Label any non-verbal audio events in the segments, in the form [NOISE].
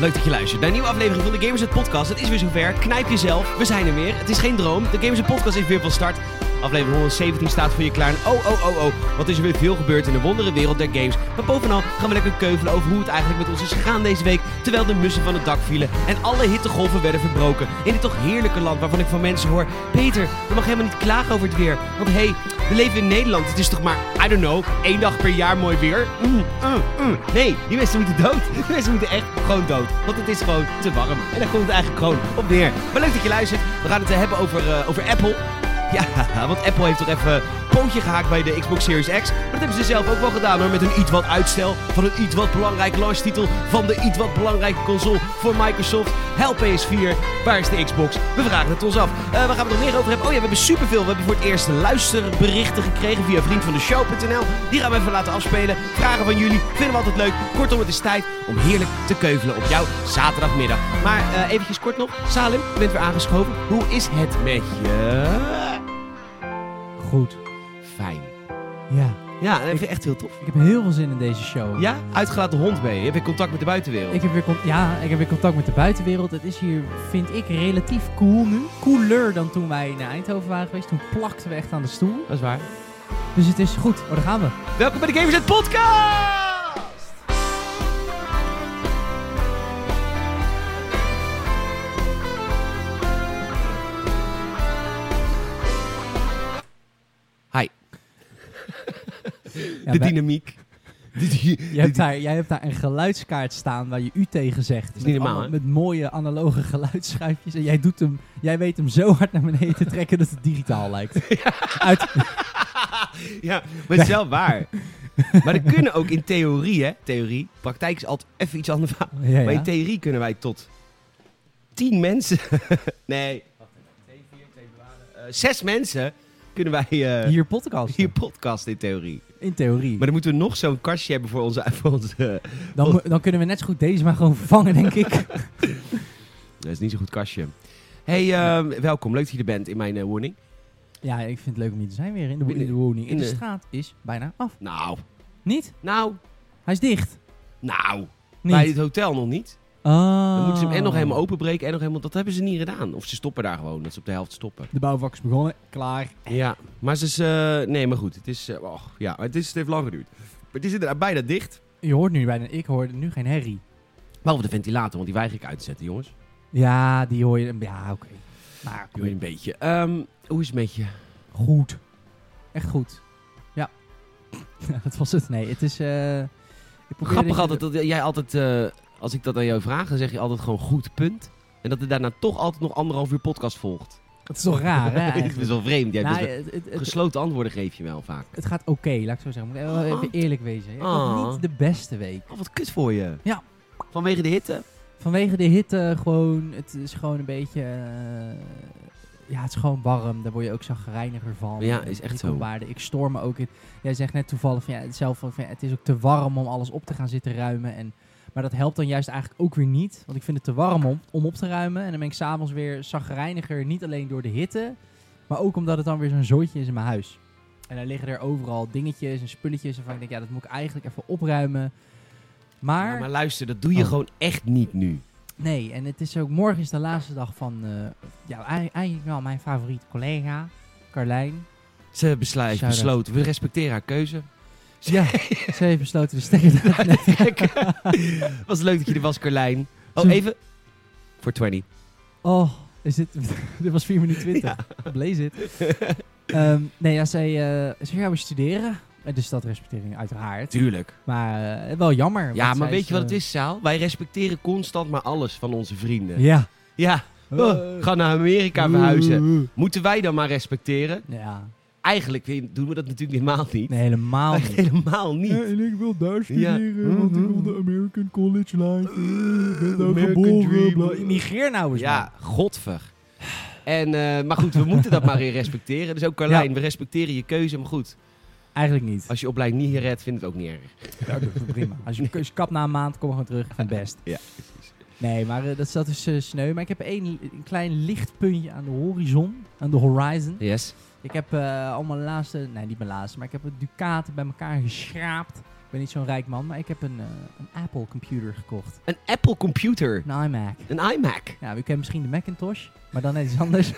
Leuk dat je luistert naar een nieuwe aflevering van de Gamers Net Podcast. Het is weer zover. Knijp jezelf. We zijn er weer. Het is geen droom. De Gamers Net Podcast is weer van start. Aflevering 117 staat voor je klaar. En oh, oh, oh, oh. Wat is er weer veel gebeurd in de wondere wereld der games. Maar bovenal gaan we lekker keuvelen over hoe het eigenlijk met ons is gegaan deze week. Terwijl de mussen van het dak vielen en alle hittegolven werden verbroken. In dit toch heerlijke land waarvan ik van mensen hoor. Peter, je mag helemaal niet klagen over het weer. Want hé, hey, we leven in Nederland. Het is toch maar, I don't know, één dag per jaar mooi weer. Mm, mm, mm. Nee, die mensen moeten dood. Die mensen moeten echt gewoon dood. Want het is gewoon te warm. En daar komt het eigenlijk gewoon op neer. Maar leuk dat je luistert. We gaan het eh, hebben over, eh, over Apple. [LAUGHS] Ja, want Apple heeft toch even een pootje gehaakt bij de Xbox Series X. Maar dat hebben ze zelf ook wel gedaan hoor. Met een iets wat uitstel van een iets wat belangrijke launchtitel van de iets wat belangrijke console voor Microsoft. Hel PS4, waar is de Xbox? We vragen het ons af. Eh waar gaan we het nog meer over hebben? Oh ja, we hebben superveel. We hebben voor het eerst luisterberichten gekregen via vriendvandeshow.nl. Die gaan we even laten afspelen. Vragen van jullie vinden we altijd leuk. Kortom, het is tijd om heerlijk te keuvelen op jouw zaterdagmiddag. Maar eh, eventjes kort nog. Salim, je bent weer aangeschoven. Hoe is het met je? Goed. Fijn. Ja. Ja, dat vind ik echt heel tof. Ik heb heel veel zin in deze show. Ja, uitgelaten hond ben je. Heb je contact met de buitenwereld? Ik heb weer, con- ja, ik heb weer contact met de buitenwereld. Het is hier, vind ik, relatief cool nu. Cooler dan toen wij naar Eindhoven waren geweest. Toen plakten we echt aan de stoel. Dat is waar. Dus het is goed. Oh, daar gaan we. Welkom bij de Gamers Net Podcast! Hi, Ja, de wij- [LAUGHS] dynamiek. De dy- je hebt daar, jij hebt daar een geluidskaart staan waar je u tegen zegt. is Met niet normaal, allemaal- hè? Met mooie analoge geluidsschuifjes. En jij, doet hem, jij weet hem zo hard naar beneden te trekken dat het digitaal lijkt. [LAUGHS] Uit, ja, maar het is wel waar. maar er kunnen ook in theorie, hè? Theorie. Praktijk is altijd even iets anders. ja, Maar ja. in theorie kunnen wij tot 10 mensen. [LAUGHS] nee. Eh, Zes mensen kunnen wij eh, Hier podcast. hier podcast in theorie. In theorie. Maar dan moeten we nog zo'n kastje hebben voor onze. Voor onze [LAUGHS] Dan, mo- dan kunnen we net zo goed deze maar gewoon vervangen, denk ik. dat is niet zo'n goed kastje. Hey, ehm, welkom. Leuk dat je er bent in mijn eh, woning. Ja, ik vind het leuk om hier te zijn weer in de, wo- In de- in de woning. in En de, de- straat is bijna af. Nou, Niet? nou, Hij is dicht. nou. Niet. Bij het hotel nog niet. Ah. Dan moeten ze hem en nog helemaal openbreken en nog helemaal. Dat hebben ze niet gedaan. Of ze stoppen daar gewoon. Dat ze op de helft stoppen. De bouwvak is begonnen. Klaar. Ja, maar ze is... eh, nee, maar goed. Het is... eh, och, ja, maar het, is, het heeft lang geduurd. Maar het is inderdaad bijna dicht. Je hoort nu bijna, ik hoorde nu geen herrie. Behalve de ventilator, want die weiger ik uit te zetten, jongens. Ja, die hoor je. Ja, oké. Maar Die hoor je een beetje. Ehm, hoe is het met je? goed. Echt goed. Ja. [LAUGHS] Ja, dat was het. Nee, het is... eh, ik probeer Grappig dit- altijd dat jij altijd... eh, als ik dat aan jou vraag, dan zeg je altijd gewoon goed, punt. En dat er daarna toch altijd nog anderhalf uur podcast volgt. Het is toch [LAUGHS] raar, hè? dat is eigenlijk? best wel vreemd. Jij hebt Nou, best wel- het, het, het- gesloten antwoorden geef je wel vaak. het gaat oké, laat ik zo zeggen. Moet ik wel even eerlijk wezen. Ik Ah. had niet de beste week. Oh, wat kut voor je. Ja. Vanwege de hitte. Vanwege de hitte gewoon, het is gewoon een beetje, eh, ja het is gewoon warm, daar word je ook zagrijniger van. Ja, is echt Ik zo. kom waarde, Ik stoor me ook in, jij zegt net toevallig van, ja, het zelf van, ja, het is ook te warm om alles op te gaan zitten ruimen. En, maar dat helpt dan juist eigenlijk ook weer niet, want ik vind het te warm om, om op te ruimen. En dan ben ik s'avonds weer zagrijniger, niet alleen door de hitte, maar ook omdat het dan weer zo'n zootje is in mijn huis. En dan liggen er overal dingetjes en spulletjes waarvan ik denk, ja dat moet ik eigenlijk even opruimen. Maar... Ja, maar luister, dat doe je Oh. gewoon echt niet nu. Nee, en het is ook morgen is de laatste dag van eh, ja, ei- eigenlijk wel mijn favoriete collega, Carlijn. Ze besluit, Shout-out. besloten. We respecteren haar [LAUGHS] keuze. [LAUGHS] Ja, ze heeft besloten de stekker te Kijk, [LAUGHS] was leuk dat je er was, Carlijn. Oh, Zo- even. Voor 20. Oh, is dit, [LAUGHS] dit was 4 minuten 20. [LAUGHS] Blaze it. Ehm, nee, ja, zij, eh, ze gaat weer studeren. Eh, Dus dat respecteer ik uiteraard. Tuurlijk. Maar eh, wel jammer. Ja, want maar zij weet je wat het eh, is, Saal? Wij respecteren constant maar alles van onze vrienden. Ja. Ja. Oh, ga naar Amerika Eh, verhuizen. Moeten wij dan maar respecteren? Ja, Eigenlijk vind- doen we dat natuurlijk helemaal niet. nee, [LAUGHS] helemaal Eigenlijk niet. Helemaal Ja, niet. en ik wil daar Ja. Hm, studeren, want ik wil de American College Life. Ik ben daar American geboren. dream. bla- Immigreer nou eens, man. Ja, godver. En, eh, maar goed, we moeten dat [LAUGHS] maar weer respecteren. Dus ook Carlijn, we respecteren je keuze. Maar goed, Eigenlijk niet. als je opleiding niet redt, vindt het ook niet erg. Ja, dat is prima. Als je, als je kap na een maand, kom gewoon terug. Van best. [LAUGHS] Ja, Nee, maar eh, dat, is- dat is eh, sneu. Maar ik heb één li- een klein lichtpuntje aan de horizon. Aan de horizon. Yes. Ik heb eh al mijn laatste... Nee, niet mijn laatste. Maar ik heb het Ducaten bij elkaar geschraapt. Ik ben niet zo'n rijk man, maar ik heb een, eh, een Apple computer gekocht. Een Apple computer. Een iMac. Een iMac. Ja, u kent misschien de Macintosh, maar dan net iets [LAUGHS] anders.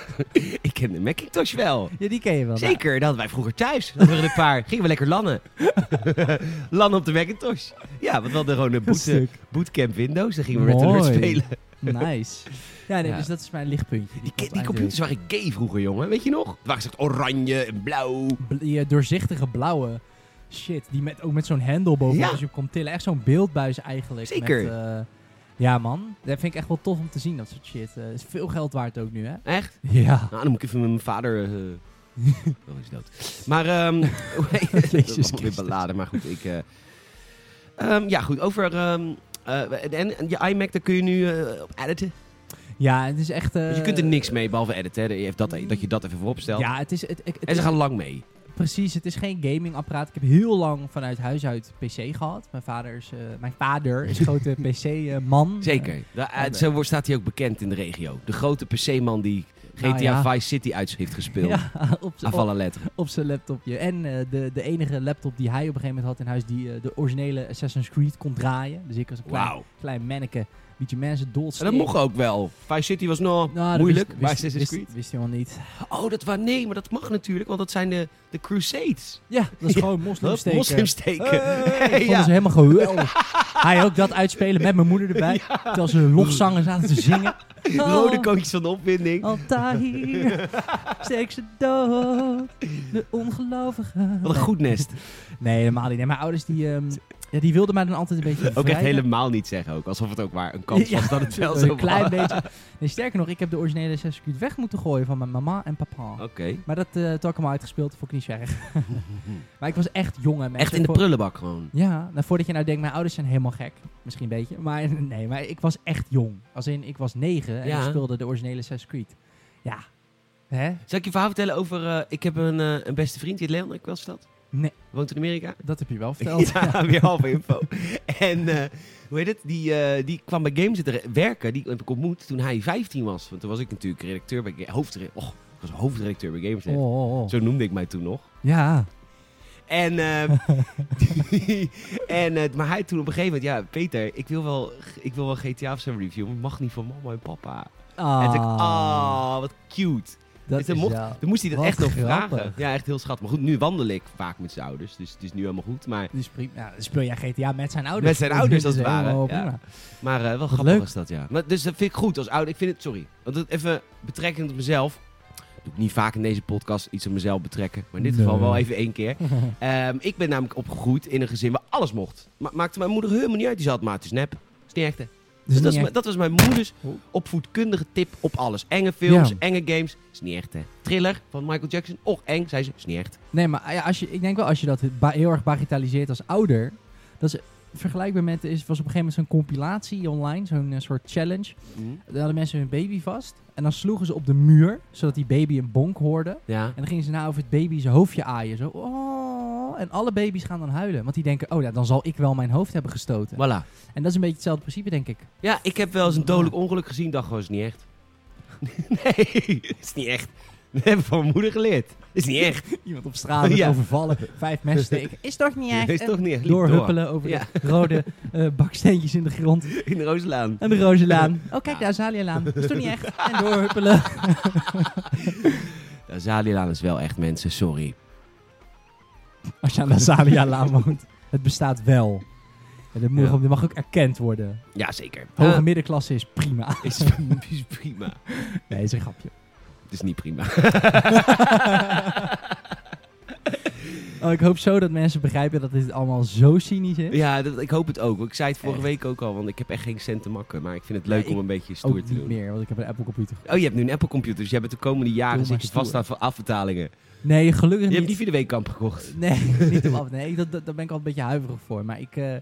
Ik ken de Macintosh wel. ja, die ken je wel. nou. Zeker, dat hadden wij vroeger thuis. Dat waren een paar. Gingen we lekker [LAUGHS] lannen. lannen op de Macintosh. Ja, want we hadden gewoon een Een boot, stuk. bootcamp Windows. Dan gingen we Red Alert Mooi. spelen. Nice. Ja, nee, Ja. dus dat is mijn lichtpuntje. Die, ik ki- tot die eindelijk- computers waren gay vroeger, jongen. Weet je nog? Het waren echt oranje en blauw. Bl- die, eh, doorzichtige blauwe shit. Die met, ook met zo'n hendel boven Ja. als je op komt tillen. Echt zo'n beeldbuis eigenlijk. Zeker. Met, eh, ja, man. Dat vind ik echt wel tof om te zien, dat soort shit. Eh, is veel geld waard ook [LAUGHS] nu, hè? Echt? Ja. Nou, dan moet ik even met mijn vader... [LAUGHS] eh oh, hij is dood. Maar, ehm dat is allemaal Jezus weer Christus. beladen. Maar goed, ik... eh, ehm, ja, goed. Over... ehm, eh, en, en je iMac, daar kun je nu eh, op editen. Ja, het is echt... eh, Dus je kunt er niks mee, behalve editen. Hè. Je hebt dat, dat je dat even voorop stelt. Ja, het is... Het, het- het en ze is- gaan lang mee. Precies, het is geen gamingapparaat. Ik heb heel lang vanuit huis uit PC gehad. Mijn vader is, eh, mijn [LAUGHS] vader is grote eh, PC-man. Zeker. Da- eh, nee. zo wordt- staat hij ook bekend in de regio. De grote PC-man die GTA Nou ja. Vice City uit heeft gespeeld. ja, op, z'n- Aan op, alle letteren. op zijn laptopje. En eh, de, de enige laptop die hij op een gegeven moment had in huis... die eh, de originele Assassin's Creed kon draaien. Dus ik was een klein, Wauw. klein manneke. Beetje mensen En dolsteen. dat mocht ook wel. Vice City was nog Dus Nou, dat moeilijk. wist- maar wist, Assassin's wist, Creed. wist, hij wel [LAUGHS] niet. Oh, dat was... Nee, maar dat mag natuurlijk, want dat zijn de, de Crusades. Ja, dat is Ja, gewoon Dat moslimsteken. moslims steken. Hey, Hey, ik vond [LAUGHS] ja. ze helemaal geweldig. Hij ook dat uitspelen met mijn moeder [LAUGHS] erbij. Terwijl ze lofzangen zaten te zingen. Rode Oh. koontjes van de opwinding. [LAUGHS] Altair, steek ze dood, de ongelovige. Wat een goed [LAUGHS] nest. Nee, helemaal niet. Nee, mijn ouders die, ehm, ja, die wilden mij dan altijd een beetje Ook echt bevrijden. helemaal niet zeggen ook. Alsof het ook maar een [LAUGHS] kans was dat het wel Een zo klein was. beetje. Nee, sterker nog, ik heb de originele Assassin's Creed weg moeten gooien van mijn mama en papa. Oké. Maar dat eh toen had ik hem al uitgespeeld, vond ik niet [LAUGHS] zo erg. maar ik was echt jong en Echt in de prullenbak gewoon. Ja, nou, voordat je nou denkt, mijn ouders zijn helemaal gek. Misschien een beetje. Maar [LAUGHS] nee, maar ik was echt jong. Als in, ik was negen en Ja. ik speelde de originele Assassin's Creed. Ja. Hè? Zal ik je verhaal vertellen over... eh, ik heb een, eh, een beste vriend, die heet Leon, heb ik wel eens verteld? Nee. Woont in [LAUGHS] Amerika. Dat heb je wel [LAUGHS] verteld. Ja, weer half info. en eh, hoe heet het? Die, eh, die kwam bij Game zitten re- werken. Die heb ik ontmoet toen hij 15 was. Want toen was ik natuurlijk redacteur bij Ga- hoofdredacteur. Och, ik was hoofdredacteur bij Games. Oh, oh, oh. Zo noemde ik mij toen nog. Ja. En, ehm, [LAUGHS] die- en, eh, [LAUGHS] maar hij toen op een gegeven moment, ja, Peter, ik wil wel, ik wil wel GTA of zijn review, maar het mag niet van mama en papa. Ah, En toen dacht ik, ah, wat cute. dat het is mocht- wel- Dan moest hij dat Wat echt nog grappig. vragen. Ja, echt heel schattig. Maar goed, nu wandel ik vaak met zijn ouders, dus het is nu helemaal goed. Maar, Dus prima. Ja, dan speel jij GTA met zijn ouders. Dus, Met zijn ouders, Dat is als het ware, helemaal ja. prima. maar eh, wel grappig leuk. is dat, ja. Maar, dus dat vind ik goed als ouder. Ik vind het, sorry, want het, even betrekkend op mezelf. Doe ik niet vaak in deze podcast iets aan mezelf betrekken. Maar in dit Nee. geval wel even één keer. Ehm, ik ben namelijk opgegroeid in een gezin waar alles mocht. Ma maakte mijn moeder helemaal niet uit. Die zei altijd, maar het is nep. Het is niet echt, hè. Dus dat, niet is mijn- echt- dat was mijn moeders Oh. opvoedkundige tip op alles. Enge films, Ja. enge games. Is niet echt, hè. Thriller van Michael Jackson. Och, eng, zei ze. Is niet echt. Nee, maar ah ja, als je, ik denk wel als je dat ba- heel erg bagatelliseert als ouder. Dat is vergelijkbaar met. Is, was op een gegeven moment zo'n compilatie online. Zo'n eh, soort challenge. Daar hadden mensen hun baby vast. En dan sloegen ze op de muur. Zodat die baby een bonk hoorde. En Ja. dan gingen ze na over het baby zijn hoofdje aaien. Zo. Oh, en alle baby's gaan dan huilen. Want die denken: oh ja, dan zal ik wel mijn hoofd hebben gestoten. Voilà. En dat is een beetje hetzelfde principe, denk ik. [LAUGHS] Ja, ik heb wel eens een dodelijk ongeluk gezien. Dacht gewoon, is niet echt. nee, is niet echt. Dat hebben we van mijn moeder geleerd. Is niet echt. Iemand op straat wordt Oh, Ja. [LAUGHS] overvallen, vijf mensen steken. Is toch niet echt? Is toch niet echt. Liep Doorhuppelen over Ja. de rode eh, baksteentjes in de grond. door. In de Rooslaan. En de Rozenlaan. [LAUGHS] Oh, Ja. kijk, de Azalialaan. Is toch niet echt? En doorhuppelen. De Zalilaan is wel echt, mensen. Sorry. Als je aan de Azalialaan woont. Het bestaat wel. En dat mag, Ja. dat mag ook erkend worden. Ja, zeker. Hoge Eh, middenklasse is prima. [LAUGHS] [LAUGHS] is, is prima. Nee, is een [LAUGHS] grapje. Het is niet prima. Oh, ik hoop zo dat mensen begrijpen dat dit allemaal zo cynisch is. Ja, dat, ik hoop het ook. Ik zei het vorige Echt. week ook al, want ik heb echt geen cent te makken. Maar ik vind het leuk Ja, om ik een beetje stoer Ook te niet doen. meer, want ik heb een Apple computer. Oh, je hebt nu een Apple-computer, dus jij bent de komende jaren Doe zit maar je stoer. vast aan voor afbetalingen. Nee, Je gelukkig hebt niet. Oh. die via de weekkamp gekocht. Nee, [LAUGHS] niet om af. Nee, dat, dat, daar ben ik al een beetje huiverig voor. Maar ik. eh,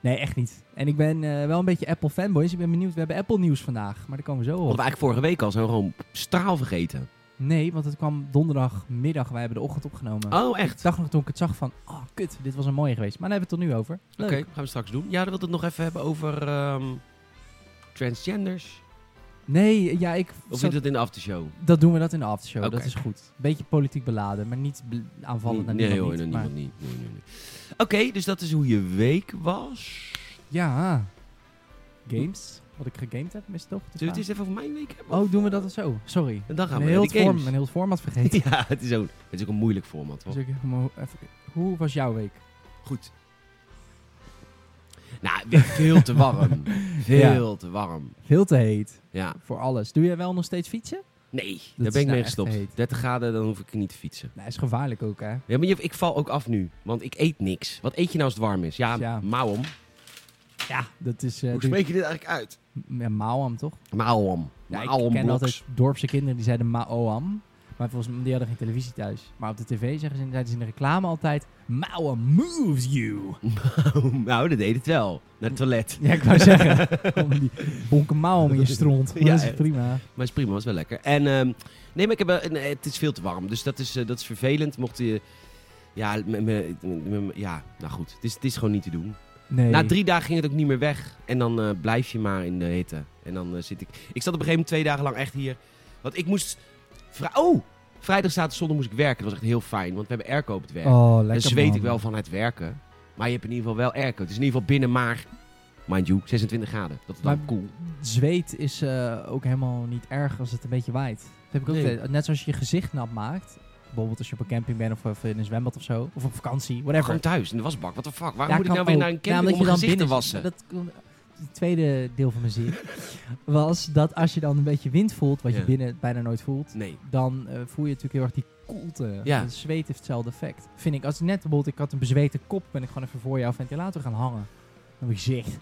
nee, echt niet. En ik ben eh, wel een beetje Apple fanboy. Dus ik ben benieuwd. We hebben Apple nieuws vandaag. Maar daar komen we zo Of we op. eigenlijk vorige week al zijn we gewoon straal vergeten. Nee, want het kwam donderdagmiddag. Wij hebben de ochtend opgenomen. Oh, echt? Ik dacht nog toen ik het zag van. Oh, kut. Dit was een mooie geweest. Maar daar hebben we het tot nu over. Oké, Leuk. gaan we straks doen. Ja, dan wil ik het nog even hebben over ehm, transgenders. Nee, ja, ik... Of zat- is dat in de aftershow? Dat doen we dat in de aftershow, Oké. dat is goed. Beetje politiek beladen, maar niet bl- aanvallen naar nee niemand hoor, niet, naar maar- niemand niet. Nee, nee, nee. Oké, dus dat is hoe je week was. Ja. Games? Wat ik gegamed heb, is toch? de Zullen we het eens vraag? even over mijn week hebben? Oh, doen we dat dan zo? Sorry. En dan gaan Een we heel, naar het de games. [LAUGHS] vorm, een heel het format vergeten. Ja, het is, ook, het is ook een moeilijk format. hoor. Dus ik, mo- even- hoe was jouw week? Goed. Nou, weer veel te [LAUGHS] warm. Veel te warm. Veel te heet. Ja. Voor alles. Doe jij wel nog steeds fietsen? Nee, daar is ben ik nou mee echt gestopt. heet. 30 graden, dan hoef ik niet te fietsen. Nee, is gevaarlijk ook, hè? Ja, maar je- ik val ook af nu, want ik eet niks. Wat eet je nou als het warm is? Ja, Ja. mauwom. Ja, dat is... eh, Hoe doe- spreek je dit eigenlijk uit? Ja, Maoam, toch? Mauwom. Ja, ik Mauwom ken bloks. altijd dorpse kinderen die zeiden Maoam. Maar volgens mij, die hadden geen televisie thuis. Maar op de tv zeggen ze, zeiden ze in de reclame altijd... Maoam moves [LAUGHS] you. nou, dat deed het wel. Naar het toilet. [LAUGHS] Ja, [LAUGHS] ik wou zeggen. Kom die bonken Maoam in je stront. Maar Ja, dat is echt. prima. Maar is prima, was wel lekker. En ehm, nee, maar ik heb, wel- nee, het is veel te warm, dus dat is, eh, dat is vervelend. Mocht je, ja, me- me- me- me- ja, nou goed, het is, het is gewoon niet te doen. Nee. Na drie dagen ging het ook niet meer weg en dan eh, blijf je maar in de hitte. En dan eh, zit ik, ik zat op een gegeven moment twee dagen lang echt hier, want ik moest, vrij- oh, vrijdag, zaterdag, zondag moest ik werken. Dat was echt heel fijn, want we hebben airco op het werk. Oh, lekker dan zweet man. ik wel van het werken, maar je hebt in ieder geval wel airco. Het is in ieder geval binnen maar, mind you, 26 graden. Dat is dan Maar- cool. Zweet is eh, ook helemaal niet erg als het een beetje waait. Dat heb ik ook Nee. altijd. Net zoals je je gezicht nat maakt. Bijvoorbeeld als je op een camping bent of, of in een zwembad of zo. Of op vakantie, whatever. Gewoon thuis, in de wasbak. Wat de fuck? Waarom Ja, moet ik kan nou weer ook. naar een Ja, camping omdat om je mijn dan gezicht te wassen? binnen zit. Dat kon- het tweede deel van mijn zin [LAUGHS] was dat als je dan een beetje wind voelt, wat Ja. je binnen bijna nooit voelt, Nee. dan eh, voel je natuurlijk heel erg die koelte. Ja. Het zweet heeft hetzelfde effect. Vind ik, als net bijvoorbeeld ik had een bezweten kop, ben ik gewoon even voor jouw ventilator gaan hangen. Op mijn gezicht.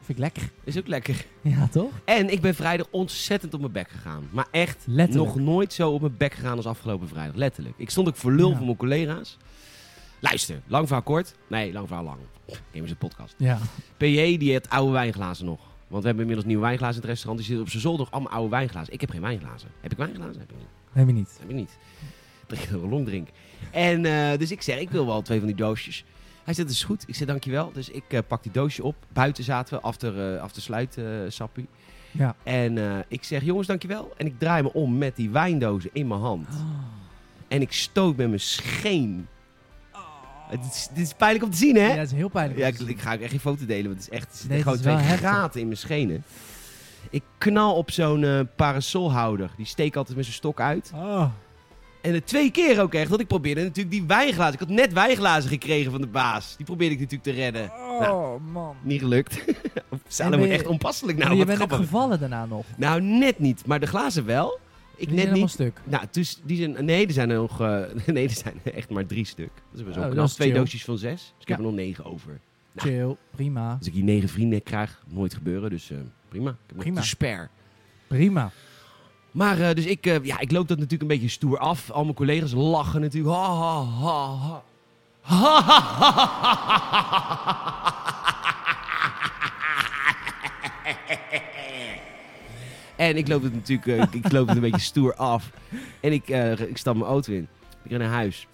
Vind ik lekker. [LAUGHS] Is ook lekker. Ja, toch? En ik ben vrijdag ontzettend op mijn bek gegaan. Maar echt Letterlijk. nog nooit zo op mijn bek gegaan als afgelopen vrijdag. Letterlijk. Ik stond ook voor lul Ja. voor mijn collega's. Luister, lang verhaal kort. Nee, lang verhaal lang. Gamers een podcast. Ja. PJ die heeft oude wijnglazen nog. Want we hebben inmiddels nieuwe wijnglazen in het restaurant. Die zitten op zijn zolder nog allemaal oude wijnglazen. Ik heb geen wijnglazen. Heb ik wijnglazen? Heb ik niet. Heb je niet. Dat heb ik niet. Dat ik een long drink. En eh, dus ik zeg, ik wil wel twee van die doosjes. Hij zegt, dat is goed. Ik zeg, dankjewel. Dus ik eh, pak die doosje op. Buiten zaten we, after, eh after sluit eh, sappie. Ja. En eh, ik zeg, jongens, dankjewel. En ik draai me om met die wijndozen in mijn hand. Oh. En ik stoot met mijn scheen. Het is, dit is pijnlijk om te zien, hè? Ja, het is heel pijnlijk. Ja, om ik, te zien. ik ga ook echt geen foto delen, want het is echt, er zitten Nee, het gewoon is twee wel heftig. gaten in mijn schenen. Ik knal op zo'n eh, parasolhouder. Die steek altijd met zijn stok uit. Oh. En het twee keer ook echt, want ik probeerde natuurlijk die wijnglazen. Ik had net wijnglazen gekregen van de baas. Die probeerde ik natuurlijk te redden. Oh, man. Niet gelukt. [LAUGHS] En Salem ben wordt je- echt onpasselijk Maar nou, je wat bent ook grappig. gevallen daarna nog. Nou, net niet, maar de glazen wel. Ik Die zijn net helemaal niet. stuk. Nou, dus die zijn, nee, er zijn er nog, eh, [LAUGHS] nee, er zijn er echt maar drie stuk. Dat is best wel Oh, knap. dat is Twee chill. doosjes van zes, dus ik heb Ja. er nog negen over. Nou. Chill, prima. Als ik hier negen vrienden krijg, nooit gebeuren, dus eh, prima. Ik heb Prima. nog een spare. Prima. Maar eh, dus ik, eh, ja, ik loop dat natuurlijk een beetje stoer af. Al mijn collega's lachen natuurlijk. Ha, ha, ha, ha. [LAUGHS] Ha, ha, ha, ha, ha, ha. En ik loop het natuurlijk eh, ik- ik loop het een beetje stoer af. En ik, eh, ik stap mijn auto in. Ik ren naar huis.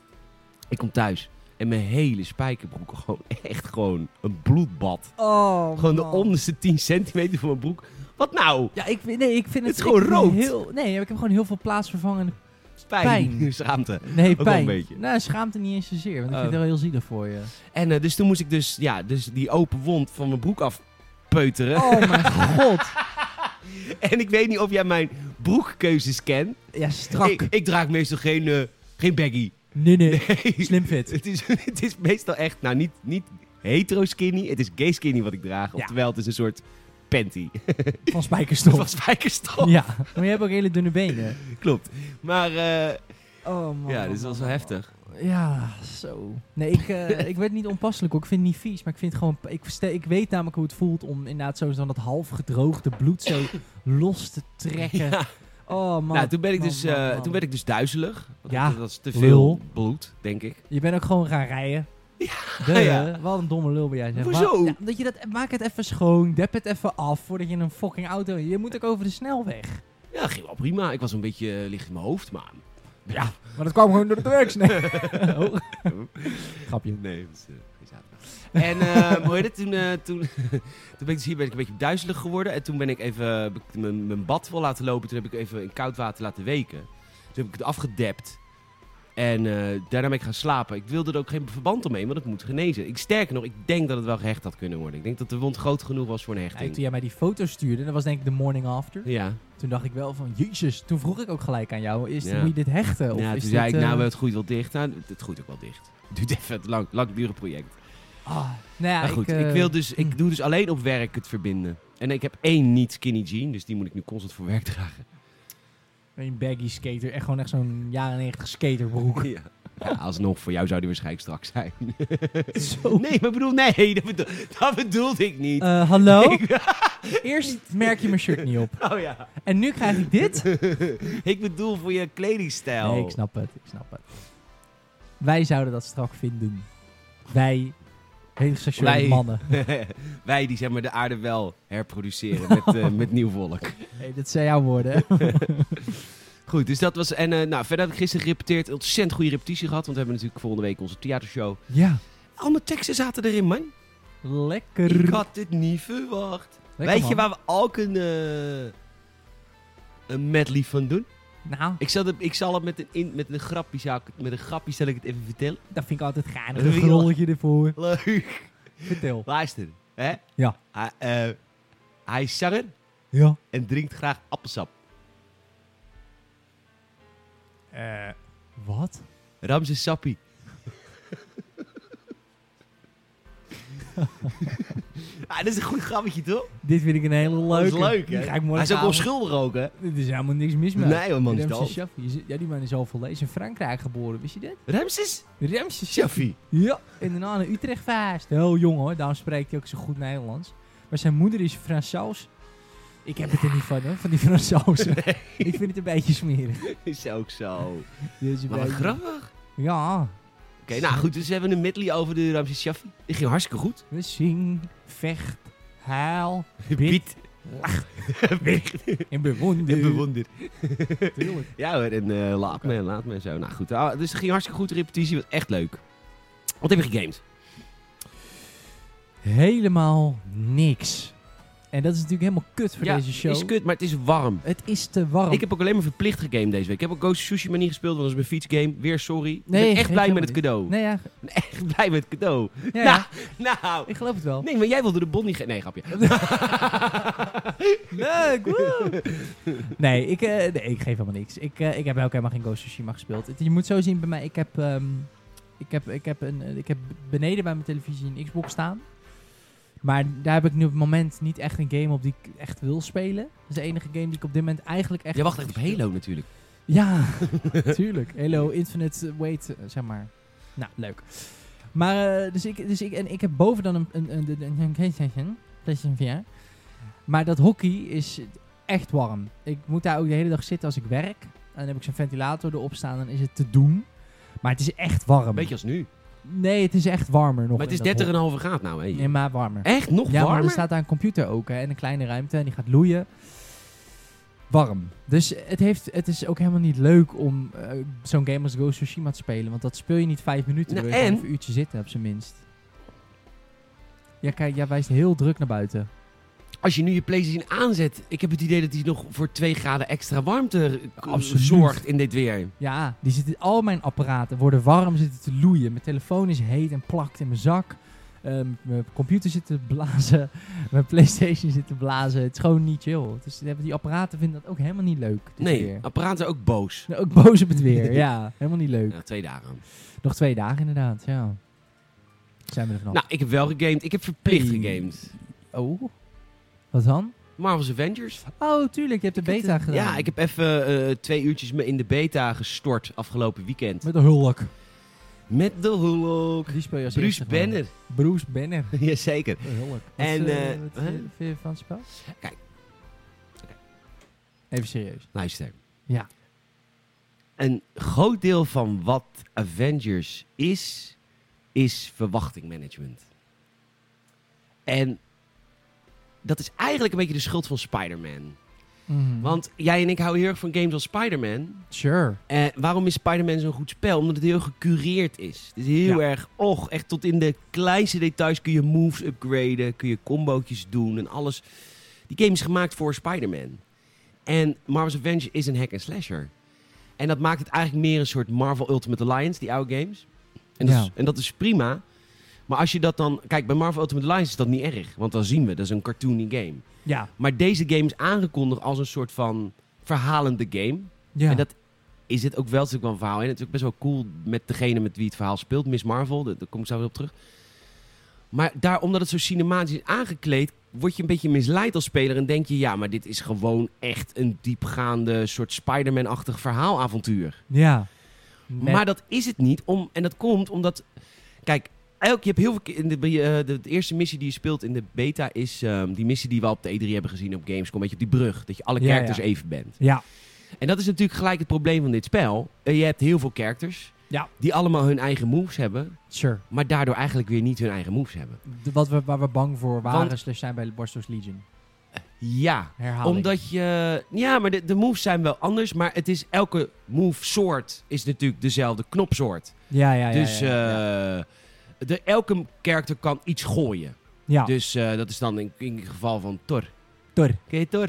Ik kom thuis. En mijn hele spijkerbroek, gewoon echt gewoon een bloedbad. Oh, Gewoon de onderste 10 centimeter van mijn broek. Wat nou? Ja, ik, vind- nee, ik vind Het het... is gewoon ik vind rood. Heel, nee, ik heb gewoon heel veel plaatsvervangende... Pijn. Pijn. Schaamte. Nee, wel pijn. een beetje. Nou, schaamte niet eens zozeer, want ik Oh. vind het wel heel zielig voor [LAUGHS] je. En eh, dus toen moest ik dus, ja, dus die open wond van mijn broek afpeuteren. Oh, mijn god. [LAUGHS] En ik weet niet of jij mijn broekkeuzes kent. Ja, strak. Ik, ik draag meestal geen, eh, geen baggy. [LAUGHS] Nee, nee. Nee. Slim fit. Het is, het is meestal echt, nou niet, niet hetero skinny, het is gay skinny wat ik draag. Ja. Oftewel, het is een soort [LAUGHS] panty. Van Of spijkerstof. als spijkerstof. Ja, maar je hebt ook hele dunne benen. Klopt. Maar eh, Oh, man. ja, dit is wel man, zo man, heftig. Ja, zo. Nee, [LAUGHS] ik, eh, ik werd niet onpasselijk hoor. Ik vind het niet vies, maar ik vind het gewoon... Ik, verste- ik weet namelijk hoe het voelt om inderdaad zo dan dat half gedroogde bloed [LAUGHS] zo los te trekken. Ja. Oh man. nou, toen ben, ik man, dus, man, eh, man. toen werd ik dus duizelig. Want Ja, dat- Dat is te lul. veel bloed, denk ik. Je bent ook gewoon gaan rijden. [LAUGHS] Ja, ja. Wat een domme lul ben jij. Zeg. Hoezo? Maar- ja, omdat je dat, maak het even schoon, dep het even af voordat je in een fucking auto... Je moet ook over de snelweg. [LAUGHS] Ja, ging wel prima. Ik was een beetje eh, licht in mijn hoofd, maar Ja, Maar dat kwam gewoon door de drugs. Nee. [LAUGHS] Oh. Grapje. [LAUGHS] Nee, dat is eh, geen zaterdag. En eh, hoe heet het? Toen, eh, toen, [LAUGHS] toen ben ik dus hier ben ik een beetje duizelig geworden. En toen ben ik even heb ik mijn, mijn bad vol laten lopen. Toen heb ik even in koud water laten weken. Toen heb ik het afgedept. En eh, daarna ben ik gaan slapen. Ik wilde er ook geen verband omheen, want het moet genezen. Ik, sterker nog, ik denk dat het wel gehecht had kunnen worden. Ik denk dat de wond groot genoeg was voor een Ja, toen hechting. jij mij die foto stuurde, dat was denk ik de morning after. Ja, Toen dacht ik wel van, jezus, toen vroeg ik ook gelijk aan jou, is, Ja. moet je dit hechten? Of ja is toen dit, zei ik, eh, nou, het groeit wel dicht. Nou, het- het groeit ook wel dicht. [LAUGHS] Het duurt even het lang, langdurig project. ah, nou ja, maar goed, ik, eh, wil dus, hm. ik doe dus alleen op werk het verbinden. En ik heb één niet skinny jean, dus die moet ik nu constant voor werk dragen. Een baggy skater, echt gewoon echt zo'n jaren 90 skaterbroek. Ja. alsnog, voor jou zou die waarschijnlijk strak zijn. [LAUGHS] Zo. Nee, maar ik bedoel, nee, dat, bedoel, dat bedoelde ik niet. Eh, hallo? [LAUGHS] Ik- Eerst merk je mijn shirt niet op. oh ja. En nu krijg ik [LAUGHS] dit? ik bedoel voor je kledingstijl. Nee, ik snap het, ik snap het. Wij zouden dat strak vinden. Wij, heteroseksuele Wij. mannen. [LAUGHS] Wij die zeg maar de aarde wel herproduceren met, eh, met nieuw volk. Hey, dit zijn jouw woorden. hè? Goed, dus dat was... En eh, nou, verder heb ik gisteren gerepeteerd. Ontzettend goede repetitie gehad, want we hebben natuurlijk volgende week onze theatershow. [LAUGHS] ja, Al mijn teksten zaten erin, man. lekker. Ik had dit niet verwacht. Lekker, Weet je waar man. we ook een, eh, een medley van doen? Nou, Ik zal het, ik zal het met, een in, met een grapje, zou ik het- met een grapje zal ik het even vertellen. dat vind ik altijd geinig. Een Een rolletje ervoor. Leuk. [LAUGHS] Vertel. Luister. Hè? Ja. Hij, eh, hij is zanger Ja. en drinkt graag appelsap. Eh, Wat? Ramses [LAUGHS] Sappie. ah, dat is een goed grappetje, toch? Dit vind ik een hele leuke. Dat is leuk, Die hè? ga ik Hij is ook morgenavond- onschuldig ook, hè? Er is helemaal niks mis mee. Nee, hoor, man, is Ramses doof. Shaffi. Je zit- Ja, die man is al verlezen in Frankrijk geboren, wist je dit? Ramses Ramses Shaffi. Sappie. [LAUGHS] Ja, en daarna naar Utrecht verhuisd. Heel jong hoor, daarom spreekt hij ook zo goed Nederlands. Maar zijn moeder is Fransaus. Ik heb het er niet van hoor, van die [LAUGHS] Fransozen. Ik vind het een beetje smerig. Is ook zo. Dit is een Maar wat beetje- grappig. Ja, Oké, nou goed, dus we hebben een medley over de Ramses Shaffi. Die ging hartstikke [LAUGHS] goed. we zingen, vecht, huil, bid [LAUGHS] Piet. Piet. en bewonder. Ik bewonder. Tuurlijk. Ja hoor, en eh, laat me, laat me en zo. Nou goed, ah, dus het ging hartstikke goed. De repetitie was echt leuk. Wat heb je gegamed? Helemaal niks. En dat is natuurlijk helemaal kut voor deze show. is kut, maar het is warm. Het is te warm. Ik heb ook alleen maar verplicht gegamed deze week. Ik heb ook Ghost of Tsushima niet gespeeld, want dat is mijn fietsgame. Weer sorry. Ik Nee, ben echt geeft blij met helemaal het cadeau. Nee, ja, Echt blij met het cadeau. ja, ja, Nou, ik geloof het wel. nee, maar jij wilde de bon niet... ge- Nee, grapje. Leuk, woe! nee, ik, eh, nee, ik geef helemaal niks. Ik, eh, ik heb ook helemaal geen Ghost of Tsushima gespeeld. Het- Je moet zo zien bij mij, ik heb, ehm, ik heb, ik heb, een, eh, ik heb beneden bij mijn televisie een Xbox staan. Maar daar heb ik nu op het moment niet echt een game op die ik echt wil spelen. Dat is de enige game die ik op dit moment eigenlijk echt... Jij wacht echt op Halo natuurlijk. Ja, [LAUGHS] tuurlijk. Halo Infinite Wait, eh, zeg maar. Nou, leuk. Maar, eh, dus, ik, dus ik, en ik heb boven dan een, een, een, een, een PlayStation, PlayStation VR. Maar dat hockey is echt warm. Ik moet daar ook de hele dag zitten als ik werk. En dan heb ik zo'n ventilator erop staan, dan is het te doen. Maar het is echt warm. Beetje als nu. Nee, het is echt warmer nog. Maar het in is dat 30,5 hockey. graad nou, hè? Nee, maar warmer. Echt? Nog Ja, maar warmer? er staat daar een computer ook hè, en een kleine ruimte en die gaat loeien. Warm. Dus het, heeft, het is ook helemaal niet leuk om eh, zo'n game als Ghost of Tsushima te spelen. Want dat speel je niet vijf minuten. Nou, door je gaat en? even een uurtje zitten op zijn minst. Ja, kijk, jij wijst heel druk naar buiten. Als je nu je PlayStation aanzet, ik heb het idee dat die nog voor 2 graden extra warmte eh, Absoluut. zorgt in dit weer. Ja, die zitten, al mijn apparaten worden warm, zitten te loeien. Mijn telefoon is heet en plakt in mijn zak. Ehm, mijn computer zit te blazen. [LAUGHS] Mijn Playstation zit te blazen. Het is gewoon niet chill. Dus die apparaten vinden dat ook helemaal niet leuk. dit Nee, weer. apparaten zijn ook [LAUGHS] boos. Nou, ook boos op het weer, ja. Helemaal niet leuk. Ja, twee dagen. Nog twee dagen inderdaad, ja. Zijn we er vanaf. Nou, ik heb wel gegamed. Ik heb verplicht Hey. gegamed. oh. Wat dan? Marvel's Avengers. Oh, tuurlijk, je hebt de beta gedaan. Ja, ik heb even eh, twee uurtjes me in de beta gestort afgelopen weekend. Met de Hulk. Met de Hulk. Die speel je als Bruce eerste gewoon. Banner. [LAUGHS] Bruce Banner. Jazeker. De Hulk. Wat, En, eh, eh, wat hè? vind je- vind je van het spel? Kijk. Even serieus. Luister. Ja. Een groot deel van wat Avengers is, is verwachtingmanagement. En dat is eigenlijk een beetje de schuld van Spider-Man. Mhm. Want jij en ik houden heel erg van games als Spider-Man. Sure. Eh, waarom is Spider-Man zo'n goed spel? Omdat het heel gecureerd is. Het is heel Ja. erg, och, echt tot in de kleinste details kun je moves upgraden, kun je combootjes doen en alles. Die game is gemaakt voor Spider-Man. En Marvel's Avengers is een hack en slasher. En dat maakt het eigenlijk meer een soort Marvel Ultimate Alliance, die oude games. En dat, Ja. is, en dat is prima. Maar als je dat dan... Kijk, bij Marvel Ultimate Alliance is dat niet erg. Want dan zien we, dat is een cartoony game. Ja. Maar deze game is aangekondigd als een soort van verhalende game. ja. En dat is het ook wel natuurlijk wel een verhaal. En het is ook best wel cool met degene met wie het verhaal speelt. Miss Marvel, daar daar kom ik zo weer op terug. Maar daar, omdat het zo cinematisch is aangekleed, word je een beetje misleid als speler. En denk je, ja, maar dit is gewoon echt een diepgaande soort Spider-Man-achtig verhaalavontuur. ja. Met- Maar dat is het niet. Om, en dat komt omdat... Kijk, elk, je hebt heel veel... ke- In de, eh, de, de eerste missie die je speelt in de beta is ehm, die missie die we op de E3 hebben gezien op Gamescom. Weet je, op die brug. Dat je alle Ja, characters ja. even bent. ja. En dat is natuurlijk gelijk het probleem van dit spel. Eh, je hebt heel veel characters. Ja. Die allemaal hun eigen moves hebben. Sure. Maar daardoor eigenlijk weer niet hun eigen moves hebben. De- wat we, waar we bang voor waren, Want- slash zijn bij de Barstow's Legion. Ja. Herhaling. Omdat je... Ja, maar de, de moves zijn wel anders. Maar het is elke move soort is natuurlijk dezelfde knopsoort. Ja, ja, ja. dus ja, ja, ja. eh, de, elke character kan iets gooien. Ja. Dus eh, dat is dan in, in het geval van Thor. Thor. Ken je Thor?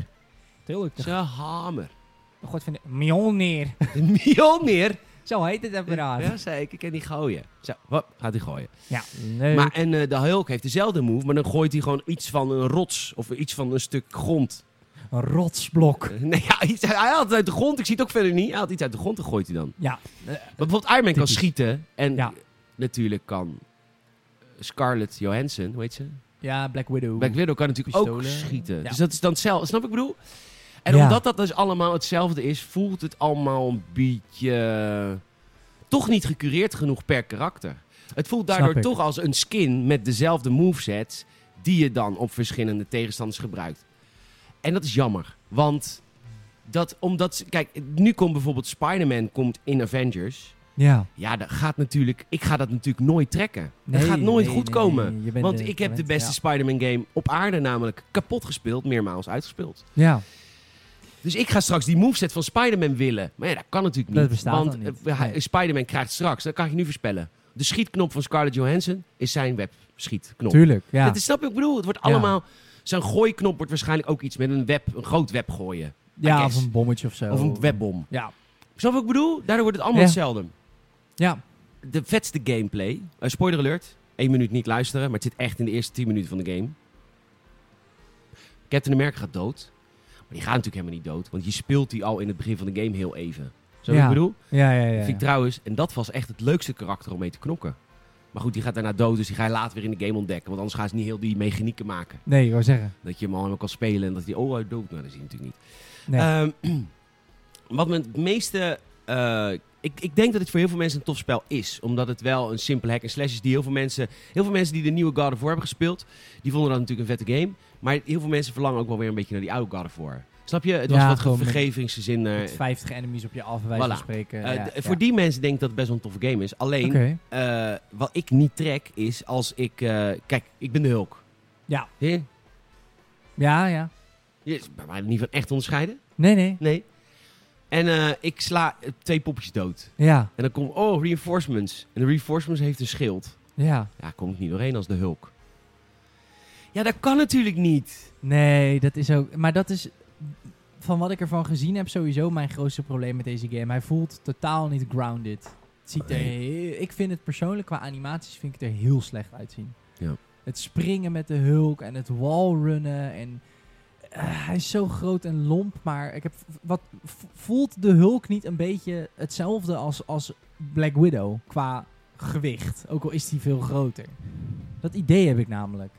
Tuurlijk. Zijn hamer. [LAUGHS] God van de... Mjolnir. Mjolnir. [LAUGHS] Zo heet het apparaat. Ja, zeker. Ik ken die gooien. Zo, hop, gaat die gooien. Ja. Nee. Maar en eh, de Hulk heeft dezelfde move, maar dan gooit hij gewoon iets van een rots of iets van een stuk grond. Een rotsblok. Eh, Nee, ja, iets, hij haalt het uit de grond. Ik zie het ook verder niet. Hij haalt iets uit de grond en gooit hij dan. Eh, Ja. Maar bijvoorbeeld Iron Man kan Typisch. schieten en Ja. natuurlijk kan Scarlett Johansson, hoe heet ze? Ja, Black Widow. Black Widow kan natuurlijk ook Pistolen. schieten. Ja. Dus dat is dan hetzelfde. Snap wat ik bedoel? En Ja. omdat dat dus allemaal hetzelfde is, voelt het allemaal een beetje eh, toch niet gecureerd genoeg per karakter. Het voelt Snap daardoor ik. toch als een skin met dezelfde movesets die je dan op verschillende tegenstanders gebruikt. En dat is jammer, want dat omdat ze- kijk, nu komt bijvoorbeeld Spider-Man komt in Avengers. Ja. Ja, dat gaat natuurlijk. Ik ga dat natuurlijk nooit trekken. Nee, dat gaat nooit nee, goed nee, komen. nee, je bent Want er ik heb de gewend, beste Spider-Man game op aarde namelijk kapot gespeeld, meermaals uitgespeeld. Ja. ja. Dus ik ga straks die moveset van Spider-Man willen. Maar ja, dat kan natuurlijk niet. Dat bestaat want dan niet. eh, hij- Nee. Spider-Man krijgt straks, dat kan ik je nu voorspellen. De schietknop van Scarlett Johansson is zijn webschietknop. Tuurlijk. Ja. Dat is, snap je wat ik bedoel? Het wordt Ja. allemaal... Zijn gooiknop wordt waarschijnlijk ook iets met een web, een groot web gooien. I ja, guess. of een bommetje of zo. Of een webbom. Ja. Snap je wat ik bedoel? Daardoor wordt het allemaal Oh. Ja. hetzelfde. Ja. De vetste gameplay. Eh, spoiler alert. Eén minuut niet luisteren, maar het zit echt in de eerste 10 minuten van de game. Captain America gaat dood. Maar die gaat natuurlijk helemaal niet dood, want je speelt die al in het begin van de game heel even. Zo Ja. ik bedoel? Ja, ja, ja. Vind ik trouwens, en dat was echt het leukste karakter om mee te knokken. Maar goed, die gaat daarna dood, dus die ga je later weer in de game ontdekken. Want anders gaan ze niet heel die mechanieken maken. Nee, ik wou zeggen. Dat je hem al helemaal kan spelen en dat hij, oh, hij dood. Nou, dat is hij natuurlijk niet. Nee. Ehm, [CLEARS THROAT] wat me het meeste. eh, ik, ik denk dat het voor heel veel mensen een tof spel is. Omdat het wel een simpele hack en slash is die heel veel mensen. Heel veel mensen die de nieuwe God of War hebben gespeeld. Die vonden dat natuurlijk een vette game. Maar heel veel mensen verlangen ook wel weer een beetje naar die oude God of War. Snap je? Het was Ja, wat gewoon met- vergevingsgezinner. Met 50 enemies op je af, bij wijze van Voilà. spreken. Eh, ja, d- ja. Voor die mensen denk ik dat het best wel een toffe game is. Alleen, Oké. eh, wat ik niet trek is als ik. eh, kijk, ik ben de Hulk. Ja. Hè? Ja, ja. Je is bij mij niet van echt onderscheiden. Nee, nee. Nee. En eh, ik sla eh, twee poppetjes dood. Ja. En dan komt, oh, reinforcements. En de reinforcements heeft een schild. Ja. Ja, kom ik niet doorheen als de Hulk. Ja, dat kan natuurlijk niet. Nee, dat is ook. Maar dat is. Van wat ik ervan gezien heb, sowieso mijn grootste probleem met deze game. Hij voelt totaal niet grounded. Het ziet er, heel- ik vind het persoonlijk qua animaties vind ik het er heel slecht uitzien. Ja. Het springen met de hulk en het wallrunnen. En, eh, hij is zo groot en lomp. Maar ik heb, wat, v- voelt de hulk niet een beetje hetzelfde als, als Black Widow qua gewicht? Ook al is die veel groter. Dat idee heb ik namelijk.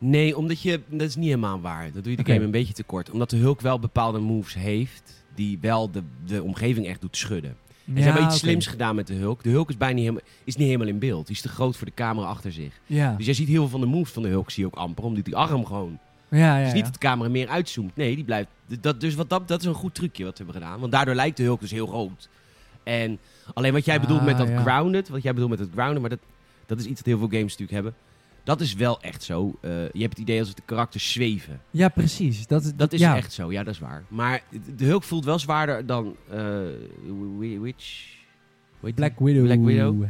Nee, omdat je, dat is niet helemaal waar. Dat doe je de Oké. game een beetje tekort. Omdat de Hulk wel bepaalde moves heeft die wel de, de omgeving echt doet schudden. En ze hebben iets slims gedaan met de Hulk. De Hulk is bijna niet helemaal, is niet helemaal in beeld. Die is te groot voor de camera achter zich. Ja. Dus jij ziet heel veel van de moves van de Hulk, zie je ook amper. Omdat die arm gewoon Ja, ja, Het is ja. Dus niet dat de camera meer uitzoomt. Nee, die blijft. d- Dat, dus wat, dat, dat is een goed trucje wat we hebben gedaan. Want daardoor lijkt de Hulk dus heel rood. En alleen wat jij bedoelt met Ah, dat ja. grounded. Wat jij bedoelt met dat grounded. Maar dat, dat is iets dat heel veel games natuurlijk hebben. Dat is wel echt zo. Eh, je hebt het idee alsof de karakters zweven. Ja, precies. Dat, is- Dat is ja. echt zo, ja, dat is waar. Maar de Hulk voelt wel zwaarder dan eh, Wi- Witch. hoe heet die? Black Widow. Black Widow.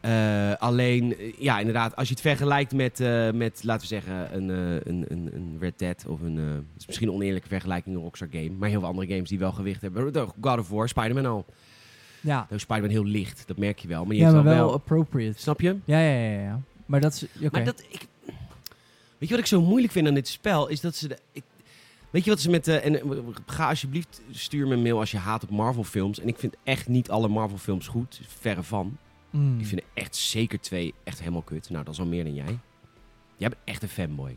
Eh, alleen, eh, ja, inderdaad, als je het vergelijkt met, eh, met laten we zeggen, een, eh, een, een, een Red Dead of een. eh, het is misschien een oneerlijke vergelijking, een Rockstar game. Maar heel veel andere games die wel gewicht hebben. Oh, God of War, Spider-Man al. Ja, Nou, Spider-Man heel licht, dat merk je wel. Maar die ja heeft maar wel, wel wel. appropriate. Snap je? Ja, ja, ja, ja. Maar dat is... oké. Maar dat, ik, weet je wat ik zo moeilijk vind aan dit spel? Is dat ze. De, ik, weet je wat ze met. eh, en eh, ga alsjeblieft, stuur me een mail als je haat op Marvel-films. En ik vind echt niet alle Marvel-films goed. Verre van. Mm. Ik vind er echt zeker twee echt helemaal kut. Nou, dat is al meer dan jij. Jij bent echt een fanboy.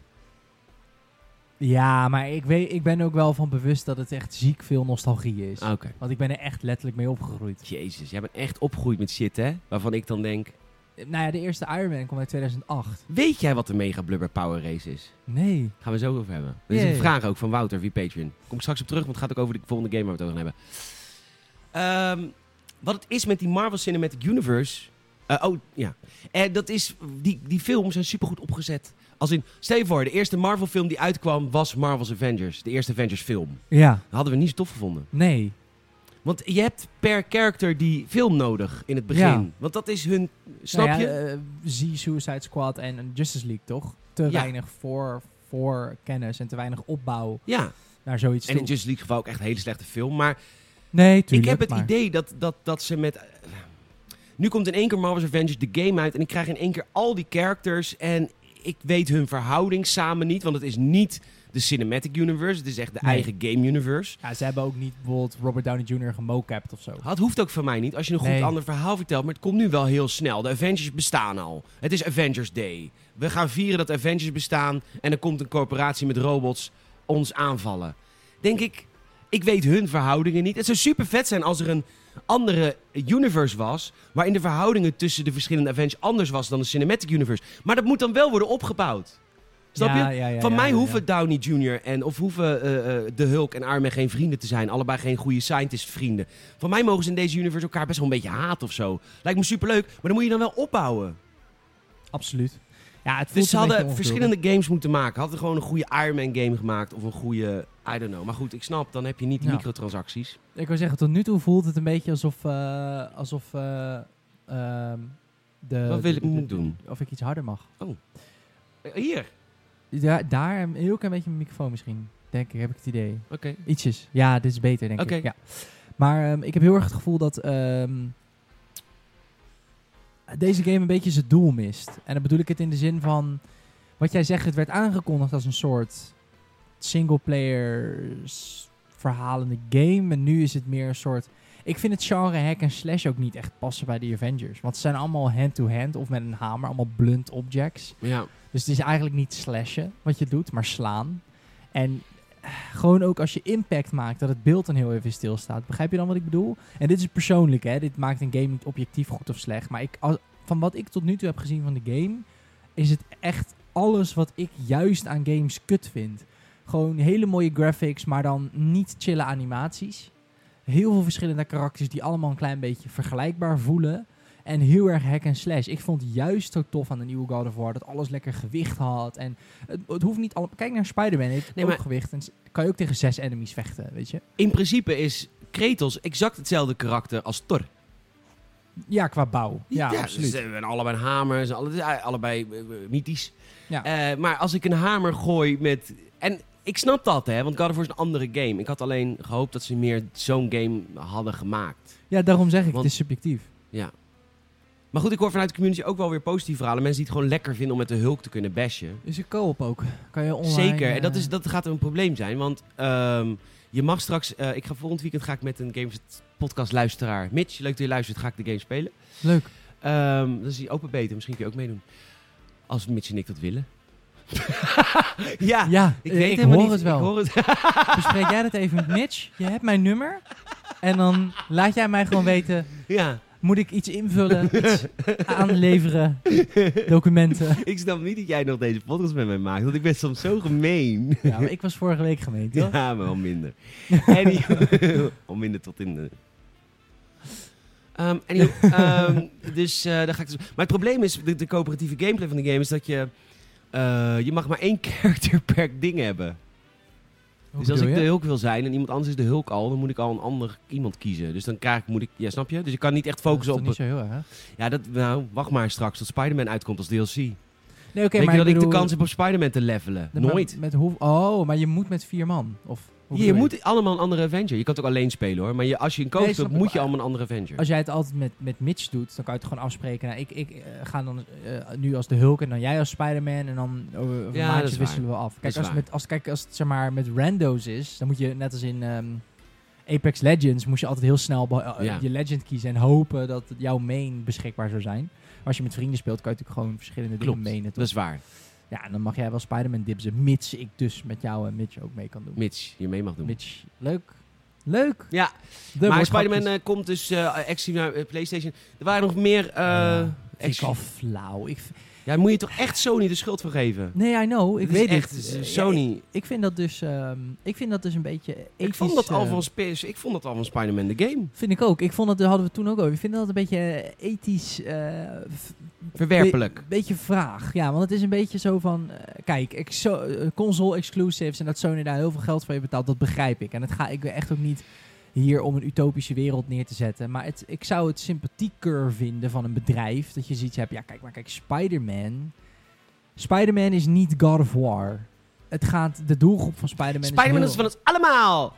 Ja, maar ik, weet, ik ben ook wel van bewust dat het echt ziek veel nostalgie is. Ah, Oké. Want ik ben er echt letterlijk mee opgegroeid. Jezus, jij bent echt opgegroeid met shit, hè? Waarvan ik dan denk. Eh, Nou ja, de eerste Iron Man kwam uit 2008. Weet jij wat de Mega Blubber Power Race is? Nee. Gaan we zo over hebben. Dit is Jee. een vraag ook van Wouter, wie Patreon. Kom ik straks op terug, want het gaat ook over de volgende game waar we het over gaan hebben. Ehm, wat het is met die Marvel Cinematic Universe... eh, oh, ja. Eh, dat is, die, die films zijn supergoed opgezet. Als in, stel je voor, de eerste Marvel film die uitkwam was Marvel's Avengers. De eerste Avengers film. Ja. Dat hadden we niet zo tof gevonden. Nee. Want je hebt per character die film nodig in het begin. Ja. Want dat is hun... Snap Nou je? ja, eh, zie Suicide Squad en en Justice League, toch? Te Ja. weinig voor, voor kennis en te weinig opbouw ja. naar zoiets En toe. in Just League geval ook echt een hele slechte film. Maar nee, tuurlijk, ik heb het maar- idee dat, dat, dat ze met... eh, Nu komt in één keer Marvel's Avengers de game uit... en ik krijg in één keer al die characters... en ik weet hun verhouding samen niet... want het is niet de Cinematic Universe... het is echt de Nee. eigen game universe. Ja, ze hebben ook niet bijvoorbeeld Robert Downey Jr. gemocapt of zo. Dat hoeft ook van mij niet... als je een goed Nee. ander verhaal vertelt... maar het komt nu wel heel snel. De Avengers bestaan al. Het is Avengers Day. We gaan vieren dat de Avengers bestaan... en er komt een corporatie met robots ons aanvallen. Denk ik... Ik weet hun verhoudingen niet. Het zou super vet zijn als er een andere universe was. Waarin de verhoudingen tussen de verschillende Avengers anders was dan de Cinematic Universe. Maar dat moet dan wel worden opgebouwd. Snap Ja, je? ja, ja, Van ja, mij ja, hoeven Downey Jr. en of hoeven eh, eh, De Hulk en Iron Man geen vrienden te zijn. Allebei geen goede scientist vrienden. Van mij mogen ze in deze universe elkaar best wel een beetje haten of zo. Lijkt me superleuk, maar dan moet je dan wel opbouwen. Absoluut. Ja, het voelt Dus ze een beetje hadden onverzoenlijk. verschillende games moeten maken. Hadden gewoon een goede Iron Man game gemaakt of een goede, I don't know. Maar goed, ik snap, dan heb je niet die Ja. microtransacties. Ik wil zeggen, tot nu toe voelt het een beetje alsof... eh, alsof eh, ehm, de, Wat wil de- ik nu de- doen? Of ik iets harder mag. Eh, Hier, Ja, daar een heel klein beetje mijn microfoon misschien. Denk ik, heb ik het idee. oké. Ietsjes. Ja, dit is beter, denk Oké. ik. Ja. Maar ehm, ik heb heel erg het gevoel dat ehm, deze game een beetje zijn doel mist. En dan bedoel ik het in de zin van... Wat jij zegt, het werd aangekondigd als een soort singleplayer s- verhalende game. En nu is het meer een soort... Ik vind het genre hack en slash ook niet echt passen bij de Avengers. Want ze zijn allemaal hand-to-hand of met een hamer. Allemaal blunt objects. Ja. Dus het is eigenlijk niet slashen wat je doet, maar slaan. En eh, gewoon ook als je impact maakt, dat het beeld dan heel even stilstaat. Begrijp je dan wat ik bedoel? En dit is persoonlijk, hè. Dit maakt een game niet objectief goed of slecht. Maar ik, als- van wat ik tot nu toe heb gezien van de game, is het echt alles wat ik juist aan games kut vind. Gewoon hele mooie graphics, maar dan niet chille animaties. Heel veel verschillende karakters die allemaal een klein beetje vergelijkbaar voelen. En heel erg hack en slash. Ik vond juist zo tof aan de nieuwe God of War dat alles lekker gewicht had. En het, het hoeft niet allemaal... Kijk naar Spider-Man, heeft Nee, ook maar- gewicht. En s- kan je ook tegen zes enemies vechten, weet je? In principe is Kratos exact hetzelfde karakter als Thor. Ja, qua bouw. Ja, absoluut. Ze hebben allebei een hamer, ze alle- ze zijn allebei eh, eh, mythisch. Ja. Eh, maar als ik een hamer gooi met... En ik snap dat, hè, want God of War is een andere game. Ik had alleen gehoopt dat ze meer zo'n game hadden gemaakt. ja, daarom zeg ik, eh, Want- het is subjectief. Maar goed, ik hoor vanuit de community ook wel weer positieve verhalen. Mensen die het gewoon lekker vinden om met de Hulk te kunnen bashen. Is een co-op ook. Kan je online... Zeker, en dat, eh, is, dat gaat een probleem zijn. Want ehm, je mag straks... eh, ik ga volgend weekend ga ik met een Games podcast luisteraar. Mitch, leuk dat je luistert. Ga ik de game spelen. Leuk. Ehm dat is die open beta. Misschien kun je ook meedoen. Als Mitch en ik dat willen. ja, [LAUGHS] Ah, Ja, ik ik, weet ik helemaal hoor niet. het wel. Ik hoor het. Bespreek jij dat even met Mitch? Je hebt mijn nummer. En dan laat jij mij gewoon weten... [LAUGHS] ja, Moet ik iets invullen? Iets aanleveren? Documenten? ik snap niet dat jij nog deze podcast met mij maakt. Want ik ben soms zo gemeen. Ja, maar ik was vorige week [LAUGHS] gemeend, toch? [LAUGHS] Ja, maar al minder. Anywho, al minder tot in de... Ehm, anyhow, [LAUGHS] ehm, dus eh, daar ga ik dus... Maar het probleem is, de, de coöperatieve gameplay van de game is dat je... eh, je mag maar één [LAUGHS] character per ding hebben. dus als ik de Hulk wil zijn en iemand anders is de Hulk al, dan moet ik al een ander iemand kiezen. Dus dan krijg ik, moet ik, ja snap je? Dus ik kan niet echt focussen op... niet zo heel erg. Ja, dat, nou, wacht maar straks tot Spider-Man uitkomt als DLC. Nee, oké, Denk maar je dat ik de bedoel- kans heb om Spider-Man te levelen? Nee, maar Nooit. Met hoe, oh, maar je moet met vier man. Of, hoe je bedoel moet allemaal een andere Avenger. Je kan het ook alleen spelen hoor. Maar je, als je een coach Nee, snap hebt, ik. moet je allemaal een andere Avenger. Als jij het altijd met, met Mitch doet, dan kan je het gewoon afspreken. Nou, ik ik eh, ga dan eh, nu als de Hulk en dan jij als Spider-Man. En dan over, over Ja, een dat is maandje waar. wisselen we af. Dat Kijk, is als, het waar. met, als, kijk, als het zeg maar met randos is, dan moet je net als in ehm, Apex Legends, moest je altijd heel snel be- eh, Ja. je legend kiezen en hopen dat jouw main beschikbaar zou zijn. Maar als je met vrienden speelt, kan je natuurlijk gewoon verschillende Klopt, dingen menen. dat Toch? is waar. Ja, en dan mag jij wel Spider-Man dipsen, mits ik dus met jou en Mitch ook mee kan doen. Mitch, je mee mag doen. Mitch, leuk. Leuk. Ja, De maar woordgrapjes. Spider-Man eh, komt dus eh exclusief naar eh, PlayStation. Er waren nog meer... eh Ja, Oh, Vind Ah, ik exclu- al flauw. Ik, v- ja, moet je toch echt Sony de schuld voor geven? nee, I know. Ik Dit weet is echt het. eh, Eh, ja, Sony. ik, ik vind dat dus, ehm, ik vind dat dus een beetje ethisch. ik, vond dat al eh, van Spis- ik vond dat al van Spider-Man de game. Vind ik ook. Ik vond dat, daar hadden we toen ook over. Ik vind dat een beetje eh, ethisch... eh, v- Verwerpelijk. Be- beetje vraag. Ja, want het is een beetje zo van... eh, kijk, exo- eh, console exclusives en dat Sony daar heel veel geld voor heeft betaald, dat begrijp ik. En dat ga ik echt ook niet hier om een utopische wereld neer te zetten. Maar het, ik zou het sympathieker vinden van een bedrijf. Dat je zoiets hebt, ja kijk maar, kijk, Spider-Man... Spider-Man is niet God of War. Het gaat, de doelgroep van Spider-Man is Spider-Man heel- is van ons allemaal!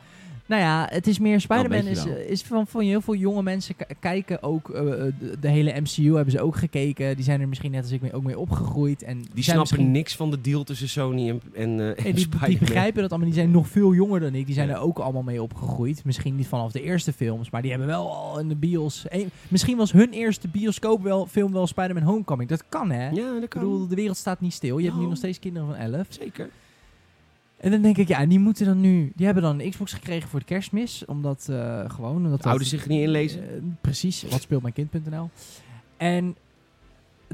nou ja, het is meer Wel Spider-Man. een Is, beetje is van, van heel veel jonge mensen k- kijken ook. eh, de, de hele MCU hebben ze ook gekeken. Die zijn er misschien net als ik mee, ook mee opgegroeid. En Die zijn snappen misschien- niks van de deal tussen Sony en, en, eh, en Nee, die, die Spider-Man. begrijpen dat allemaal. Die zijn nog veel jonger dan ik. Die zijn Ja. er ook allemaal mee opgegroeid. Misschien niet vanaf de eerste films, maar die hebben wel al in de bios. een- misschien was hun eerste bioscoop wel, film wel Spider-Man Homecoming. Dat kan hè? Ik Ja, dat kan. bedoel, de wereld staat niet stil. Je hebt nu Nou. nog steeds kinderen van 11. Oh. Zeker. En dan denk ik, ja, die moeten dan nu. Die hebben dan een Xbox gekregen voor de kerstmis. Omdat eh, gewoon. Omdat dat- ouders zich niet inlezen. Eh, precies, wat speelt mijn kind.nl. En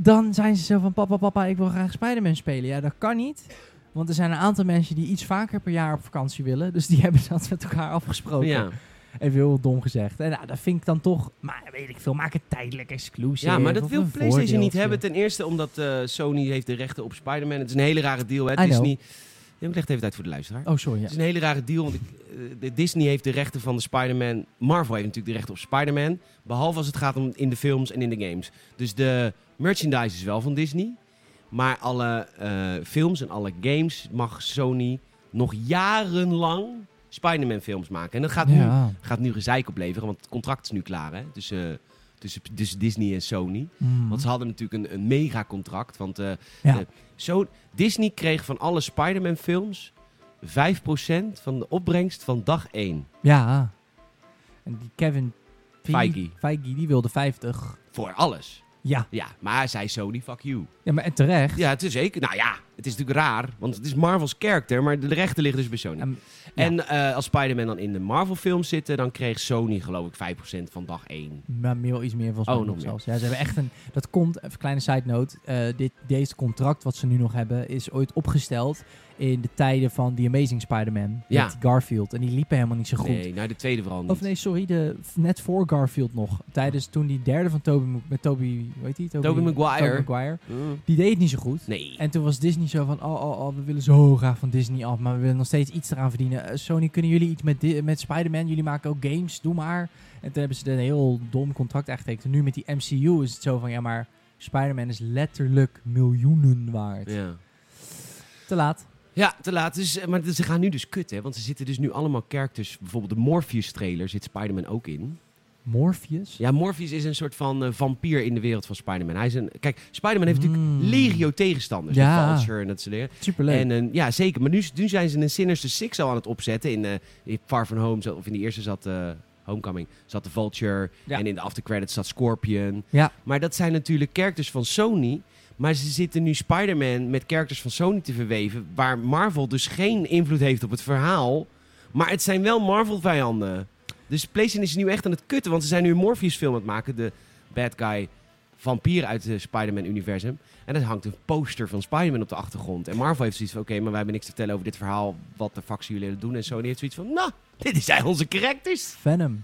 dan zijn ze zo van: Papa, papa, ik wil graag Spider-Man spelen. Ja, dat kan niet. Want er zijn een aantal mensen die iets vaker per jaar op vakantie willen. Dus die [LAUGHS] hebben dat met elkaar afgesproken. Ja. Even heel dom gezegd. En nou, dat vind ik dan toch. Maar weet ik veel, maak het tijdelijk exclusief. ja, maar of dat wil een PlayStation niet voordeeltje. hebben. Ten eerste omdat eh, Sony heeft de rechten op Spider-Man. Het is een hele rare deal. Hè. I Het is know. niet... Ja, Ik leg het even uit voor de luisteraar. Oh, sorry. Ja. Het is een hele rare deal, want ik, eh, de- Disney heeft de rechten van de Spider-Man. Marvel heeft natuurlijk de rechten op Spider-Man. Behalve als het gaat om in de films en in de games. Dus de merchandise is wel van Disney. Maar alle eh, films en alle games mag Sony nog jarenlang Spider-Man films maken. En dat gaat nu Ja. gaat nu gezeik opleveren, want het contract is nu klaar hè? Tussen, eh, tussen, tussen Disney en Sony. Mm. Want ze hadden natuurlijk een, een megacontract. Want eh, eh, Ja. zo, Disney kreeg van alle Spider-Man films 5% van de opbrengst van dag 1. ja. En die Kevin Feige. Feige, die wilde 50. Voor alles. Ja. Ja, maar zei Sony, fuck you. Ja, maar en terecht. Ja, het is zeker. Nou ja, het is natuurlijk raar, want het is Marvel's character, maar de rechten liggen dus bij Sony. Ehm, En eh, als Spider-Man dan in de Marvel films zitten, dan kreeg Sony geloof ik 5% van dag 1. Maar meer, iets meer volgens Oh, mij nog nog meer. zelfs. Ja, ze hebben echt een... Dat komt, even kleine side note. eh, dit, deze contract wat ze nu nog hebben is ooit opgesteld in de tijden van The Amazing Spider-Man. Ja. Met Garfield. En die liepen helemaal niet zo goed. Nee, nou de tweede vooral niet. Of nee, sorry, de, net voor Garfield nog. Tijdens toen die derde van Toby, Mag- met Toby, hoe heet die? Tobey Maguire. Tobey Maguire. Mm. Die deed het niet zo goed. Nee. En toen was Disney zo van, oh, oh, oh, we willen zo graag van Disney af, maar we willen nog steeds iets eraan verdienen. Eh, Sony, kunnen jullie iets met, Di- met Spider-Man? Jullie maken ook games, doe maar. En toen hebben ze een heel dom contract aangetekend. En nu met die MCU is het zo van, ja, maar Spider-Man is letterlijk miljoenen waard. Ja. Te laat. Ja, te laat. Dus, eh, maar ze gaan nu dus kut, hè? Want ze zitten dus nu allemaal characters. Bijvoorbeeld de Morpheus-trailer zit Spider-Man ook in. Morpheus? Ja, Morpheus is een soort van eh, vampier in de wereld van Spider-Man. Hij is een... Kijk, Spider-Man heeft natuurlijk Mm. legio tegenstanders. Ja. Ja. Vulture en dat soort dingen. Superleuk. En eh, ja, zeker. Maar nu, nu zijn ze een Sinister Six al aan het opzetten. In, eh, in Far From Home, zat- of in die eerste zat... eh, Homecoming zat de Vulture Ja. en in de aftercredits zat Scorpion. Ja. Maar dat zijn natuurlijk characters van Sony. Maar ze zitten nu Spider-Man met characters van Sony te verweven. Waar Marvel dus geen invloed heeft op het verhaal. Maar het zijn wel Marvel-vijanden. Dus PlayStation is nu echt aan het kutten. Want ze zijn nu een Morpheus-film aan het maken. De bad guy vampier uit het Spider-Man-universum. En er hangt een poster van Spider-Man op de achtergrond. En Marvel heeft zoiets van... Oké, maar wij hebben niks te vertellen over dit verhaal. Wat de fuck zullen jullie doen? En Sony heeft zoiets van... Nou, dit zijn onze characters. Venom.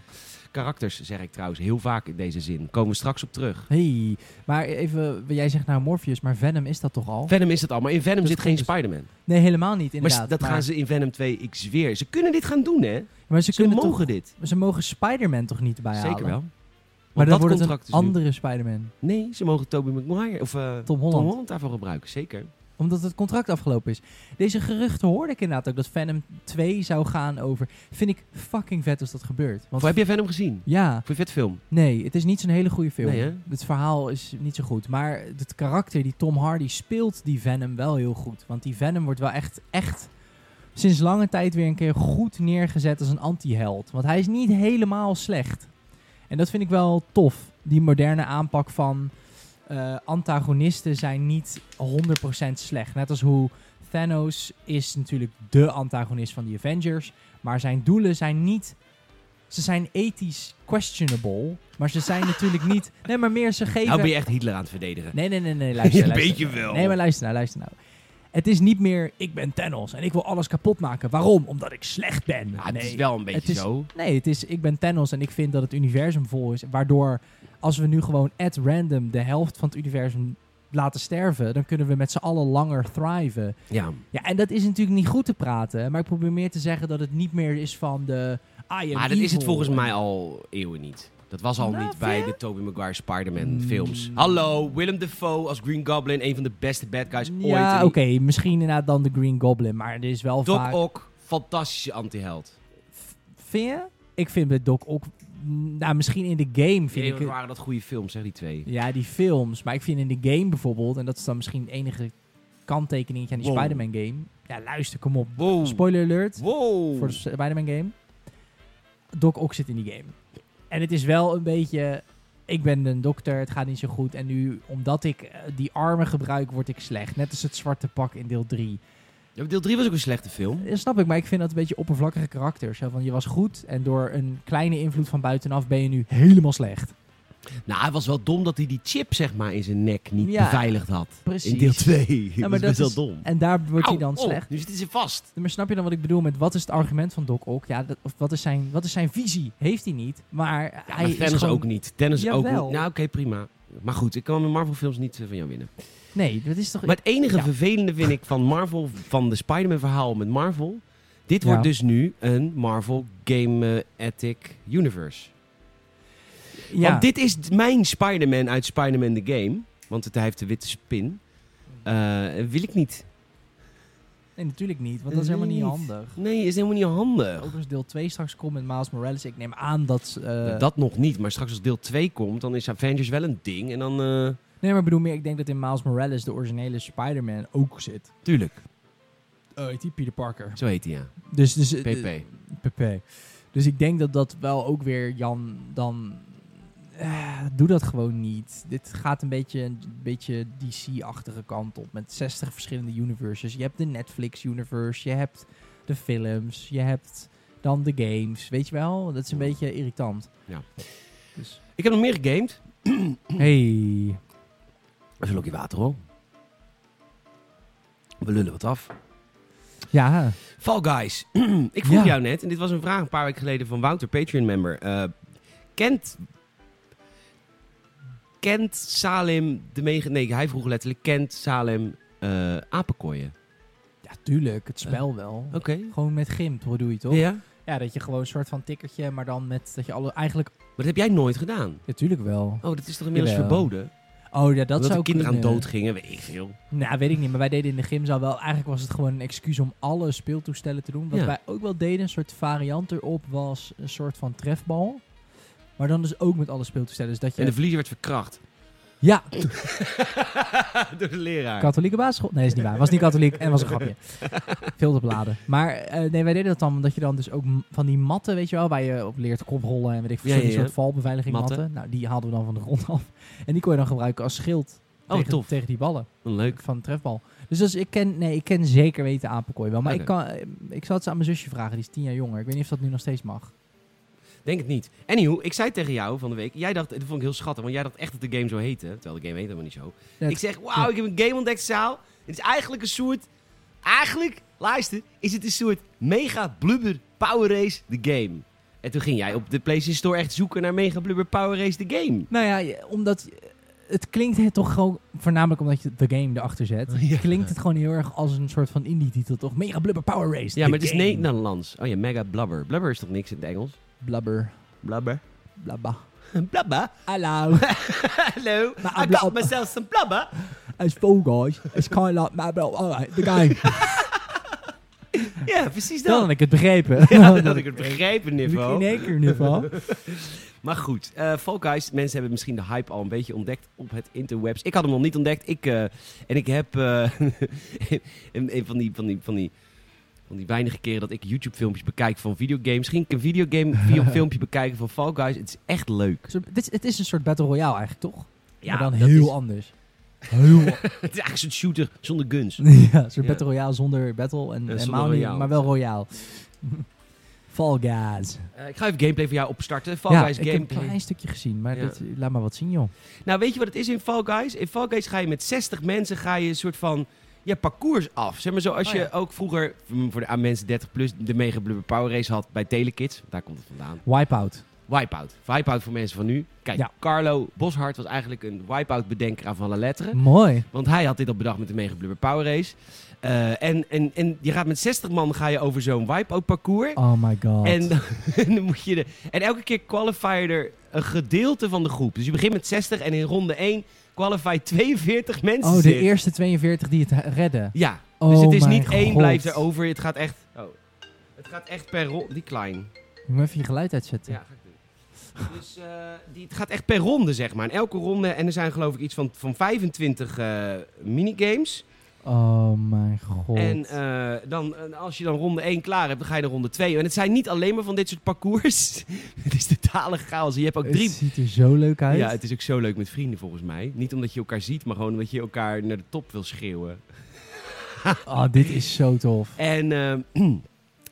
karakters, zeg ik trouwens heel vaak in deze zin. Komen we straks op terug. Hey, maar even, jij zegt nou Morpheus, maar Venom is dat toch al? Venom is het al, maar in Venom Dat zit geen komt dus- Spider-Man. nee, helemaal niet Maar inderdaad. s- dat gaan ze in Venom 2, ik zweer. Ze kunnen dit gaan doen, hè? Ze, maar ze, kunnen mogen dit. toch, ze mogen Spider-Man toch niet bijhalen? Zeker wel. Maar Want dat dan wordt het contract een is nu- andere Spider-Man. Nee, ze mogen Tobey Maguire of eh, Tom, Tom Holland. Holland. daarvoor gebruiken, zeker. Omdat het contract afgelopen is. Deze geruchten hoorde ik inderdaad ook dat Venom 2 zou gaan over. Vind ik fucking vet als dat gebeurt. Want Of heb je Venom gezien? ja, Vond je vet film? nee, het is niet zo'n hele goede film. Nee, hè? het verhaal is niet zo goed. Maar het karakter die Tom Hardy speelt, die Venom wel heel goed. Want die Venom wordt wel echt, echt sinds lange tijd weer een keer goed neergezet als een anti-held. Want hij is niet helemaal slecht. En dat vind ik wel tof. Die moderne aanpak van eh, antagonisten zijn niet 100% slecht. Net als hoe Thanos is natuurlijk de antagonist van de Avengers. Maar zijn doelen zijn niet. Ze zijn ethisch questionable. Maar ze zijn natuurlijk niet. Nee, maar meer ze geven. Nou ben je echt Hitler aan het verdedigen. Nee, nee, [LAUGHS] nee, nee, luister. Een luister. beetje wel. Nee, maar luister nou, luister nou. Het is niet meer, ik ben Thanos en ik wil alles kapot maken. Waarom? Omdat ik slecht ben. Ja, het nee. Ah, is wel een beetje het is- zo. nee, het is, ik ben Thanos en ik vind dat het universum vol is. Waardoor, als we nu gewoon at random de helft van het universum laten sterven, dan kunnen we met z'n allen langer thriven. Ja. Ja, en dat is natuurlijk niet goed te praten. Maar ik probeer meer te zeggen dat het niet meer is van de I am Maar dat is het evil. volgens mij al eeuwen niet. Dat was al Nou, niet bij vind de Tobey Maguire Spider-Man Mm. films. Hallo, Willem Dafoe als Green Goblin. Een van de beste bad guys ooit. En Ja, die oké, misschien inderdaad dan de Green Goblin, maar er is wel vaak... Doc Ock, fantastische antiheld. V- Vind je? Ik vind bij Doc ook. Nou, misschien in de game vind Nee, ik. wat het- waren dat goede films, zeg die twee. Ja, die films. Maar ik vind in de game bijvoorbeeld. En dat is dan misschien het enige kanttekeningetje aan die Wow. Spider-Man game. Ja, luister, kom op. Wow. Spoiler alert Wow. voor de Spider-Man game. Doc Ock zit in die game. En het is wel een beetje... Ik ben een dokter, het gaat niet zo goed. En nu, omdat ik eh, die armen gebruik, word ik slecht. Net als het zwarte pak in deel 3. Ja, maar Deel 3 was ook een slechte [LAUGHS] film. Ja, snap ik, maar ik vind dat een beetje oppervlakkige karakter. Zo van, je was goed en door een kleine invloed van buitenaf ben je nu helemaal slecht. Nou, hij was wel dom dat hij die chip zeg maar in zijn nek niet Ja, beveiligd had. Precies. In deel 2. [LAUGHS] maar dat is dat best wel is- dom. En daar wordt hij Au, dan oh, slecht. Nu zitten ze vast. Maar snap je dan wat ik bedoel met wat is het argument van Doc Ock? Ja, dat, of wat is, zijn, wat is zijn visie? Heeft hij niet, maar Ja, hij maar is Thanos gewoon... ook niet. Tennis ook niet. Jawel. Nou, oké, prima. Maar goed, ik kan mijn Marvel films niet eh, van jou winnen. Nee, dat is toch... Maar het enige Ja. vervelende vind ik van Marvel, van de Spider-Man verhaal met Marvel. Dit wordt Ja. dus nu een Marvel Game eh, Ethic Universe. ja. Want dit is d- mijn Spider-Man uit Spider-Man The Game. Want het, hij heeft de witte spin. Eh, wil ik niet. Nee, natuurlijk niet, want dat is helemaal niet handig. Nee, is helemaal niet handig. Overigens deel 2 straks komt met Miles Morales. Ik neem aan dat... eh, dat nog niet, maar straks als deel 2 komt, dan is Avengers wel een ding. En dan... eh, Nee, maar ik bedoel meer, ik denk dat in Miles Morales de originele Spider-Man ook zit. Tuurlijk. Oh, heet die Peter Parker. Zo heet hij, ja. Dus, dus eh, PP. PP. Dus ik denk dat dat wel ook weer Jan dan. eh, doe dat gewoon niet. Dit gaat een beetje, een beetje DC-achtige kant op. Met 60 verschillende universes. Je hebt de Netflix-universe. Je hebt de films. Je hebt dan de games. Weet je wel? Dat is een Ja. beetje irritant. Ja. Dus. Ik heb nog meer gegamed. [CLEARS THROAT] Hey. Even een lokje water, hoor. We lullen wat af. Ja. Fall Guys. [CLEARS THROAT] ik vroeg Ja. jou net, en dit was een vraag een paar weken geleden van Wouter, Patreon-member. Eh, kent... Kent Salem de mega... Nee, hij vroeg letterlijk, kent Salem eh apenkooien? ja, tuurlijk. Het spel wel. Eh, Oké. Gewoon met Gimp, hoe doe je toch? Ja? Ja, dat je gewoon een soort van tikkertje, maar dan met dat je alle eigenlijk. Maar dat heb jij nooit gedaan. Natuurlijk wel. Oh, dat is toch inmiddels Jawel. verboden? Oh ja, dat Omdat zou de kinderen aan kunnen. dood gingen, weet ik veel. Nou, weet ik niet. Maar wij deden in de gymzaal wel... Eigenlijk was het gewoon een excuus om alle speeltoestellen te doen. Wat Ja. wij ook wel deden, een soort variant erop, was een soort van trefbal. Maar dan dus ook met alle speeltoestellen. Dus dat je... En de verliezer werd verkracht. [LAUGHS] Ja, Door de leraar. katholieke basisschool. Nee, is niet waar. [LAUGHS] Was niet katholiek en was een grapje. Veel te beladen. Maar eh, nee, wij deden dat dan omdat je dan dus ook m- van die matten, weet je wel, waar je op leert koprollen en weet ik veel, Ja, zo'n ja, ja. soort valbeveiliging Matten. matten. Nou, die haalden we dan van de grond af. En die kon je dan gebruiken als schild Oh, tegen, tof. tegen die ballen. Leuk. van de trefbal. Dus, als ik ken, nee, ik ken zeker weten apenkooi wel. Maar Oké. ik, kan, eh, ik zal het eens aan mijn zusje vragen, die is tien jaar jonger. Ik weet niet of dat nu nog steeds mag. Denk het niet. Anyhow, ik zei tegen jou van de week, jij dacht, dat vond ik heel schattig, want jij dacht echt dat de game zo heette. Terwijl de game heet helemaal niet zo. Ja, het- ik zeg, wauw, ik heb een game ontdekt, Saal. Het is eigenlijk een soort, eigenlijk, luister, is het een soort mega blubber power race, de game. En toen ging jij op de PlayStation Store echt zoeken naar Mega Blubber Power Race The Game. Nou ja, je- omdat het klinkt het toch gewoon, voornamelijk omdat je de game erachter zet, Ja. klinkt het gewoon heel erg als een soort van indie-titel, toch? Mega Blubber Power Race. Ja, the maar het is game. Nederlands. Oh ja, Mega Blubber. Blubber is toch niks in het Engels? Blubber, Blubber. blabba. [LAUGHS] Blubber? Hallo, [LAUGHS] Hallo, Maar I got blub- myself some blubber. it's Fall Guys. It's kind of like my bro. Alright, the game. Ja, [LAUGHS] precies Dan dat. had ik het begrepen. Ja, dat had ik het begrepen niveau. In één keer in ieder geval. Maar goed, eh Fall Guys, mensen hebben misschien de hype al een beetje ontdekt op het interwebs. Ik had hem nog niet ontdekt. Ik, eh, en ik heb eh, [LAUGHS] een, een van, die, van, die, van, die, van die weinige keren dat ik YouTube-filmpjes bekijk van videogames. Ging ik een [LAUGHS] videogame video filmpje bekijken van Fall Guys. Het is echt leuk. Zo, dit is- Dus het is een soort Battle Royale eigenlijk, toch? maar dan dat heel is- anders. [LAUGHS] Heel Het is eigenlijk een soort shooter zonder guns. [LAUGHS] Ja, een soort Ja. Battle Royale zonder battle en, en zonder Mount niet, royaal. maar wel royaal. [LAUGHS] Fall Guys. Eh, ik ga even gameplay voor jou opstarten. Fall ja, Guys ik heb een gameplay. klein stukje gezien, maar Ja. dit, laat maar wat zien, joh. Nou, weet je wat het is in Fall Guys? In Fall Guys ga je met 60 mensen ga je een soort van ja, parcours af. Zeg maar zo, als Oh, je ja. ook vroeger mm, voor de aan mensen 30 plus de Mega Blubber Power Race had bij Telekids. Daar komt het vandaan. Wipeout. Wipeout. Wipeout voor mensen van nu. Kijk, Ja. Carlo Boshart was eigenlijk een Wipeout-bedenker aan van la letteren. Mooi. Want hij had dit al bedacht met de Mega Blubber Power Race. Eh, en, en, en je gaat met 60 man ga je over zo'n Wipeout parcours. Oh my god. En, dan- en dan [LAUGHS] moet je de, en elke keer qualify je er een gedeelte van de groep. Dus je begint met 60 en in ronde 1 qualify 42 mensen. oh, de zitten. eerste 42 die het he- redden. Ja, Oh dus het is mijn niet één god. blijft erover. Het gaat echt. Oh, het gaat echt per ronde. Die klein. Ik moet even je geluid uitzetten. Ja, ga ik doen. Dus eh, die, het gaat echt per ronde, zeg maar. En elke ronde. En er zijn geloof ik iets van, van 25 eh, minigames. Oh mijn god. En eh, dan, en als je dan ronde 1 klaar hebt, dan ga je naar ronde 2. En het zijn niet alleen maar van dit soort parcours. [LAUGHS] het is totale chaos. Je hebt ook drie Het ziet er zo leuk uit. Ja, het is ook zo leuk met vrienden volgens mij. Niet omdat je elkaar ziet, maar gewoon omdat je elkaar naar de top wil schreeuwen. Oh, dit is zo tof. [LAUGHS] En, eh, [CLEARS THROAT]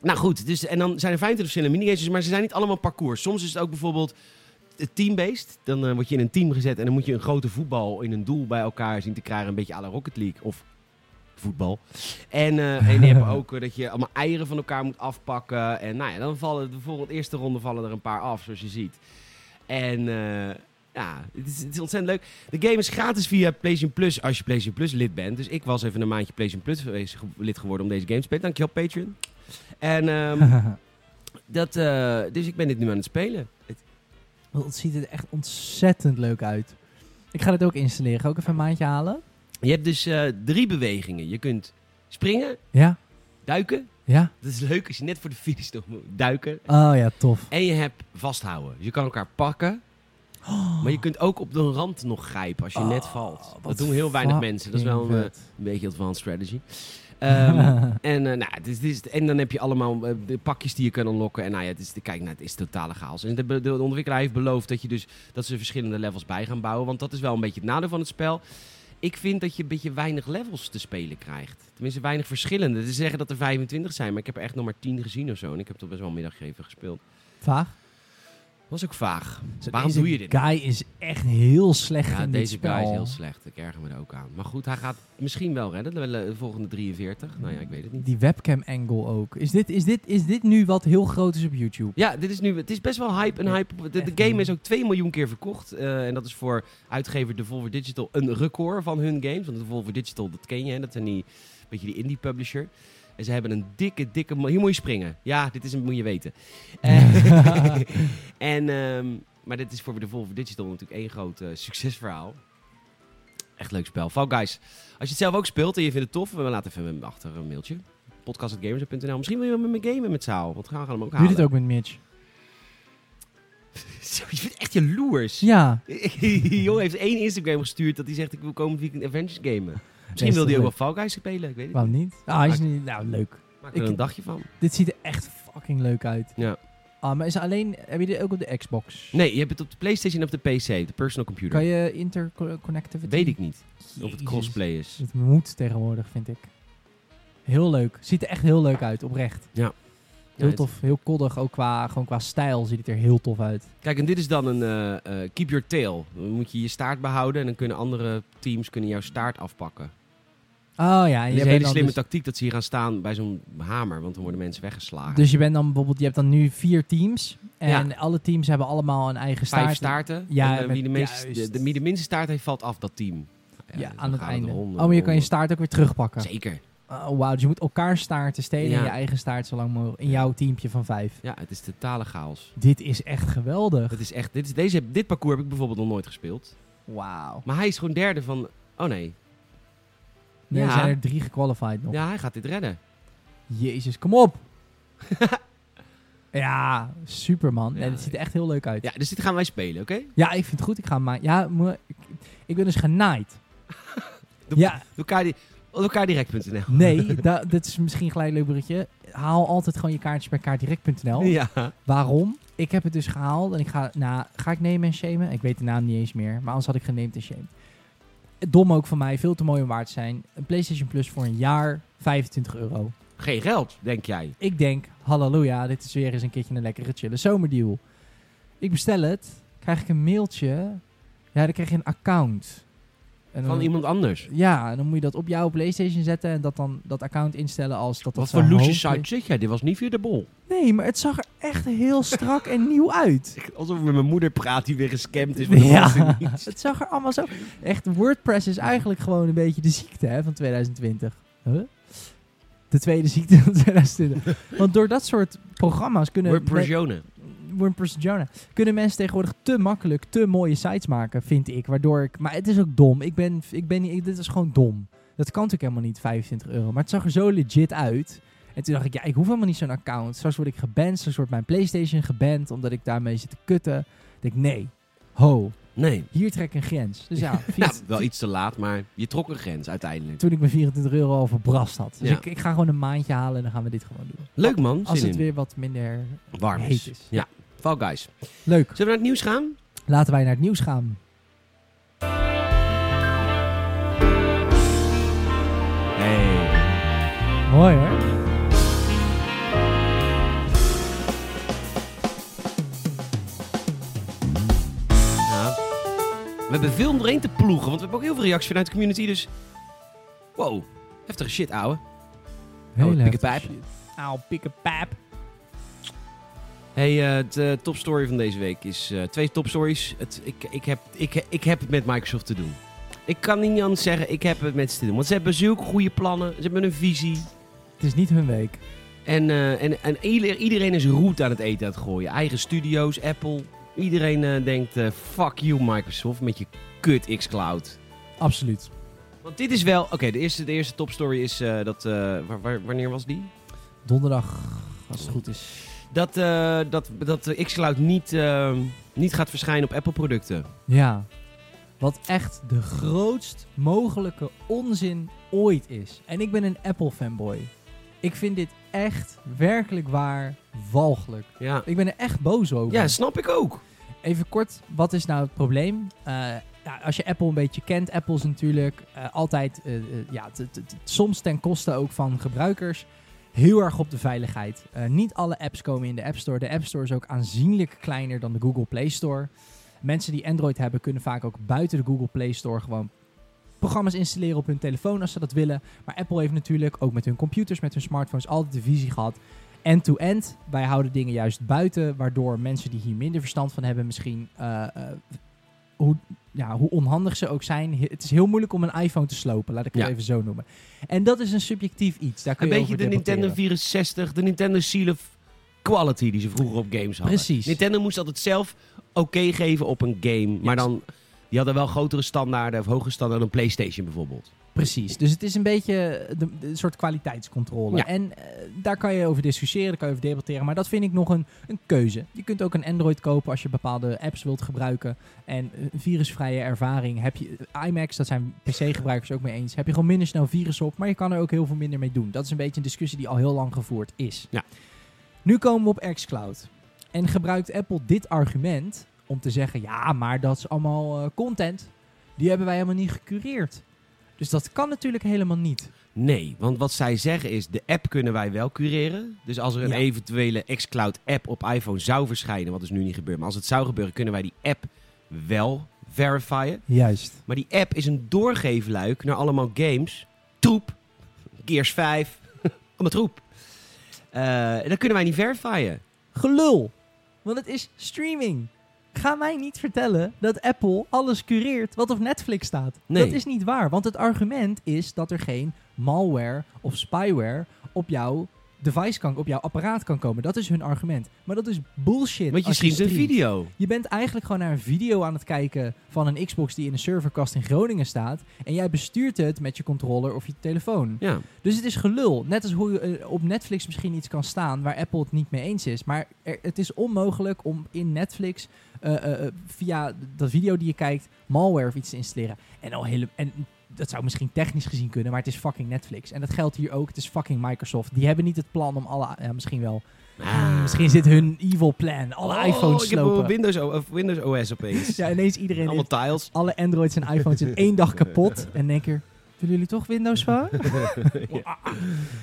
nou goed, dus, en dan zijn er 25 verschillende minigames, maar ze zijn niet allemaal parcours. Soms is het ook bijvoorbeeld het team-based. Dan eh, word je in een team gezet en dan moet je een grote voetbal in een doel bij elkaar zien te krijgen. Een beetje à la Rocket League of voetbal. En, eh, en die hebben ook eh, dat je allemaal eieren van elkaar moet afpakken. En nou ja, dan vallen bijvoorbeeld de eerste ronde vallen er een paar af, zoals je ziet. En eh, ja, het is, het is ontzettend leuk. De game is gratis via PlayStation Plus als je PlayStation Plus lid bent. Dus ik was even een maandje PlayStation Plus geweest- ge- lid geworden om deze game te spelen. Dankjewel, Patreon. En [LAUGHS] ehm, dat, eh, dus ik ben dit nu aan het spelen. Het- Want het ziet er echt ontzettend leuk uit. Ik ga dit ook installeren. Ga ook even een maandje halen. je hebt dus eh, drie bewegingen. Je kunt springen, Ja? duiken. Ja? Dat is leuk als je net voor de finish toch moet duiken. Oh ja, tof. En je hebt vasthouden. Dus je kan elkaar pakken. Maar je kunt ook op de rand nog grijpen als je net Oh, valt. Dat wat doen heel weinig fucking mensen. Dat is wel een, eh, vet. een beetje advanced strategy. [LAUGHS] Ehm, en, eh, nou, het is, het is- en dan heb je allemaal eh, de pakjes die je kan unlocken. En nou ja, het is, kijk, nou, het is totale chaos. En de, be- de ontwikkelaar heeft beloofd dat, je dus, dat ze verschillende levels bij gaan bouwen. Want dat is wel een beetje het nadeel van het spel. Ik vind dat je een beetje weinig levels te spelen krijgt. Tenminste, weinig verschillende. Ze zeggen dat er 25 zijn, maar ik heb er echt nog maar 10 gezien of zo. En ik heb toch best wel een middagje even gespeeld. Vaag. was ook vaag. Waarom doe je dit? Guy is echt heel slecht Ja, in dit deze spel. guy is heel slecht. Ik erger me er ook aan. Maar goed, hij gaat misschien wel redden. De- De volgende 43. Nou ja, ik weet het niet. Die webcam angle ook. Is dit, is, dit, is dit nu wat heel groot is op YouTube? Ja, dit is nu, het is best wel hype. En hype. De, de game is ook 2 miljoen keer verkocht. Eh, en dat is voor uitgever Devolver Digital een record van hun games. Want Devolver Digital, dat ken je. Hè? Dat zijn die, beetje die indie publisher. En ze hebben een dikke, dikke... mo- Hier moet je springen. Ja, dit is een, moet je weten. Eh, en, ehm, maar dit is voor Devolver Digital natuurlijk één groot eh, succesverhaal. Echt leuk spel. Fall Guys, als je het zelf ook speelt en je vindt het tof, we laten even achter een mailtje. Podcast.gamers.nl. Misschien wil je wel met me gamen met Saal. Want we gaan hem ook Doe halen. je dit ook met Mitch? Zo, je bent echt jaloers. Ja. [LAUGHS] Jong heeft één Instagram gestuurd dat hij zegt ik wil komend weekend Avengers gamen. Misschien is wilde toch hij ook wel Fall Guys spelen, ik weet het Waarom niet? Ah, hij is niet... Nou, leuk. niet. Maak er Ik- een dagje van. Dit ziet er echt fucking leuk uit. Ja. Ah, maar is er alleen... Heb je dit ook op de Xbox? Nee, je hebt het op de Playstation en op de PC, de personal computer. Kan je interconnectivity? Weet ik niet of het Jezus. crossplay is. Het moet tegenwoordig, vind ik. Heel leuk. Ziet er echt heel leuk uit, oprecht. Ja. Ja, Heel het- tof, heel koddig. Ook qua, gewoon qua stijl ziet het er heel tof uit. Kijk, en dit is dan een eh, eh, keep your tail. Dan moet je je staart behouden en dan kunnen andere teams kunnen jouw staart afpakken. Oh ja, en Het je is bent een hele dan slimme dus, tactiek dat ze hier gaan staan bij zo'n hamer, want dan worden mensen weggeslagen. dus je bent dan bijvoorbeeld, je hebt dan nu vier teams. En alle teams hebben allemaal een eigen staart. Vijf staarten. Ja, en, eh, met- wie de, meest, juist. de, de- wie de minste staart heeft, valt af dat team. Ja, dus dan aan het gaan we de einde. ronde, oh, maar je kan je ronde. staart ook weer terugpakken. Zeker. Oh, wauw, dus je moet elkaar staarten stelen Ja. en je eigen staart zo lang mogelijk. In Ja. jouw teampje van vijf. Ja, het is totale chaos. Dit is echt geweldig. Dat is echt, dit, is, deze, dit parcours heb ik bijvoorbeeld nog nooit gespeeld. Wauw. Maar hij is gewoon derde van... Oh nee. Nee, Er Ja. zijn er drie gequalified nog. Ja, hij gaat dit redden. Jezus, kom op. [LAUGHS] ja, superman. Ja, Nee, dit ziet er echt heel leuk uit. Ja, Ja, dus dit gaan wij spelen, oké? ik vind het goed. Ik ga maar. Ja, mo- ik, ik ben dus genaaid. Doe- ja, Elkaar di- Elkaardirect.nl nee, da- dit is misschien gelijk een leuk bruggetje. Haal altijd gewoon je kaartjes bij kaartdirect.nl. Ja. Waarom? Ik heb het dus gehaald en ik ga, nou, ga ik nemen en shamen? Ik weet de naam niet eens meer, maar anders had ik geneemd en shamed. Dom ook van mij, veel te mooi om waard te zijn. Een PlayStation Plus voor een jaar, 25 euro. Geen geld, denk jij. Ik denk, halleluja, dit is weer eens een keertje een lekkere chille zomerdeal. Ik bestel het, krijg ik een mailtje. Ja, dan krijg je een account. En Van dan- iemand anders. Ja, en dan moet je dat op jouw PlayStation zetten en dat dan dat account instellen als dat dat Wat zou voor loesje hopen- site zit jij? Dit was niet via de bol. Nee, maar het zag er echt heel strak en nieuw [LAUGHS] uit. Alsof ik met mijn moeder praat die weer gescamd [LAUGHS] is. Ja, het zag er allemaal zo. Echt, WordPress is eigenlijk gewoon een beetje de ziekte hè, van 2020. [LAUGHS] Huh? De tweede ziekte van 2020. Want door dat soort programma's kunnen WordPress me- Jone. WordPress Jonah, kunnen mensen tegenwoordig te makkelijk te mooie sites maken, vind ik. Waardoor ik, maar het is ook dom. Ik ben, ik ben niet, ik- dit is gewoon dom. Dat kan natuurlijk helemaal niet, 25 euro. Maar het zag er zo legit uit. En toen dacht ik, ja, ik hoef helemaal niet zo'n account. Straks word ik geband, straks wordt mijn PlayStation geband, omdat ik daarmee zit te kutten. Ik denk, nee, ho, Nee. hier trek ik een grens. Dus [LAUGHS] ja, vier- Nou, wel iets te laat, maar je trok een grens uiteindelijk. toen ik mijn 24 euro al verbrast had. Dus Ja. ik, ik ga gewoon een maandje halen en dan gaan we dit gewoon doen. Leuk man, Als zin het in. weer wat minder warm heet is. is. Ja. Fall Guys. Zullen Leuk. we naar het nieuws gaan? Laten wij naar het nieuws gaan. Nee. Mooi hoor. We hebben veel om doorheen te ploegen, want we hebben ook heel veel reacties vanuit de community, dus... Wow, heftige shit, ouwe. Heel pikke heftig pijp. shit. Auw, pikke pijp. Hey, eh, de topstory van deze week is eh, twee topstories. Het, ik, ik, heb, ik, ik heb het met Microsoft te doen. Ik kan niet anders zeggen, ik heb het met ze te doen. Want ze hebben zulke goede plannen, ze hebben een visie. Het is niet hun week. En, eh, en, en ieder- iedereen is roet aan het eten aan het gooien. Eigen studio's, Apple. Iedereen eh, denkt, eh, fuck you Microsoft met je kut xCloud. Absoluut. Want dit is wel... Oké, de, eerste, de eerste topstory is eh, dat... eh, waar- waar- wanneer was die? Donderdag, als het goed is. Dat, eh, dat, dat de xCloud niet, eh, niet gaat verschijnen op Apple-producten. Ja. Wat echt de grootst mogelijke onzin ooit is. En ik ben een Apple fanboy. Ik vind dit echt werkelijk waar walgelijk. Ja. Ik ben er echt boos over. ja, snap ik ook. Even kort, wat is nou het probleem? Eh, ja, als je Apple een beetje kent, Apple is natuurlijk eh, altijd, eh, eh, ja, t- t- t- soms ten koste ook van gebruikers, heel erg op de veiligheid. Eh, niet alle apps komen in de App Store. De App Store is ook aanzienlijk kleiner dan de Google Play Store. Mensen die Android hebben kunnen vaak ook buiten de Google Play Store gewoon programma's installeren op hun telefoon als ze dat willen. Maar Apple heeft natuurlijk ook met hun computers, met hun smartphones altijd de visie gehad end-to-end. Wij houden dingen juist buiten, waardoor mensen die hier minder verstand van hebben, misschien eh, eh, hoe, ja, hoe onhandig ze ook zijn. he- Het is heel moeilijk om een iPhone te slopen, laat ik het Ja. even zo noemen. En dat is een subjectief iets. Daar kun Een je beetje over de Nintendo debatteren. 64, de Nintendo Seal of Quality die ze vroeger op games hadden. Precies. Nintendo moest altijd zelf oké geven op een game. Maar Yes. dan, die hadden wel grotere standaarden of hogere standaarden dan PlayStation bijvoorbeeld. Precies. Dus het is een beetje de, de soort kwaliteitscontrole. Ja. En eh, daar kan je over discussiëren, daar kan je over debatteren. Maar dat vind ik nog een, een keuze. Je kunt ook een Android kopen als je bepaalde apps wilt gebruiken. En eh, een virusvrije ervaring heb je. IMAX, dat zijn PC-gebruikers ook mee eens. Heb je gewoon minder snel virus op, maar je kan er ook heel veel minder mee doen. Dat is een beetje een discussie die al heel lang gevoerd is. Ja. Nu komen we op xCloud. En gebruikt Apple dit argument om te zeggen: ja, maar dat is allemaal eh, content. Die hebben wij helemaal niet gecureerd. Dus dat kan natuurlijk helemaal niet. Nee, want wat zij zeggen is, de app kunnen wij wel cureren. Dus als er een Ja. eventuele xCloud app op iPhone zou verschijnen, wat is nu niet gebeurd. Maar als het zou gebeuren, kunnen wij die app wel verifiëren. Juist. Maar die app is een doorgeefluik naar allemaal games. Troep. Gears [LAUGHS] 5. Allemaal troep. Eh, dat kunnen wij niet verifiëren. Gelul. Want het is streaming. Ga mij niet vertellen dat Apple alles cureert wat op Netflix staat. Nee. Dat is niet waar, want het argument is dat er geen malware of spyware op jouw device kan, op jouw apparaat kan komen. Dat is hun argument. Maar dat is bullshit. Want je als streamt een streamt. video. Je bent eigenlijk gewoon naar een video aan het kijken van een Xbox die in een serverkast in Groningen staat. En jij bestuurt het met je controller of je telefoon. Ja. Dus het is gelul. Net als hoe je eh, op Netflix misschien iets kan staan waar Apple het niet mee eens is. Maar er- het is onmogelijk om in Netflix eh, eh, eh, via dat video die je kijkt malware of iets te installeren. En, al hele, en dat zou misschien technisch gezien kunnen, maar het is fucking Netflix. En dat geldt hier ook. Het is fucking Microsoft. Die hebben niet het plan om alle... Ja, misschien wel. Ah. Misschien zit hun evil plan. Alle Oh, iPhones ik heb slopen. Windows, O- of Windows OS opeens. [LAUGHS] Ja, ineens iedereen Allemaal heeft tiles. alle Androids en iPhones [LAUGHS] in één dag kapot. En denk er, willen jullie toch Windows van?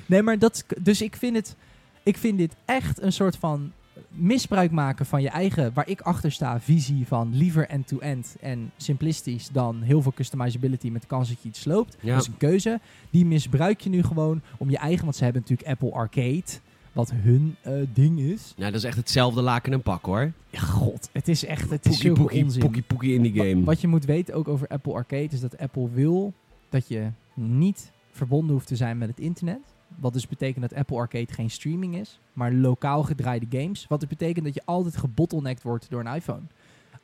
Nee, maar dat... Dus ik vind het... Ik vind dit echt een soort van misbruik maken van je eigen, waar ik achter sta, visie van liever end-to-end en simplistisch dan heel veel customizability met de kans dat je iets sloopt. Ja. Dat is een keuze. Die misbruik je nu gewoon om je eigen, want ze hebben natuurlijk Apple Arcade, wat hun eh, ding is. Nou, dat is echt hetzelfde laken en pak hoor. Ja, god. Het is echt, het is Poekie, zulke poekie, onzin. poekie, poekie in die Wa- game. Wat je moet weten ook over Apple Arcade is dat Apple wil dat je niet verbonden hoeft te zijn met het internet. Wat dus betekent dat Apple Arcade geen streaming is, maar lokaal gedraaide games. Wat dus betekent dat je altijd gebottlenecked wordt door een iPhone.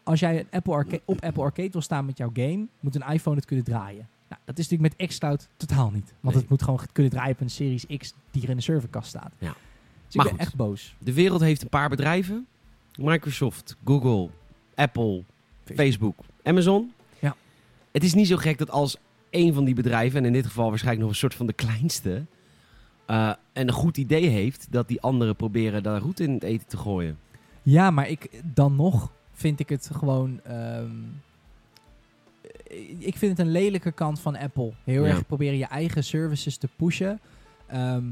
Als jij een Apple Arca- op Apple Arcade wil staan met jouw game, moet een iPhone het kunnen draaien. Nou, dat is natuurlijk met xCloud totaal niet. Want Nee. het moet gewoon ge- kunnen draaien op een Series X die er in de serverkast staat. Ja. Dus Maar ik ben goed. echt boos. De wereld heeft een paar bedrijven. Microsoft, Google, Apple, Facebook, Amazon. Ja. Het is niet zo gek dat als één van die bedrijven, en in dit geval waarschijnlijk nog een soort van de kleinste, eh, een goed idee heeft, dat die anderen proberen daar roet in het eten te gooien. Ja, maar ik, dan nog vind ik het gewoon. ehm, ik vind het een lelijke kant van Apple. Heel Ja. erg proberen je eigen services te pushen. Ehm,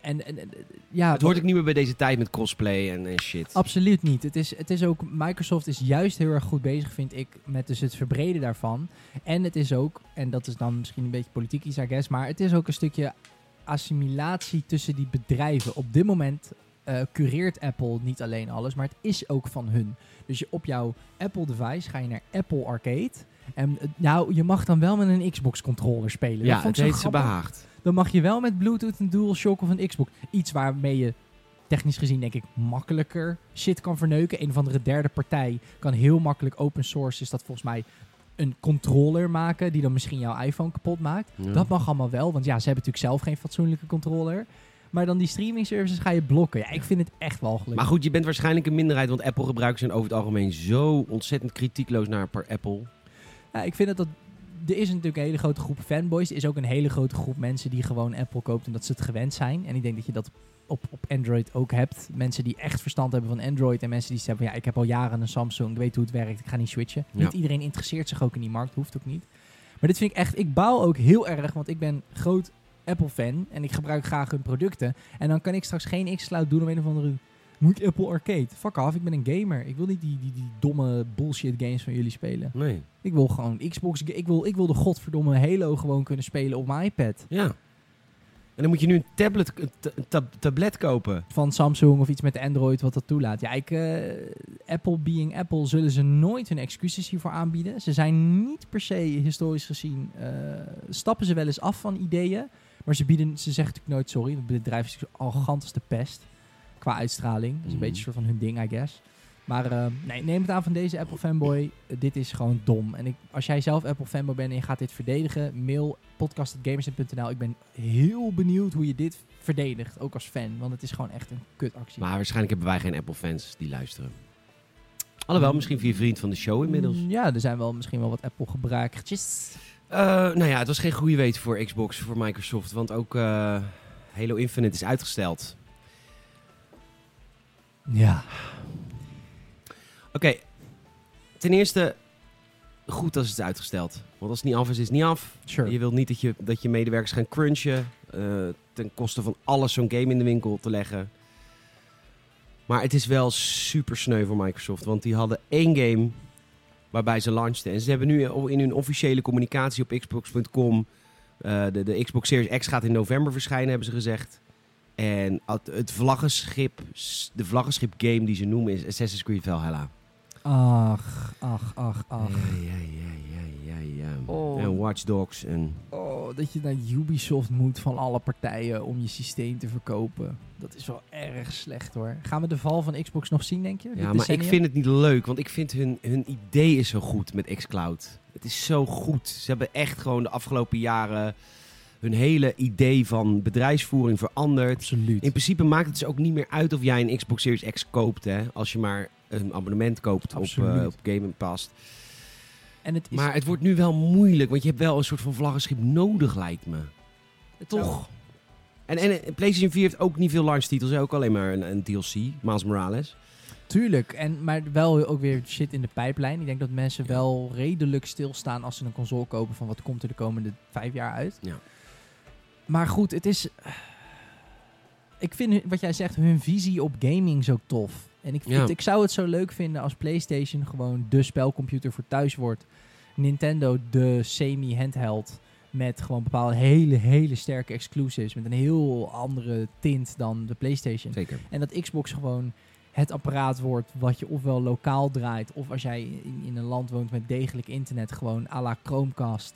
en, en- en- ja, het hoort ook niet meer bij deze tijd met cosplay en, en shit. Absoluut niet. Het is, het is ook, Microsoft is juist heel erg goed bezig, vind ik, met dus het verbreden daarvan. En het is ook, en dat is dan misschien een beetje politiek iets, I guess, maar het is ook een stukje assimilatie tussen die bedrijven. Op dit moment eh, cureert Apple niet alleen alles, maar het is ook van hun. Dus je, op jouw Apple-device ga je naar Apple Arcade. En eh, nou, je mag dan wel met een Xbox-controller spelen. ja, dat vond het ik zo heeft ze grappig behaagd. dan mag je wel met Bluetooth een DualShock of een Xbox. Iets waarmee je technisch gezien, denk ik, makkelijker shit kan verneuken. Een of andere derde partij kan heel makkelijk open source, is dat volgens mij een controller maken die dan misschien jouw iPhone kapot maakt. Ja. Dat mag allemaal wel, want ja, ze hebben natuurlijk zelf geen fatsoenlijke controller. Maar dan die streaming services ga je blokken. Ja, ik vind het echt walgelijk. Maar goed, je bent waarschijnlijk een minderheid, want Apple-gebruikers zijn over het algemeen zo ontzettend kritiekloos naar per Apple. Ja, ik vind dat dat... Er is natuurlijk een hele grote groep fanboys. Er is ook een hele grote groep mensen die gewoon Apple koopt en dat ze het gewend zijn. En ik denk dat je dat op, op Android ook hebt. Mensen die echt verstand hebben van Android en mensen die zeggen van ja, ik heb al jaren een Samsung, ik weet hoe het werkt, ik ga niet switchen. Ja. Niet iedereen interesseert zich ook in die markt, hoeft ook niet. Maar dit vind ik echt, ik baal ook heel erg, want ik ben groot Apple-fan en ik gebruik graag hun producten. En dan kan ik straks geen X-Cloud doen om een of andere... Moet ik Apple Arcade? Fuck off, ik ben een gamer. Ik wil niet die, die, die domme bullshit games van jullie spelen. Nee. Ik wil gewoon Xbox. Ik wil, ik wil de godverdomme Halo gewoon kunnen spelen op mijn iPad. Ja. En dan moet je nu een tablet, een ta- een tab- tablet kopen. Van Samsung of iets met Android wat dat toelaat. Ja, ik, eh, Apple being Apple zullen ze nooit hun excuses hiervoor aanbieden. Ze zijn niet per se historisch gezien. eh, stappen ze wel eens af van ideeën. Maar ze, bieden, ze zeggen natuurlijk nooit sorry. Het bedrijf is natuurlijk zo arrogant als de pest. Qua uitstraling. Dat is een Mhm. beetje een soort van hun ding, I guess. Maar eh, nee, neem het aan van deze Apple fanboy. Eh, dit is gewoon dom. En ik, als jij zelf Apple fanboy bent en je gaat dit verdedigen, mail podcast.gamersnet.nl. Ik ben heel benieuwd hoe je dit verdedigt, ook als fan. Want het is gewoon echt een kutactie. Maar waarschijnlijk hebben wij geen Apple-fans die luisteren. Alhoewel, misschien via vriend van de show inmiddels. Mm, Ja, er zijn wel misschien wel wat Apple gebruikertjes. Eh, nou ja, het was geen goede weet voor Xbox, voor Microsoft. Want ook eh, Halo Infinite is uitgesteld. Ja. Oké, ten eerste, goed als het is uitgesteld. Want als het niet af is, is het niet af. Sure. Je wilt niet dat je, dat je medewerkers gaan crunchen. eh, ten koste van alles zo'n game in de winkel te leggen. Maar het is wel super sneu voor Microsoft. Want die hadden één game waarbij ze launchten. En ze hebben nu in hun officiële communicatie op Xbox.com. eh, de, de Xbox Series X gaat in november verschijnen, hebben ze gezegd. En at- het vlaggenschip, s- de vlaggenschip game die ze noemen is Assassin's Creed Valhalla. Ach, ach, ach, ach. Ja, ja, ja, ja, ja. Oh. En Watch Dogs en... Oh, dat je naar Ubisoft moet van alle partijen om je systeem te verkopen. Dat is wel erg slecht hoor. Gaan we de val van Xbox nog zien, denk je? Dit Ja, maar ik decennium? vind het niet leuk, want ik vind hun, hun idee is zo goed met xCloud. Het is zo goed. Ze hebben echt gewoon de afgelopen jaren hun hele idee van bedrijfsvoering veranderd. Absoluut. In principe maakt het ze ook niet meer uit of jij een Xbox Series X koopt, hè. Als je maar een abonnement koopt op, Absoluut. eh, op Game Pass. En het is Maar het wordt nu wel moeilijk, want je hebt wel een soort van vlaggenschip nodig, lijkt me. het Toch? En, en eh, PlayStation 4 heeft ook niet veel launchtitels, hè. ook alleen maar een, een DLC, Miles Morales. Tuurlijk, en, maar wel ook weer shit in de pijplijn. Ik denk dat mensen wel redelijk stilstaan als ze een console kopen van wat komt er de komende vijf jaar uit. Ja. Maar goed, het is... eh, Ik vind hun- wat jij zegt, hun visie op gaming zo tof. En ik, vind- Ja. ik zou het zo leuk vinden als PlayStation gewoon de spelcomputer voor thuis wordt. Nintendo de semi-handheld met gewoon bepaalde hele, hele sterke exclusives. Met een heel andere tint dan de PlayStation. Zeker. En dat Xbox gewoon het apparaat wordt wat je ofwel lokaal draait... of als jij in, in een land woont met degelijk internet gewoon à la Chromecast.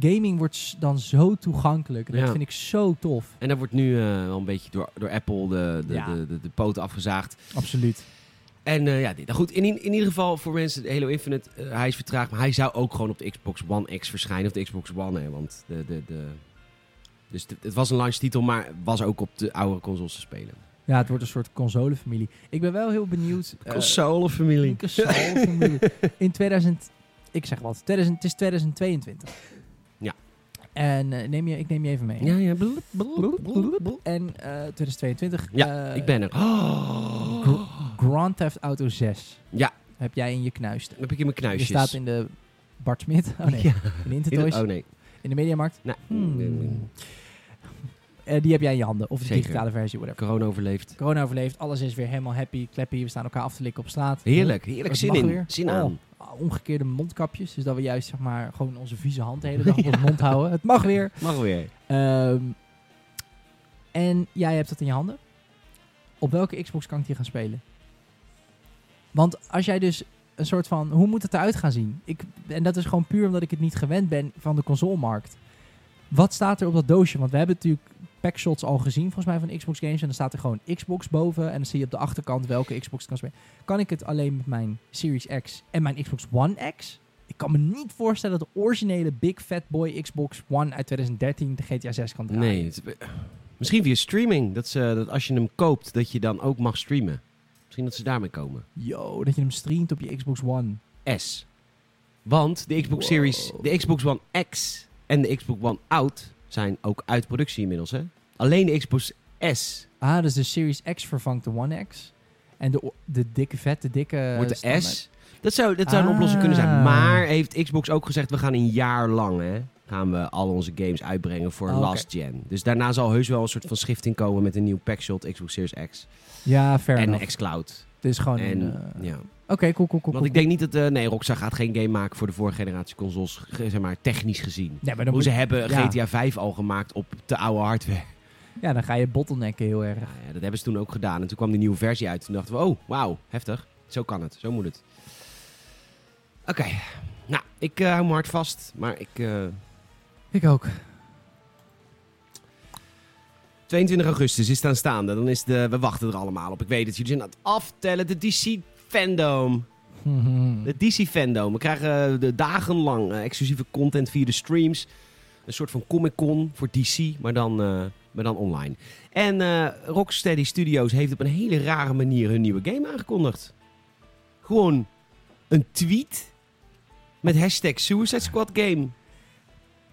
Gaming wordt s- dan zo toegankelijk. Dat Ja. vind ik zo tof. En daar wordt nu eh, wel een beetje door, door Apple de, de, Ja. de, de, de poten afgezaagd. Absoluut. En eh, ja, dit, nou goed, in, i- in ieder geval voor mensen, Halo Infinite, eh, hij is vertraagd. Maar hij zou ook gewoon op de Xbox One X verschijnen. Of de Xbox One, hè, want de, de, de, dus het- het was een launchtitel, maar was ook op de oude consoles te spelen. Ja, het wordt een soort consolefamilie. Ik ben wel heel benieuwd... eh, Consolefamilie. een consolefamilie. in 2000... Ik zeg wat. 2000, het is 2022. Ja. En eh, neem je, ik neem je even mee. Ja, ja. blub, blub, blub, blub. En eh, 2022... Ja, eh, Ik ben er. Oh, Grand Theft Auto 6. Ja. Heb jij in je knuisten. heb ik in mijn Je knuisjes. staat in de Bart Smit. Oh nee, Ja. in de In Intertoys. de- oh nee. In de Mediamarkt. Nou, Hmm. Eh, die heb jij in je handen. Of de Zeker. digitale versie, whatever. Corona overleefd. Corona overleeft. Alles is weer helemaal happy, clappy. We staan elkaar af te likken op straat. Heerlijk, heerlijk. Het Zin mag in. weer. Zin Oh, aan. Omgekeerde mondkapjes. Dus dat we juist zeg maar gewoon onze vieze hand de hele dag op ons mond houden. Het mag weer. Mag weer. Ehm, en jij hebt dat in je handen. Op welke Xbox kan ik die gaan spelen? Want als jij dus een soort van... Hoe moet het eruit gaan zien? Ik, en dat is gewoon puur omdat ik het niet gewend ben van de consolemarkt. Wat staat er op dat doosje? Want we hebben natuurlijk packshots al gezien volgens mij van Xbox Games. En dan staat er gewoon Xbox boven. En dan zie je op de achterkant welke Xbox het kan spelen. Kan ik het alleen met mijn Series X en mijn Xbox One X? Ik kan me niet voorstellen dat de originele Big Fat Boy Xbox One uit 2013 de GTA 6 kan draaien. Nee. het- misschien via streaming. Dat, ze, dat als je hem koopt, dat je dan ook mag streamen. Misschien dat ze daarmee komen. Yo, dat je hem streamt op je Xbox One. S. Want de Xbox Wow. Series, de Xbox One X en de Xbox One Out zijn ook uit productie inmiddels. Hè? Alleen de Xbox S Ah, dus de Series X vervangt de One X. En de, o- de dikke vette, dikke... wordt de standaard. S. Dat zou, dat zou een oplossing kunnen zijn. Ah. Maar heeft Xbox ook gezegd, we gaan een jaar lang hè, gaan we al onze games uitbrengen voor Oh, oké. last gen. Dus daarna zal heus wel een soort van schifting komen met een nieuw packshot Xbox Series X Ja, fair en enough. xCloud. Het is gewoon En, een... eh, ja. Oké, cool, cool, cool. Want ik denk niet dat... eh, nee, Rockstar gaat geen game maken voor de vorige generatie consoles, ge- zeg maar, technisch gezien. Ja, maar dan, Hoe moet, ze hebben ja. GTA 5 al gemaakt op de oude hardware. ja, dan ga je bottlenecken heel Ja, erg. ja, dat hebben ze toen ook gedaan. En toen kwam die nieuwe versie uit. Toen dachten we, oh, wauw, heftig. Zo kan het, zo moet het. Oké, nou, ik eh, hou me hard vast. Maar ik, eh, Ik [LAUGHS] ook. 22 augustus is het aanstaande. Dan is de, we wachten er allemaal op. Ik weet het, jullie zijn aan het aftellen. De DC Fandom. De DC Fandom. We krijgen eh, de dagenlang eh, exclusieve content via de streams. Een soort van Comic-Con voor DC, maar dan, eh, maar dan online. En eh, Rocksteady Studios heeft op een hele rare manier hun nieuwe game aangekondigd. Gewoon een tweet met hashtag Suicide Squad Game.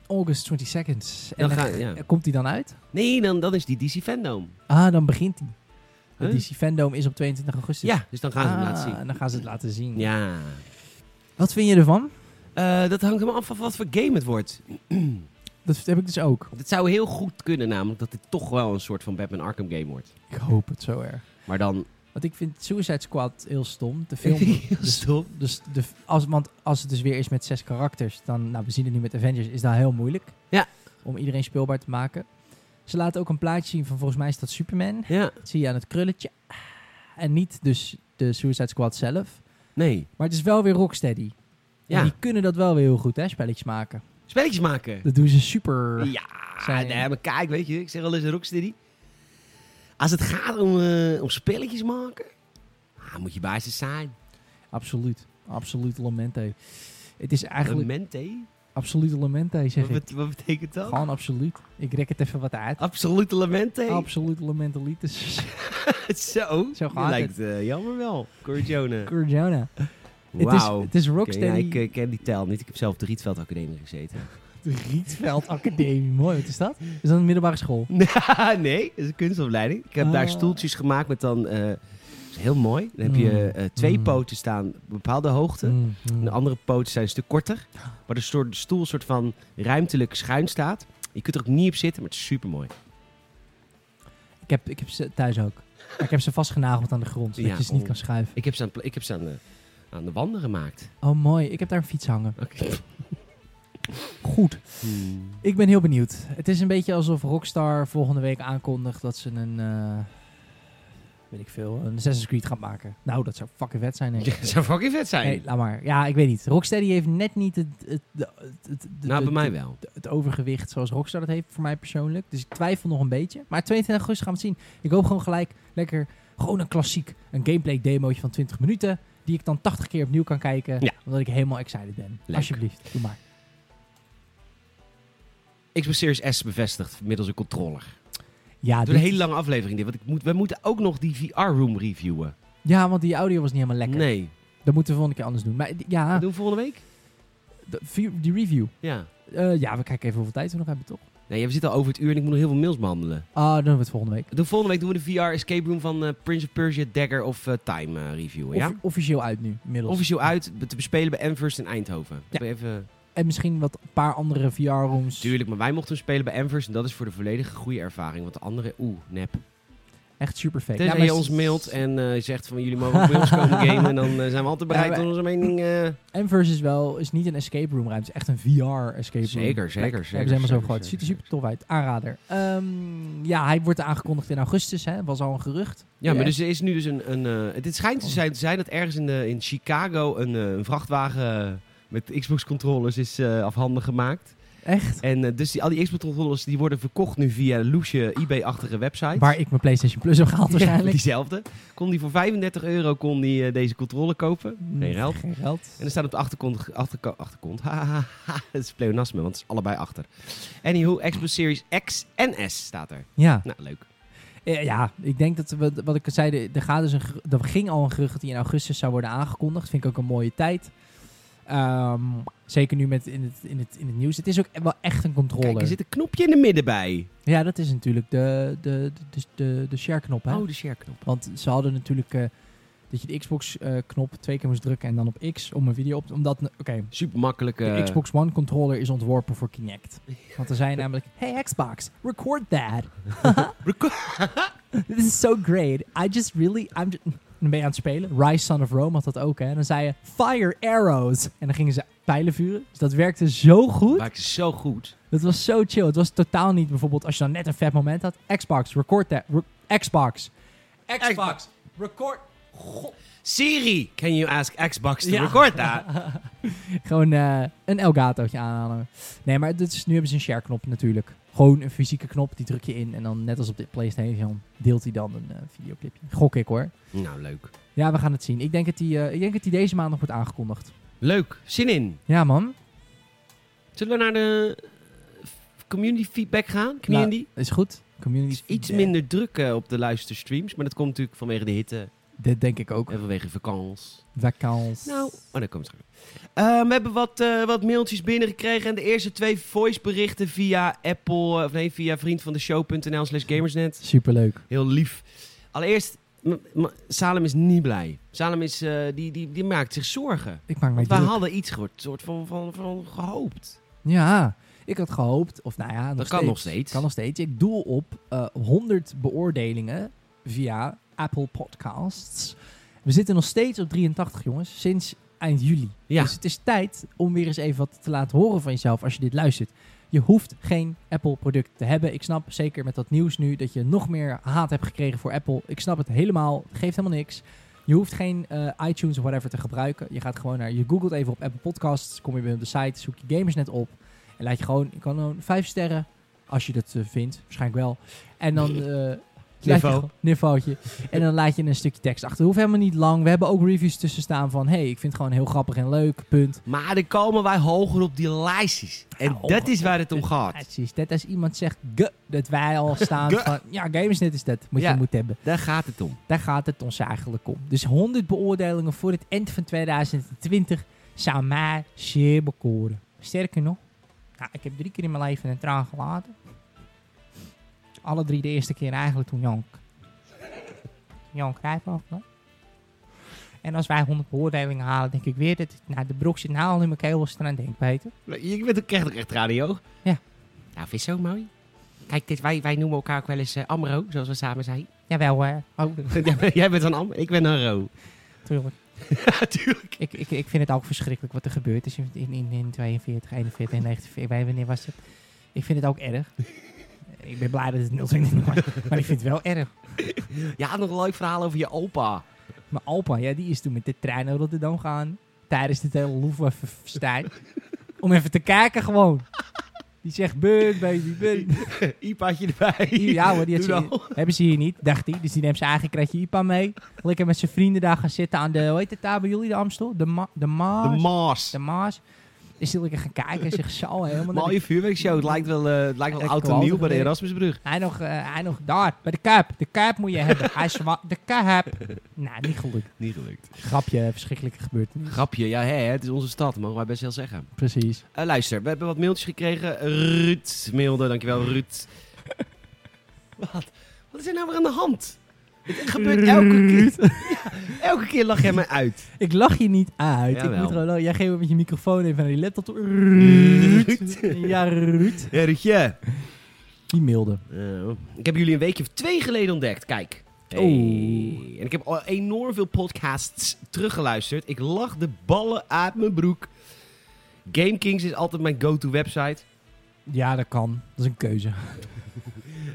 August 22nd. En Dan dan ga- ja. komt die dan uit? Nee, dan, dan is die DC Fandom. Ah, dan begint die. De Huh? DC Fandom is op 22 augustus. Ja, dus dan gaan ze hem Ah, laten zien. En dan gaan ze het laten zien. Ja. Wat vind je ervan? Eh, dat hangt helemaal af van wat voor game het wordt. Dat heb ik dus ook. Het zou heel goed kunnen namelijk dat dit toch wel een soort van Batman Arkham game wordt. Ik hoop het zo erg. Maar dan... Want ik vind Suicide Squad heel stom. [LAUGHS] De film... Stop. Dus de, als, want als het dus weer is met zes karakters, dan, nou we zien het nu met Avengers, is dat heel moeilijk. Ja. Om iedereen speelbaar te maken. Ze laten ook een plaatje zien van volgens mij is dat Superman. Ja, Dat zie je aan het krulletje. Ah, En niet dus de Suicide Squad zelf. nee. Maar het is wel weer Rocksteady. Ja. Ja. En die kunnen dat wel weer heel goed, hè, spelletjes maken. Spelletjes maken. Dat doen ze super. Ja, Zijn- nee, maar kijk, weet je, ik zeg al eens Rocksteady. Als het gaat om, eh, om spelletjes maken, ah, moet je basis zijn. Absoluut. Absoluut lamente. Het is eigenlijk Lamente? absoluut lamente, zeg Wat, ik. bet- wat betekent dat? Gewoon absoluut. Ik rek het even wat uit. Absolute lamente. Absoluut lamentelitis. [LAUGHS] [LAUGHS] Zo, Zo je gaat lijkt eh, jammer wel, [LAUGHS] Corjone. Cordiona. Het is, Wauw. het is Oké, ja, Rocksteady. ik eh, ken die taal niet. Ik heb zelf de Rietveld Academie gezeten. [LAUGHS] De eh, [LAUGHS] Rietveld Academie. Mooi, wat is dat? Is dat een middelbare school? nee, dat is een kunstopleiding. Ik heb Ah. daar stoeltjes gemaakt met dan... eh, dat is heel mooi. Dan heb je Mm. eh, twee Mm. poten staan op bepaalde hoogte. Mm, mm. En De andere poten zijn eh? een stuk korter. Maar de soort- de stoel soort van ruimtelijk schuin staat. Je kunt er ook niet op zitten, maar het is super mooi. Ik, heb, ik heb ze thuis ook. Maar ik heb ze vastgenageld aan de grond, zodat Ja, je ze niet oh. kan schuiven. Ik heb ze aan, pla- ik heb ze aan, de, aan de wanden gemaakt. Oh, mooi. Ik heb daar een fiets hangen. Oké. [LAUGHS] Goed. Hmm. Ik ben heel benieuwd. Het is een beetje alsof Rockstar volgende week aankondigt dat ze een... eh, weet ik veel, een Assassin's Creed gaat maken. Nou, dat zou fucking vet zijn, denk [LAUGHS] ik. Ja, dat [LAUGHS] zou fucking vet zijn. Nee, laat maar. Ja, ik weet niet. Rocksteady heeft net niet het, het, het, het- nou, bij het- mij wel. het overgewicht zoals Rockstar dat heeft voor mij persoonlijk. Dus ik twijfel nog een beetje. Maar 22 augustus gaan we het zien. Ik hoop gewoon gelijk lekker gewoon een klassiek, een gameplay demootje van 20 minuten. Die ik dan 80 keer opnieuw kan kijken. Ja. Omdat ik helemaal excited ben. Leuk. Alsjeblieft, doe maar. Xbox Series S bevestigd middels een controller. Ja, Door Ah, dit- een hele lange aflevering dit. Want ik moet, we moeten ook nog die VR-room reviewen. ja, want die audio was niet helemaal lekker. Ah. Nee. Dat moeten we volgende keer anders doen. Maar d- ja, Dat doen we volgende week? de- vi- die review. Ja. Eh, ja, we kijken even hoeveel tijd we nog hebben, toch? Nee, we zitten al over het uur en ik moet nog heel veel mails behandelen. Ah, dan doen we het volgende week. We doen volgende week doen we de VR Escape Room van eh, Prince of Persia, Dagger of eh, Time eh, reviewen, ja? Of- officieel uit nu, inmiddels. Officieel uit te bespelen bij Amverse in Eindhoven. Ja. Even... en misschien wat een paar andere VR-rooms. Tuurlijk, maar wij mochten hem spelen bij Amverse en dat is voor de volledige goede ervaring. Want de andere, oeh, nep. Echt super fake. Tenzij je ons mailt en eh, zegt van jullie mogen ook bij ons komen [LAUGHS] gamen, dan eh, zijn we altijd bereid Ja, maar- om onze mening... eh, Enverse is wel is niet een escape room ruimte, het is echt een VR escape Zeker, room. zeker, Lekker. zeker, Hebben ze helemaal zo zeker, groot. Ziet er zeker, super tof uit. Aanrader. Ehm, ja, hij wordt aangekondigd in augustus, hè? Was al een gerucht. Ja, maar Ja. dus er is nu dus een... een eh, het schijnt te zijn, te zijn dat ergens in, de, in Chicago een, eh, een vrachtwagen met Xbox-controllers is eh, afhandig gemaakt. Echt? En eh, dus die, al die Xbox-controllers die worden verkocht nu via een loesje eBay-achtige website. Waar ik mijn PlayStation Plus [LAUGHS] heb gehaald Ja, waarschijnlijk. diezelfde. Kon die voor 35 euro kon die, eh, deze controller kopen. Geen geld. Mm, Geen geld. En er staat op de achterkant... Achterkant? achterkant het is pleonasme, want het is allebei achter. Anywho, Xbox Series X en S staat er. Ja. Nou, leuk. Eh, ja, ik denk dat we, wat ik al zei, er- er, gaat dus een, geru- er ging al een gerucht dat die in augustus zou worden aangekondigd. Vind ik ook een mooie tijd. Ehm, zeker nu met in het, in, het, in het nieuws. Het is ook wel echt een controller. Kijk, er zit een knopje in de midden bij. Ja, dat is natuurlijk de, de, de, de, de share-knop. Hè? Oh, de share-knop. Want ze hadden natuurlijk eh, dat je de Xbox-knop twee keer moest drukken en dan op X om een video op te... Omdat, oké, Super makkelijk. de Xbox One controller is ontworpen voor Kinect. Want er zijn namelijk, hey Xbox, record that. [LAUGHS] This is so great. I just really... I'm ju- dan ben je aan het spelen. Rise Son of Rome had dat ook, hè. En dan zei je, fire arrows. En dan gingen ze pijlen vuren. Dus dat werkte zo goed. Maakt zo goed. Dat was zo chill. Het was totaal niet bijvoorbeeld als je dan net een vet moment had. Xbox, record that. Re- Xbox. Xbox, record. Siri, can you ask Xbox to Ja. record that? [LAUGHS] Gewoon eh, een Elgatootje aanhalen. Nee, maar dit is, nu hebben ze een share knop natuurlijk. Gewoon een fysieke knop, die druk je in. En dan net als op de Playstation deelt hij dan een eh, videoclipje. Gok ik hoor. nou, leuk. Ja, we gaan het zien. Ik denk dat die, eh, ik denk dat die deze maand nog wordt aangekondigd. Leuk. Zin in. Ja man, Zullen we naar de eh, community feedback gaan? Community? is goed. Community Het is iets feedback. minder druk eh, op de luisterstreams, maar dat komt natuurlijk vanwege de hitte Dit denk ik ook. en vanwege vakantie. Vakantie. Nou, oh, dat komt straks. Eh, we hebben wat, eh, wat mailtjes binnengekregen. En de eerste twee voiceberichten via Apple, eh, of nee, via vriendvandeshow.nl slash gamersnet. Superleuk. Heel lief. Allereerst, m- m- Salem is niet blij. Salem is, eh, die, die, die maakt zich zorgen. Ik maak mij Want wij druk. hadden iets gehoord, soort van, van, van gehoopt. Ja, ik had gehoopt, of nou ja, nog Dat kan steeds, nog steeds. Kan nog steeds. Ik doel op eh 100 beoordelingen via Apple Podcasts. We zitten nog steeds op 83, jongens, sinds eind juli. Ja. Dus het is tijd om weer eens even wat te laten horen van jezelf als je dit luistert. Je hoeft geen Apple-product te hebben. Ik snap zeker met dat nieuws nu dat je nog meer haat hebt gekregen voor Apple. Ik snap het helemaal. Het geeft helemaal niks. Je hoeft geen eh, iTunes of whatever te gebruiken. Je gaat gewoon naar, je googelt even op Apple Podcasts, kom je weer op de site, zoek je Gamersnet op en laat je gewoon, je kan gewoon vijf sterren, als je dat eh, vindt, waarschijnlijk wel. En dan eh, Laat je Niveau. gewoon- Niveautje. En dan laat je een stukje tekst achter. Hoeft helemaal niet lang. We hebben ook reviews tussen staan van... hey, ik vind het gewoon heel grappig en leuk. Punt. Maar dan komen wij hoger op die lijstjes. En Ja, dat is waar het om gaat. Precies. Dat als iemand zegt... "Guh", dat wij al staan Guh. van... Ja, Gamersnet is dat. Moet Ja. je moet hebben. Daar gaat het om. Daar gaat het ons eigenlijk om. Dus 100 beoordelingen voor het eind van 2020... zou mij zeer bekoren. Sterker nog... Nou, ik heb drie keer in mijn leven een traan gelaten. Alle drie de eerste keer eigenlijk toen Jank. Jan Cruijff hè? En als wij 100 beoordelingen halen, denk ik weer dat ik- nou, de broek zit nou al in mijn keel als ik eraan denk, Peter. Je bent ook echt, echt radio. Ja. Nou, vind je zo mooi? Kijk, dit, wij, wij noemen elkaar ook wel eens eh, Amro, zoals we samen zijn. Jawel, hè. Oh, Jij bent een Am, ik ben een Ro. [LAUGHS] natuurlijk. Natuurlijk. Ik, ik, ik vind het ook verschrikkelijk wat er gebeurd is in, in, in, in 42, 41 en 49. Ik weet wanneer was het? Ik vind het ook erg. Ik ben blij dat het 020 was, [LAUGHS] maar ik vind het wel erg. Ja, nog een leuk verhaal over je opa. Mijn Alpa, ja, die is toen met de trein naar Rotterdam gaan. Tijdens dit hele Louvre-festijn. Om even te kijken gewoon. Die zegt, beun, baby, beun. Ipaatje erbij. Ja hoor, die had Doe ze- nou. hebben ze hier niet, dacht hij. Dus die neemt zijn eigen kratje IPA mee. Lekker met zijn vrienden daar gaan zitten aan de, hoe heet het daar bij jullie, de Amstel? De, ma de Maas. De Mars. De Maas. Is hij lekker gaan kijken en zich zo helemaal... naar de- Mooie vuurwerkshow. Het lijkt wel, eh, het lijkt wel Ja, oud en kwalite nieuw bij de gebeurt. Erasmusbrug. Hij nog, eh, hij nog daar, bij de Kuip. De Kuip moet je hebben. Hij zwa de Kuip. Nou, niet gelukt. Niet gelukt. Grapje, verschrikkelijke gebeurtenis. Grapje, ja, hè, hè, het is onze stad, mogen wij best wel zeggen. Precies. Eh, luister, we hebben wat mailtjes gekregen. Ruud mailde, dankjewel Ruud. wat? Wat is er nou weer aan de hand? Het gebeurt elke keer. Ja, elke keer lach jij mij uit. Ik lach je niet uit. Ik Jawel. moet gewoon, oh, jij geeft met je microfoon even naar die laptop toe. Ruud. Ja, Ruud. [LAUGHS] Ja, Ruudje. Die mailde. Eh, ik heb jullie een weekje of twee geleden ontdekt, kijk. Hey. Oh. En ik heb al enorm veel podcasts teruggeluisterd. Ik lach de ballen uit mijn broek. GameKings is altijd mijn go-to website. Ja, dat kan. Dat is een keuze.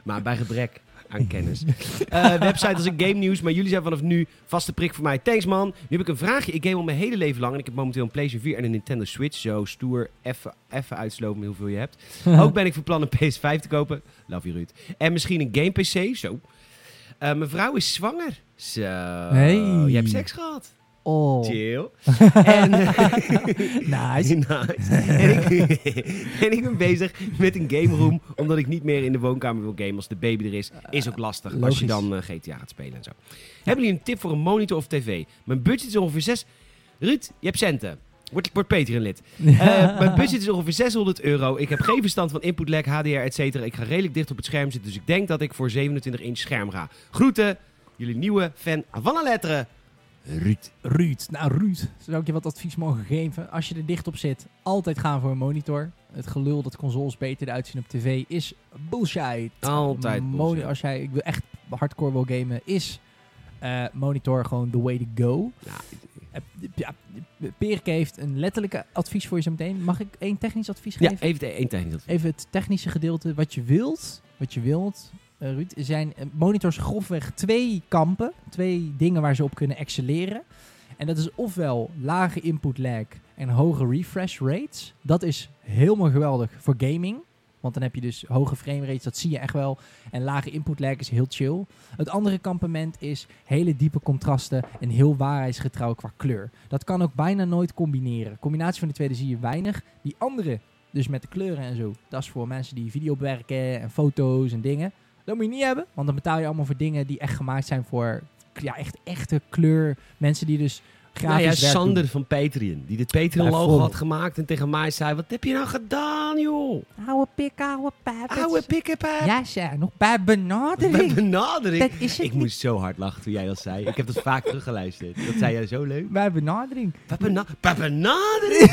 Maar bij gebrek aan [LAUGHS] kennis. Eh, website als een game nieuws, maar jullie zijn vanaf nu vaste prik voor mij. Thanks man. Nu heb ik een vraagje. Ik game al mijn hele leven lang en ik heb momenteel een PlayStation 4 en een Nintendo Switch. Zo stoer, even even uitslopen hoeveel je hebt. [LAUGHS] Ook ben ik van plan een PS5 te kopen. Love you Ruud. En misschien een game PC, zo. Eh, mijn vrouw is zwanger. Zo. Hey. Je hebt seks gehad. Oh. [LAUGHS] Chill. en, Nice. Nice. [LAUGHS] en, ik, [LAUGHS] en ik ben bezig met een game room, omdat ik niet meer in de woonkamer wil gamen als de baby er is. Is ook lastig als je Logisch. dan eh, GTA gaat spelen en zo. Hebben jullie een tip voor een monitor of tv? Mijn budget is ongeveer 6... Ruud, je hebt centen. Wordt word Peter een lid. Eh, mijn budget is ongeveer 600 euro. Ik heb geen verstand van input lag, HDR, et cetera. Ik ga redelijk dicht op het scherm zitten, dus ik denk dat ik voor 27 inch scherm ga. Groeten, jullie nieuwe fan van een letteren, Ruud. Ruud. Nou, Ruud. Zou ik je wat advies mogen geven? Als je er dicht op zit, altijd gaan voor een monitor. Het gelul dat consoles beter eruit zien op tv is bullshit. Altijd Moni- bullshit. Als jij ik wil echt hardcore wil gamen, is eh, monitor gewoon the way to go. Nou, Ja, Eh, Ja, Perke heeft een letterlijke advies voor je zo meteen. Mag ik één technisch advies ja, geven? even één technisch Even het technische gedeelte. Wat je wilt, wat je wilt eh, Ruud, zijn eh, monitors grofweg twee kampen. Twee dingen waar ze op kunnen excelleren. En dat is ofwel lage input lag en hoge refresh rates. Dat is helemaal geweldig voor gaming. Want dan heb je dus hoge frame rates, dat zie je echt wel. En lage input lag is heel chill. Het andere kampement is hele diepe contrasten en heel waarheidsgetrouw qua kleur. Dat kan ook bijna nooit combineren. Combinatie van de tweede zie je weinig. Die andere dus met de kleuren en zo. Dat is voor mensen die video bewerken en foto's en dingen. Dat moet je niet hebben, want dan betaal je allemaal voor dingen die echt gemaakt zijn voor ja, echt echte kleur. Mensen die dus Nou grafisch ja, werk doen. Sander van Patreon. Die dit Patreon-logo Bijvoorbeeld. had gemaakt en tegen mij zei... Wat heb je nou gedaan, joh? Oude pik, oude pijp. Oude pikkepijp. Ja, zeg, nog bij Bij benadering. Dat benadering. is het Ik moest zo hard lachen toen jij dat zei. Ik heb dat vaak teruggeluisterd. Dat zei jij zo [LAUGHS] leuk. niet. Bij benadering. Bij bena- bij [LAUGHS] benadering.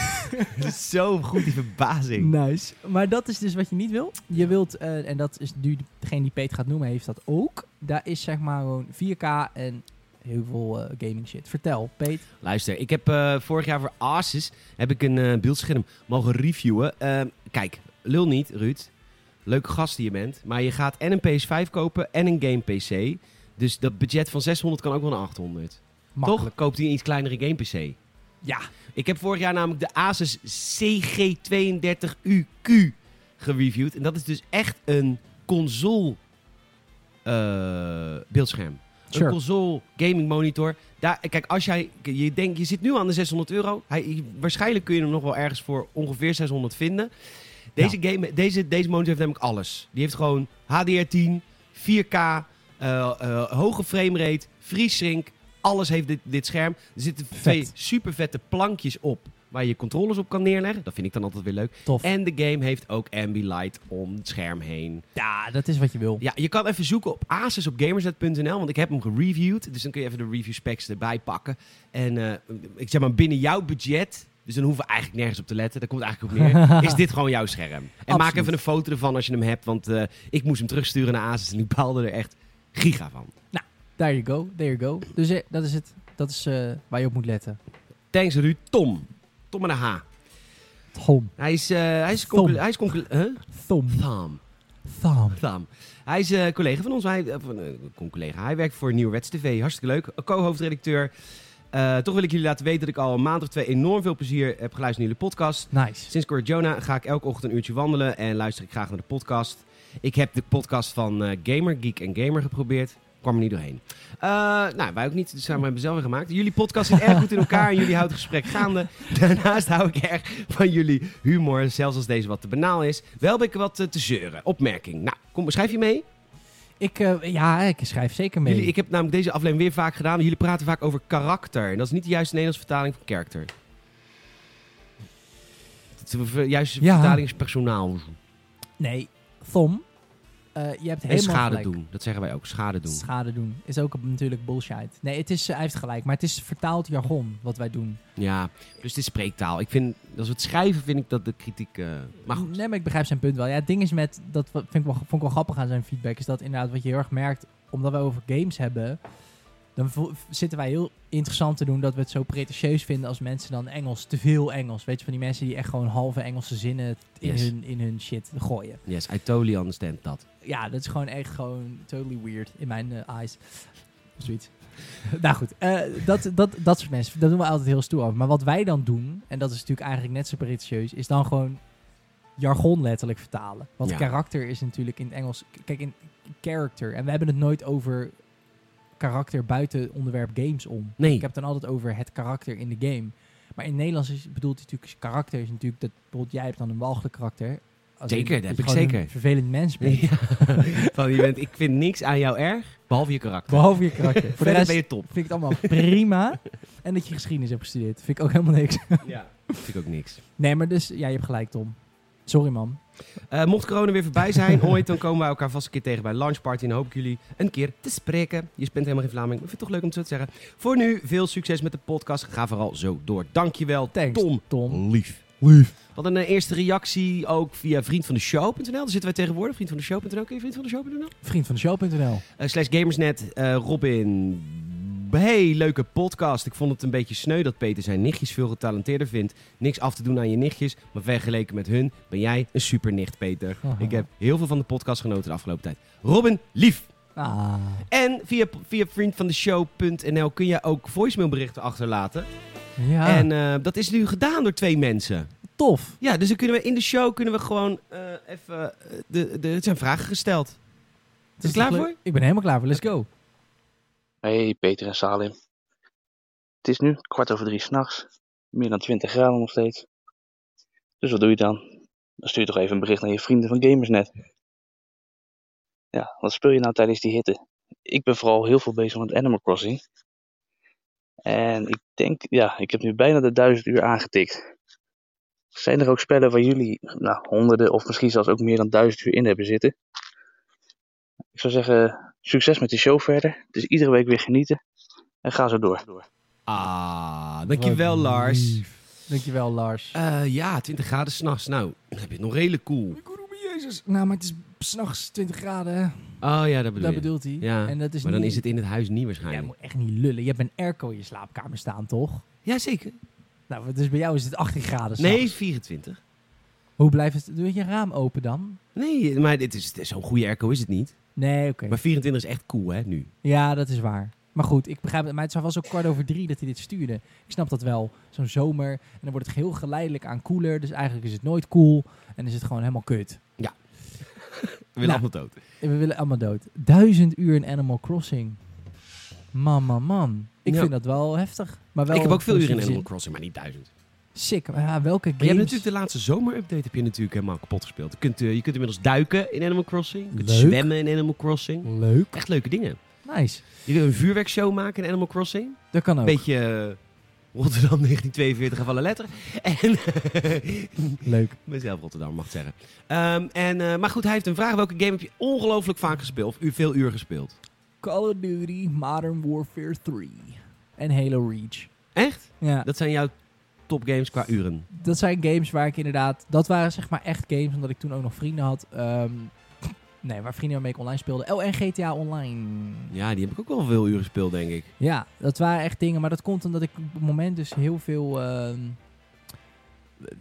Dat is zo goed, die verbazing. Nice. Maar dat is dus wat je niet wil. Je wilt, eh, en dat is nu degene die Peter gaat noemen, heeft dat ook. Daar is zeg maar gewoon 4K en heel veel eh, gaming shit. Vertel, Peet. Luister, ik heb eh, vorig jaar voor Asus heb ik een eh, beeldscherm mogen reviewen. Ehm, kijk, lul niet, Ruud. Leuke gast die je bent. Maar je gaat en een PS5 kopen en een game PC. Dus dat budget van 600 kan ook wel naar 800. Makkelijk. Toch? Koopt hij een iets kleinere game PC. Ja. Ik heb vorig jaar namelijk de Asus CG32UQ gereviewd. En dat is dus echt een console eh, beeldscherm. Een Sure. console gaming monitor. Daar, kijk, als jij, je denkt, je zit nu aan de 600 euro. Hij, waarschijnlijk kun je hem nog wel ergens voor ongeveer 600 vinden. Deze, game, deze, deze monitor heeft namelijk alles. Die heeft gewoon HDR10, 4K, eh, eh, hoge framerate, FreeSync. Alles heeft dit, dit scherm. Er zitten twee super vette plankjes op waar je controllers op kan neerleggen. Dat vind ik dan altijd weer leuk. Tof. En de game heeft ook Ambilight om het scherm heen. ja, dat is wat je wil. Ja, je kan even zoeken op Asus op gamersnet.nl, want ik heb hem gereviewd. Dus dan kun je even de review specs erbij pakken. En eh, ik zeg maar binnen jouw budget, dus dan hoeven we eigenlijk nergens op te letten. Daar komt het eigenlijk op [LAUGHS] neer. is dit gewoon jouw scherm? En maak Absoluut. even een foto ervan als je hem hebt, want eh, ik moest hem terugsturen naar Asus en die baalde er echt giga van. There you go, there you go. Dus eh, dat is het. Dat is eh, waar je op moet letten. Thanks Ruud. Tom. Tom met een H. Tom. Hij is... eh hij is... Tom. conclu- Hij is... conclu- Huh? Tom. Tom. Tom. Tam. Hij is eh, collega van ons. Hij, eh, van, eh, een collega. hij werkt voor Nieuwerwets TV. Hartstikke leuk. Co-hoofdredacteur. Eh, toch wil ik jullie laten weten dat ik al een maand of twee enorm veel plezier heb geluisterd naar jullie podcast. Nice. Sinds Corrie Jonah ga ik elke ochtend een uurtje wandelen en luister ik graag naar de podcast. Ik heb de podcast van eh, Gamer, Geek en Gamer geprobeerd. Kwam er niet doorheen. Eh, nou, wij ook niet. Dus samen hebben we zelf weer gemaakt. Jullie podcast zit erg goed in elkaar en jullie houden het gesprek gaande. [LAUGHS] Daarnaast hou ik erg van jullie humor, zelfs als deze wat te banaal is. Wel ben ik wat eh, te zeuren. Opmerking. Nou, kom, schrijf je mee? Ik, eh, ja, ik schrijf zeker mee. Jullie, ik heb namelijk deze aflevering weer vaak gedaan. Jullie praten vaak over karakter. En dat is niet de juiste Nederlandse vertaling van character. De juiste Ja. vertaling is personaal. Nee, Tom. eh, je hebt En helemaal schade gelijk. doen. Dat zeggen wij ook. Schade doen. Schade doen. Is ook natuurlijk bullshit. Nee, het is, eh, hij heeft gelijk. Maar het is vertaald jargon wat wij doen. Ja. Dus het is spreektaal. Ik vind, als we het schrijven, vind ik dat de kritiek... eh, maar goed. Nee, maar ik begrijp zijn punt wel. Ja, het ding is met, dat wa- vind ik wel, vond ik wel grappig aan zijn feedback, is dat inderdaad wat je heel erg merkt, omdat wij over games hebben, dan vo- zitten wij heel interessant te doen dat we het zo pretentieus vinden als mensen dan Engels, te veel Engels. Weet je, van die mensen die echt gewoon halve Engelse zinnen in, Yes. hun, in hun shit gooien. Yes, I totally understand dat. Ja, dat is gewoon echt gewoon totally weird in mijn eh, eyes. Zoiets. [LAUGHS] nou goed, eh, dat, dat, dat soort mensen, daar doen we altijd heel stoer over. Maar wat wij dan doen, en dat is natuurlijk eigenlijk net zo pretentieus, is dan gewoon jargon letterlijk vertalen. Want Ja. karakter is natuurlijk in het Engels, k- kijk in character. En we hebben het nooit over karakter buiten onderwerp games om. Nee. Ik heb het dan altijd over het karakter in de game. Maar in het Nederlands is, bedoelt het natuurlijk karakter is natuurlijk dat bijvoorbeeld jij hebt dan een walgelijk karakter. Als Zeker, dat in je heb ik gewoon zeker. Een vervelend [LAUGHS] mens bent. Ja. Van, [LAUGHS] je bent, ik vind niks aan jou erg, behalve je karakter. Behalve je [LAUGHS] karakter. Voor de Verder rest ben vind je top. ik het allemaal prima. En dat je geschiedenis hebt gestudeerd. Vind ik ook helemaal niks. Ja. Vind ik ook niks. Nee, maar dus, ja, je hebt gelijk, Tom. Sorry, man. Eh, mocht corona weer voorbij [LAUGHS] zijn ooit, dan komen wij elkaar vast een keer tegen bij een lunchparty. En dan hoop ik jullie een keer te spreken. Je bent helemaal geen Vlaming, maar ik vind het toch leuk om het zo te zeggen. Voor nu, veel succes met de podcast. Ga vooral zo door. Dankjewel, Thanks, Tom. Tom. Lief. Lief. Wat een eh, eerste reactie ook via vriendvandeshow.nl. Daar zitten wij tegenwoordig. Vriendvandeshow.nl. Kun je vriendvandeshow.nl? Vriend van de show.nl. Eh, slash Gamersnet. eh, Robin. Hey, leuke podcast. Ik vond het een beetje sneu dat Peter zijn nichtjes veel getalenteerder vindt. Niks af te doen aan je nichtjes, maar vergeleken met hun ben jij een supernicht, Peter. Aha. Ik heb heel veel van de podcast genoten de afgelopen tijd. Robin, lief! Ah, En via, via vriendvandeshow.nl kun je ook voicemailberichten achterlaten. ja. En eh, dat is nu gedaan door twee mensen. tof. Ja, dus dan kunnen we in de show kunnen we gewoon eh, even... eh, de, de, het zijn vragen gesteld. Het Is je klaar toch voor? leuk? Ik ben helemaal klaar voor. Let's go. Hey Peter en Salim. Het is nu kwart over drie s'nachts. Meer dan 20 graden nog steeds. Dus wat doe je dan? Dan stuur je toch even een bericht naar je vrienden van Gamersnet. Ja, wat speel je nou tijdens die hitte? Ik ben vooral heel veel bezig met Animal Crossing. En ik denk, ja, ik heb nu bijna de 1000 uur aangetikt. Zijn er ook spellen waar jullie nou, honderden of misschien zelfs ook meer dan 1000 uur in hebben zitten? Ik zou zeggen, succes met de show verder. Het is iedere week weer genieten. En ga zo door. Ah, dankjewel Wat Lars. lief. Dankjewel, Lars. Eh, ja, 20 graden s'nachts. Nou, dan heb je het nog redelijk cool. Jezus. Nou, maar het is s'nachts 20 graden, hè. Oh ja, dat bedoel Dat je. bedoelt hij. Ja, en dat is maar dan niet- is het in het huis niet Ja, je waarschijnlijk. moet echt niet lullen. Je hebt een airco in je slaapkamer staan, toch? Ja, zeker. Nou, dus bij jou is het 18 graden. Nee, s'nachts. 24. Hoe blijft het? Doe je raam open dan? Nee, maar dit is, dit is zo'n goede airco is het niet. Nee, oké. Maar 24 is echt cool, hè, nu. Ja, dat is waar. Maar goed, ik begrijp het. Maar het was wel zo kwart over drie dat hij dit stuurde. Ik snap dat wel. Zo'n zomer. En dan wordt het heel geleidelijk aan koeler. Dus eigenlijk is het nooit cool. En is het gewoon helemaal kut. We willen Nou. allemaal dood. En we willen allemaal dood. Duizend uur in Animal Crossing. Man, man, man. Ik Ja. vind dat wel heftig. Maar wel ik heb ook veel uren in positieve Animal zin. Crossing, maar niet duizend. Sick. Maar ja, welke Maar je hebt games? natuurlijk de laatste zomerupdate heb je natuurlijk helemaal kapot gespeeld. Je kunt, eh, je kunt inmiddels duiken in Animal Crossing. Je kunt Leuk. zwemmen in Animal Crossing. Leuk. Echt leuke dingen. Nice. Je kunt een vuurwerkshow maken in Animal Crossing. Dat kan ook. Beetje eh, Rotterdam [LAUGHS] 1942 van alle letteren. En Leuk. [LAUGHS] mezelf Rotterdam mag ik zeggen. Ehm, en, eh, maar goed, hij heeft een vraag. Welke game heb je ongelooflijk vaak gespeeld? Of u- veel uur gespeeld? Call of Duty Modern Warfare 3. En Halo Reach. Echt? Ja, Dat zijn jouw topgames qua uren. dat zijn games waar ik inderdaad... Dat waren zeg maar echt games, omdat ik toen ook nog vrienden had. Ehm, nee, waar vrienden waarmee ik online speelde. Oh, en GTA Online. Ja, die heb ik ook wel veel uren gespeeld, denk ik. Ja, dat waren echt dingen. Maar dat komt omdat ik op het moment dus heel veel... ehm,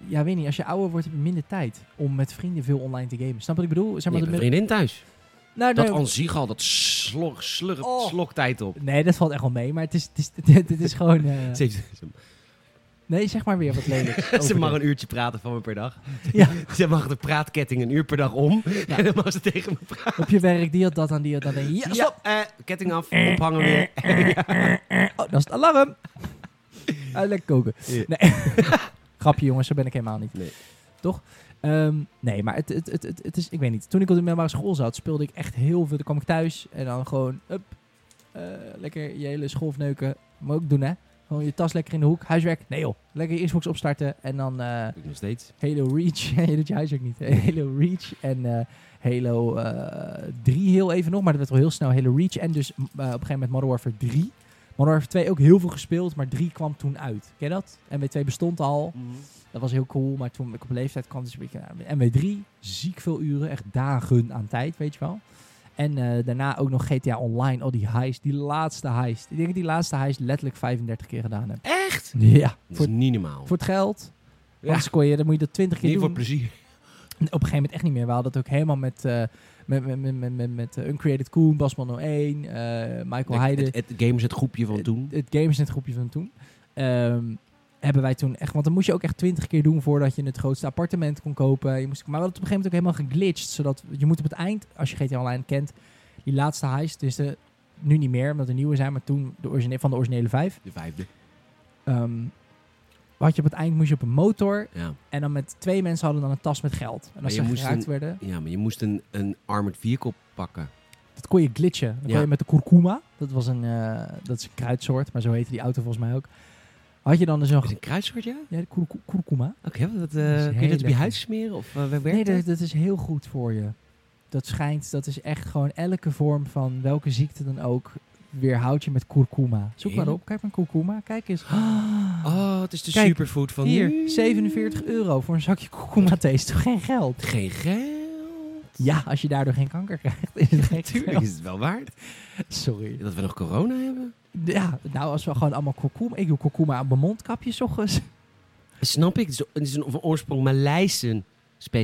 ja, weet niet. Als je ouder wordt, heb je minder tijd om met vrienden veel online te gamen. Snap wat ik bedoel? Nee, Zeg maar mijn dat vriendin thuis. met- nou, Dat nee, aan zich al, dat slok, slurp, Oh. sloktijd op. nee, dat valt echt wel mee. Maar het is, het is, dit is gewoon... [LAUGHS] eh, Ze, heeft- ze- nee, zeg maar weer wat [LAUGHS] lelijks. ze over mag dit. een uurtje praten van me per dag. Ja. [LAUGHS] Ze mag de praatketting een uur per dag om. En dan mag ze tegen me praten. op je werk, die had dat aan, die had dat aan. [LAUGHS] Ja, stop. eh, ketting af, ophangen weer. Oh, dat is het [LAUGHS] alarm. Ah, lekker koken. Ja. Nee. [LAUGHS] Grapje jongens, zo ben ik helemaal niet. Nee. Toch? Ehm, nee, maar het, het, het, het, het is, ik weet niet. Toen ik op de middelbare school zat, speelde ik echt heel veel. Dan kwam ik thuis en dan gewoon, up, eh, lekker je hele school verneuken. Moet je ook doen hè. Gewoon je tas lekker in de hoek, huiswerk. Nee joh, lekker je Xbox opstarten en dan eh, Doe ik nog steeds. Halo Reach. [LAUGHS] je doet je huiswerk niet. Halo Reach en eh, Halo eh 3 heel even nog, maar dat werd wel heel snel Halo Reach. En dus m- eh, op een gegeven moment Modern Warfare 3. Modern Warfare 2 ook heel veel gespeeld, maar 3 kwam toen uit. Ken je dat? MW2 bestond al. Dat was heel cool, maar toen ik op leeftijd kwam, dus een beetje naar MW3. Ziek veel uren, echt dagen aan tijd, weet je wel. En eh, daarna ook nog GTA Online, al die heist, die laatste heist. Ik denk dat die laatste heist letterlijk 35 keer gedaan heb. Echt? Ja. Dat Voor, is niet normaal. voor het geld. Ja. Anders kon je, dan moet je dat 20 keer Niet voor doen. plezier. Op een gegeven moment echt niet meer. We hadden dat ook helemaal met, eh, met, met, met, met, met, met, eh, Uncreated Koen, Basman 01, eh, Michael Het, Heide. het, het game is het groepje van toen. Het gamesnet groepje van toen. Ehm, hebben wij toen echt... Want dan moest je ook echt twintig keer doen voordat je het grootste appartement kon kopen. Je moest, maar we hadden het op een gegeven moment ook helemaal geglitcht. Zodat je moet op het eind, als je GTA Online kent, die laatste heist. Dus de, nu niet meer, omdat er nieuwe zijn. Maar toen de origine, van de originele vijf. De vijfde. ehm, had je op het eind moest je op een motor. Ja, En dan met twee mensen hadden dan een tas met geld. En Maar als je ze moest geraakt een- werden... ja maar je moest een, een armored vehicle pakken. Dat kon je glitchen. Dan Ja. kon je met de kurkuma, dat, was een, eh, dat is een kruidsoort, maar zo heette die auto volgens mij ook. Had je dan dus een... Is het een kruidsoort, ja? Ja, de kurku- kurkuma. Oké, dat, eh, is kun je dat op heel je lekker. huis smeren? Of eh, waar Nee, werkt dat, het? dat is heel goed voor je. Dat schijnt, dat is echt gewoon elke vorm van welke ziekte dan ook, weerhoud je met kurkuma. Zoek maar Heerlijk. op, kijk maar kurkuma, kijk eens. [GASPS] Oh, het is de Kijk, superfood van nu. Hier, 47 euro voor een zakje kurkuma thee is toch geen geld? Geen geld. Ja, als je daardoor geen kanker krijgt, is het geen Tuurlijk geld. is het wel waard. Sorry. Dat we nog corona hebben. Ja, nou als we gewoon allemaal kurkuma, ik doe kurkuma aan mijn mondkapje 's ochtends. Snap ik. Het is, het is een van oorsprong Maleise een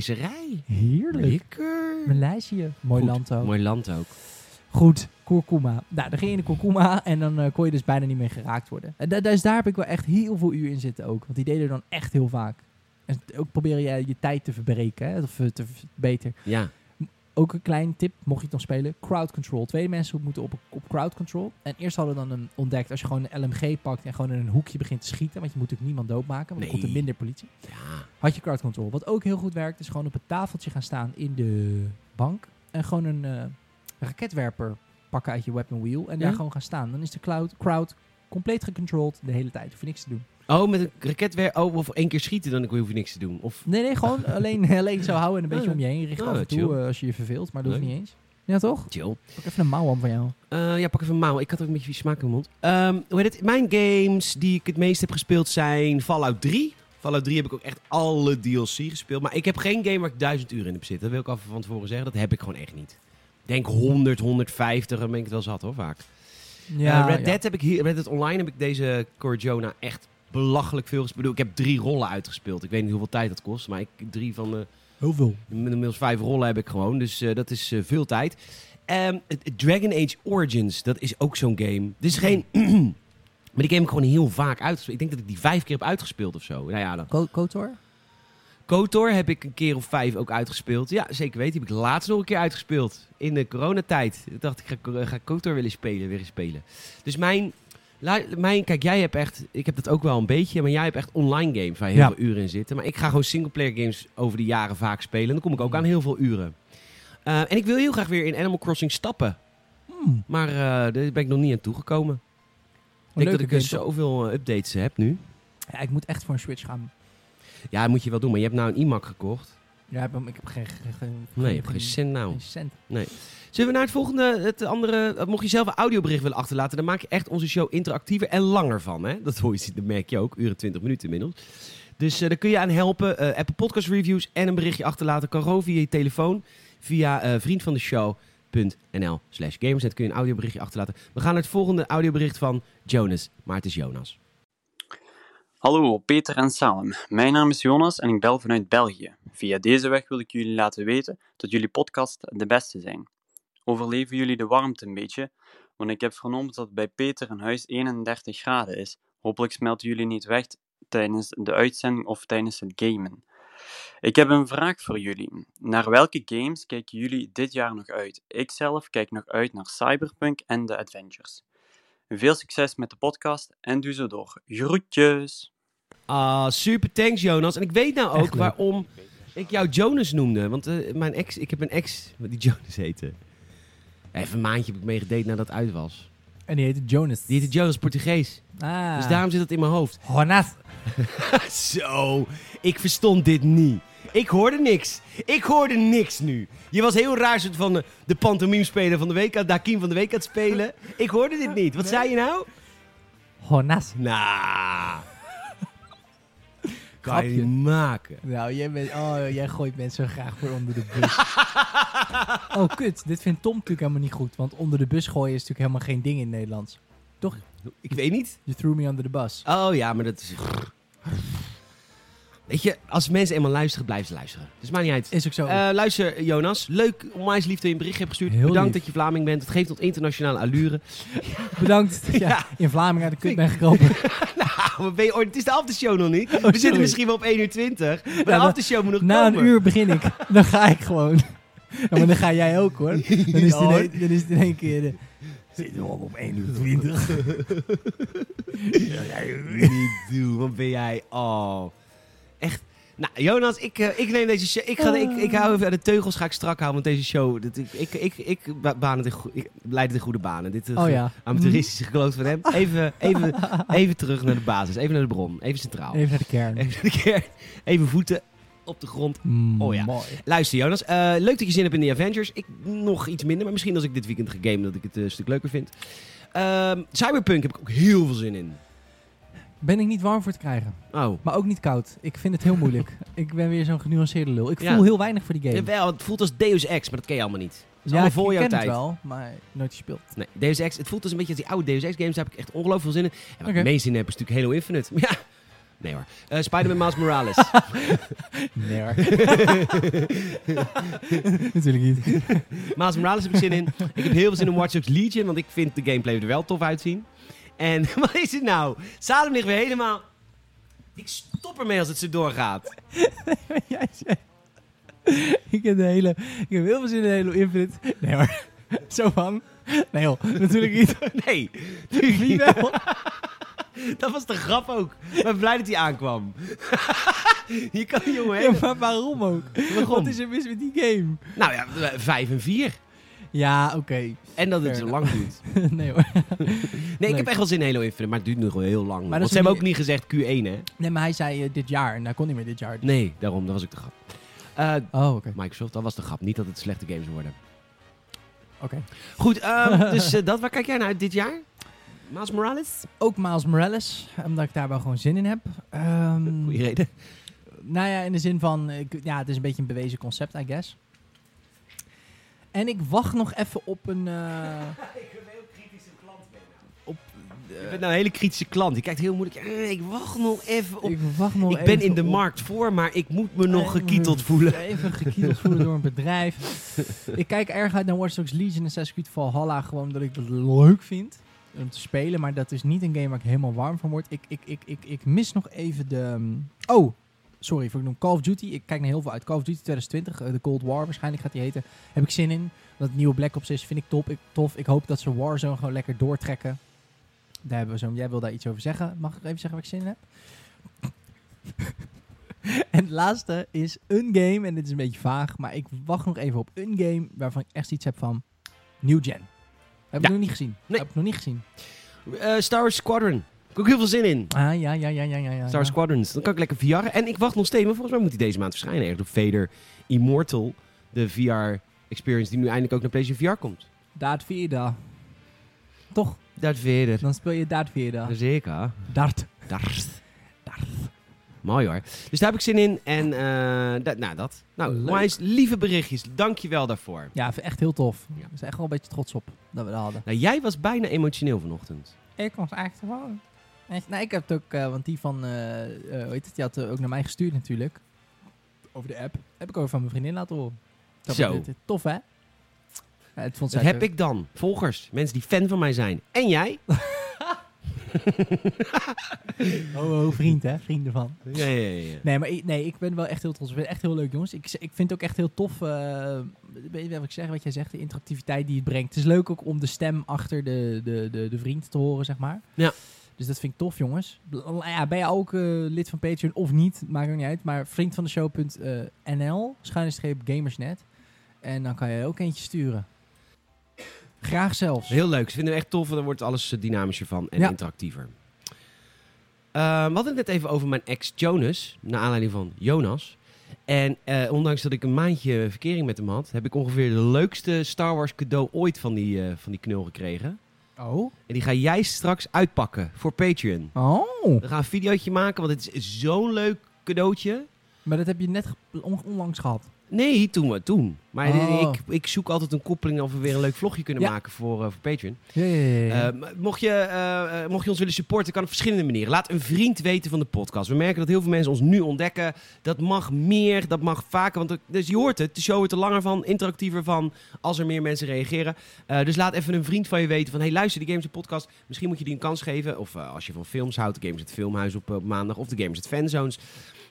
specerij. Heerlijk. Lekker. Maleisië. Mooi Goed, land ook. Mooi land ook. Goed, kurkuma. Nou, dan ging je in de kurkuma en dan eh, kon je dus bijna niet meer geraakt worden. En da- dus daar heb ik wel echt heel veel uur in zitten ook. Want die deden dan echt heel vaak. En t- ook probeer je je tijd te verbreken, hè, of eh, te v- beter. Ja. Ook een klein tip, mocht je het nog spelen. Crowd control. Twee mensen moeten op, op crowd control. En eerst hadden we dan een, ontdekt, als je gewoon een LMG pakt en gewoon in een hoekje begint te schieten. Want je moet natuurlijk niemand doodmaken, want dan Nee. komt er minder politie Ja. had je crowd control. Wat ook heel goed werkt, is gewoon op het tafeltje gaan staan in de bank. En gewoon een eh, een raketwerper pakken uit je weapon wheel. En daar Ja? gewoon gaan staan. Dan is de cloud, crowd compleet gecontrolled de hele tijd. Hoef je niks te doen. Oh, met een raket weer. Oh, of één keer schieten, dan hoef je niks te doen. Of Nee, [LAUGHS] nee, gewoon alleen, alleen zo houden en een beetje Oh Ja. om je heen richten. Ja, af en toe chill. eh, als je je verveelt, maar dat hoeft Leuk. niet eens. Ja, toch? chill. Pak even een mouw aan van jou. Eh, ja, pak even een mouw. Ik had ook een beetje vies smaak in mijn mond. Ehm, hoe heet het? Mijn games die ik het meest heb gespeeld zijn Fallout 3. Fallout 3 heb ik ook echt alle DLC gespeeld. Maar ik heb geen game waar ik duizend uur in heb zitten. Dat wil ik al van tevoren zeggen. Dat heb ik gewoon echt niet. Ik Denk 100, 150, dan ben Eh, ik het wel zat hoor, vaak. Eh, Red Dead heb ik hier, Red Dead Online heb ik deze Corjona echt belachelijk veel gespeeld. Ik bedoel, ik heb drie rollen uitgespeeld. Ik weet niet hoeveel tijd dat kost, maar ik, drie van de Heel veel. Inmiddels vijf rollen heb ik gewoon, dus eh, dat is eh, veel tijd. Ehm, het- het Dragon Age Origins, dat is ook zo'n game. Dit is geen... [CLEARS THROAT] maar die game heb ik gewoon heel vaak uitgespeeld. Ik denk dat ik die vijf keer heb uitgespeeld of zo. Nou ja, dan. Ko- Kotor? KOTOR heb ik een keer of vijf ook uitgespeeld. Ja, zeker weten. Die heb ik laatst nog een keer uitgespeeld. In de coronatijd. Ik dacht, ik ga, ga KOTOR willen spelen, weer eens spelen. Dus mijn... la- Mijn, kijk, jij hebt echt, ik heb dat ook wel een beetje, maar jij hebt echt online games waar heel Ja. veel uren in zitten. Maar ik ga gewoon singleplayer games over de jaren vaak spelen. En dan kom ik ook aan heel veel uren. Eh, en ik wil heel graag weer in Animal Crossing stappen. Hmm. Maar eh, daar ben ik nog niet aan toegekomen. Ik denk dat Leuke ik dus game, toch? zoveel eh, updates heb nu. Ja, ik moet echt voor een Switch gaan. Ja, dat moet je wel doen, maar je hebt nou een iMac gekocht. Ja, ik heb- ik heb geen... geen- geen- Nee, je hebt Hmm. geen cent nou. geen cent. Zullen we naar het volgende, het andere... eh, Mocht je zelf een audiobericht willen achterlaten... dan maak je echt onze show interactiever en langer van. Hè? Dat, hoor je, dat merk je ook, uren 20 minuten inmiddels. Dus eh, daar kun je aan helpen. Eh Apple Podcast Reviews en een berichtje achterlaten. Kan gewoon via je telefoon. Via eh vriendvandeshow.nl slash gamersnet kun je een audioberichtje achterlaten. We gaan naar het volgende audiobericht van Jonas. Maar het is Jonas. Hallo Peter en Salem, mijn naam is Jonas en ik bel vanuit België. Via deze weg wil ik jullie laten weten dat jullie podcast de beste zijn. Overleven jullie de warmte een beetje? Want ik heb vernomen dat het bij Peter in huis 31 graden is. Hopelijk smelten jullie niet weg tijdens de uitzending of tijdens het gamen. Ik heb een vraag voor jullie. Naar welke games kijken jullie dit jaar nog uit? Ikzelf kijk nog uit naar Cyberpunk en de Adventures. Veel succes met de podcast en doe zo door. Groetjes! Ah, super thanks Jonas. En ik weet nou Echt ook leuk. waarom ik jou Jonas noemde. Want eh, mijn ex, ik heb een ex die Jonas heette. Even een maandje heb ik meegedate nadat het uit was. En die heette Jonas. Die heette Jonas Portugees. Ah. Dus daarom zit dat in mijn hoofd. [LAUGHS] Jonas. Zo, ik verstond dit niet. Ik hoorde niks. Ik hoorde niks nu. Je was heel raar soort van de, de pantomimespeler van de week, aan- Dakim van de week aan het [LAUGHS] spelen. Ik hoorde dit niet. Wat zei je nou? Jonas. Nou, kan je Grapje. niet maken. Nou, jij, bent, oh, jij gooit mensen graag voor onder de [LAUGHS] bus. oh, kut. Dit vindt Tom natuurlijk helemaal niet goed. Want onder de bus gooien is natuurlijk helemaal geen ding in het Nederlands. Ik weet niet. You threw me under the bus. Oh ja, maar dat is... Weet je, als mensen eenmaal luisteren, blijven ze luisteren. Dus maakt niet uit. Is ook zo. Eh, luister, Jonas. Leuk, onwijs lief dat je een bericht hebt gestuurd. Heel Bedankt lief. dat je Vlaming bent. Het geeft tot internationale allure. Bedankt dat [LAUGHS] jij ja. in Vlamingen uit de kut Ik- ben gekropen. Ah, maar ben je, ooit- het is de aftershow nog niet. We Oh, sorry. zitten misschien wel op 1 uur 20. Maar de maar aftershow moet nog Na komen. een uur begin [LAUGHS] ik. Dan ga ik gewoon. Ja, maar dan ga jij ook hoor. Dan is het in, Ja, hoor. één- dan is het in één keer... De... Zit er al op 1 uur 20. Niet doen, wat ben jij? Oh. Echt. Nou, Jonas, ik, eh, ik neem deze show. Ik, ga, ik, ik hou even aan de teugels, ga ik strak houden. Want deze show. Dat, ik, ik, ik, ik, ba- baan het in goe- ik leid het in goede banen. Dit eh, Oh ja. amateuristische geloot van hem. Even, even, even terug naar de basis. Even naar de bron. Even centraal. Even naar de kern. Even, de kern. even voeten op de grond. Mm, Oh ja. Mooi. Luister Jonas, eh, leuk dat je zin hebt in de Avengers. Ik nog iets minder, maar misschien als ik dit weekend ga gamen dat ik het eh, een stuk leuker vind. Ehm, Cyberpunk heb ik ook heel veel zin in. Ben ik niet warm voor te krijgen. Oh. Maar ook niet koud. Ik vind het heel [LAUGHS] moeilijk. ik ben weer zo'n genuanceerde lul. Ik Ja. voel heel weinig voor die game. Wel, het voelt als Deus Ex, maar dat ken je allemaal niet. is ja, allemaal ik voor ik jouw ken het tijd. wel, maar nooit gespeeld. Nee, Deus Ex, het voelt als een beetje als die oude Deus Ex games. Daar heb ik echt ongelooflijk veel zin in. En wat Oké. ik meest zin heb is natuurlijk Halo Infinite. [LAUGHS] Maar ja, nee hoor. Eh, Spider-Man Miles Morales. Nee hoor. [LAUGHS] Natuurlijk [LAUGHS] niet. Miles Morales heb ik zin in. Ik heb heel veel zin in Watch Dogs Legion, want ik vind de gameplay er wel tof uitzien. En [LAUGHS] wat is het nou? Salem ligt weer helemaal... Ik stop ermee als het zo doorgaat. [LAUGHS] Jij zei... ik, heb de hele, ik heb heel veel zin in Halo Infinite. Nee hoor. [LAUGHS] Zo van. Nee hoor, natuurlijk niet. [LAUGHS] Nee, [LAUGHS] Wie wel? dat was de grap ook. Ik ben blij dat hij aankwam. [LAUGHS] Je kan die jongen Ja, hebben. maar [LAUGHS] waarom ook? Wat is er mis met die game? Nou ja, eh, vijf en vier. Ja, oké. [LAUGHS] En dat het Fair zo lang duurt. nee hoor. Nee, ik Leuk. heb echt wel zin in Halo Infinite, maar het duurt nog wel heel lang. dat Want is ze hebben niet- ook niet gezegd Q1, hè? Nee, maar hij zei eh, dit jaar. En hij kon niet meer dit jaar. Nee, daarom, dat was ook de grap. Eh, Oh, oké. Microsoft, dat was de grap. Niet dat het slechte games worden. Oké. Goed, [LAUGHS] ehm, dus eh, dat, waar kijk jij naar uit dit jaar? Miles Morales? Ook Miles Morales, omdat ik daar wel gewoon zin in heb. [LAUGHS] Ehm, Goeie reden. nou ja, in de zin van, ik- ja, het is een beetje een bewezen concept, I guess. En ik wacht nog even op een... eh, op Je bent nou een hele kritische klant. Die kijkt heel moeilijk. Eh, ik wacht nog even [LAUGHS] Eh, mm. op. ik wacht nog Ik ben even in de op. markt voor, maar ik moet me nog Even- gekieteld voelen. Eh, mm, Even gekieteld voelen door een bedrijf. [LAUGHS] ik kijk erg uit naar Watch Dogs Legion en Assassin's Creed Valhalla. Gewoon omdat ik dat leuk vind om te spelen. Maar dat is niet een game waar ik helemaal warm van word. Ik, ik, ik, ik, ik mis nog even de... ehm, Oh, sorry voor ik noem Call of Duty. Ik kijk naar heel veel uit. Call of Duty 2020, eh, de Cold War waarschijnlijk gaat die heten. Heb ik zin in. Dat het nieuwe Black Ops is, vind ik top. Ik, tof. Ik hoop dat ze Warzone gewoon lekker doortrekken. Daar hebben we zo. Jij wil daar iets over zeggen. Mag ik even zeggen wat ik zin in heb? En het laatste is een game, en dit is een beetje vaag, maar ik wacht nog even op een game waarvan ik echt iets heb van New Gen. Heb Ja. ik nog niet gezien. Nee. Heb ik nog niet gezien. Eh, Star Wars Squadron. Daar heb ik ook heel veel zin in. Ah, ja, ja, ja, ja, ja. ja Star Wars ja. Squadrons. Dan kan ik lekker VR. En ik wacht nog steeds. Maar volgens mij moet die deze maand verschijnen. Ergens op Vader Immortal. De VR-experience die nu eindelijk ook naar PlayStation VR komt. Daad Vierda. Toch? Darth Vader. Dan speel je Daad Vierda. Dus- Zeker. Dart. Darth. Darth. Mooi hoor. Dus daar heb ik zin in. En eh, dat, nou, dat. Nou, Leuk. Wise, lieve berichtjes. Dank je wel daarvoor. Ja, vind ik echt heel tof. Ja. We zijn echt wel een beetje trots op dat we dat hadden. Nou, jij was bijna emotioneel vanochtend. Ik was echt gewoon... Nou, ik heb het ook, eh, want die van, eh eh, hoe heet het, die had eh, ook naar mij gestuurd natuurlijk. Over de app. Heb ik ook van mijn vriendin laten horen. Dat Zo. vond ik- Tof, hè? Ja, het vond zij Dat heb ook. ik dan. Volgers. Mensen die fan van mij zijn. En jij? Oh, oh, vriend, hè? Vrienden van. Ja, ja, ja. ja. Nee, maar ik, nee, ik ben wel echt heel trots. Ik ben echt heel leuk, jongens. Ik, ik vind het ook echt heel tof. eh, weet je wat ik zeg? Wat jij zegt, de interactiviteit die het brengt. Het is leuk ook om de stem achter de, de, de, de vriend te horen, zeg maar. Ja. Dus dat vind ik tof, jongens. Bl- Ja, ben je ook eh, lid van Patreon of niet? Maakt ook niet uit. Maar vriend van de eh, show.nl, schuine-streep gamersnet. En dan kan je ook eentje sturen. Graag zelfs. Heel leuk. Ze vinden het echt tof. want Dan wordt alles eh, dynamischer van en Ja. interactiever. Ehm, we hadden het net even over mijn ex Jonas. Naar aanleiding van Jonas. En eh, ondanks dat ik een maandje verkering met hem had... heb ik ongeveer de leukste Star Wars cadeau ooit van die, eh, van die knul gekregen. Oh. En die ga jij straks uitpakken voor Patreon. Oh. We gaan een videootje maken, want het is zo'n leuk cadeautje. Maar dat heb je net ge- on- onlangs gehad. Nee, toen we toen. Maar Oh. ik, ik zoek altijd een koppeling of we weer een leuk vlogje kunnen Ja. maken voor, eh, voor Patreon. Ja, ja, ja, ja. Eh, maar mocht, je, eh, eh, mocht je ons willen supporten, kan op verschillende manieren. Laat een vriend weten van de podcast. We merken dat heel veel mensen ons nu ontdekken. Dat mag meer, dat mag vaker. Want er- dus je hoort het, de show wordt er langer van, interactiever van, als er meer mensen reageren. Eh, dus laat even een vriend van je weten van, hey luister, die Games het podcast, misschien moet je die een kans geven. Of eh, als je van films houdt, de Games het Filmhuis op, eh, op maandag of de Games het Fanzones.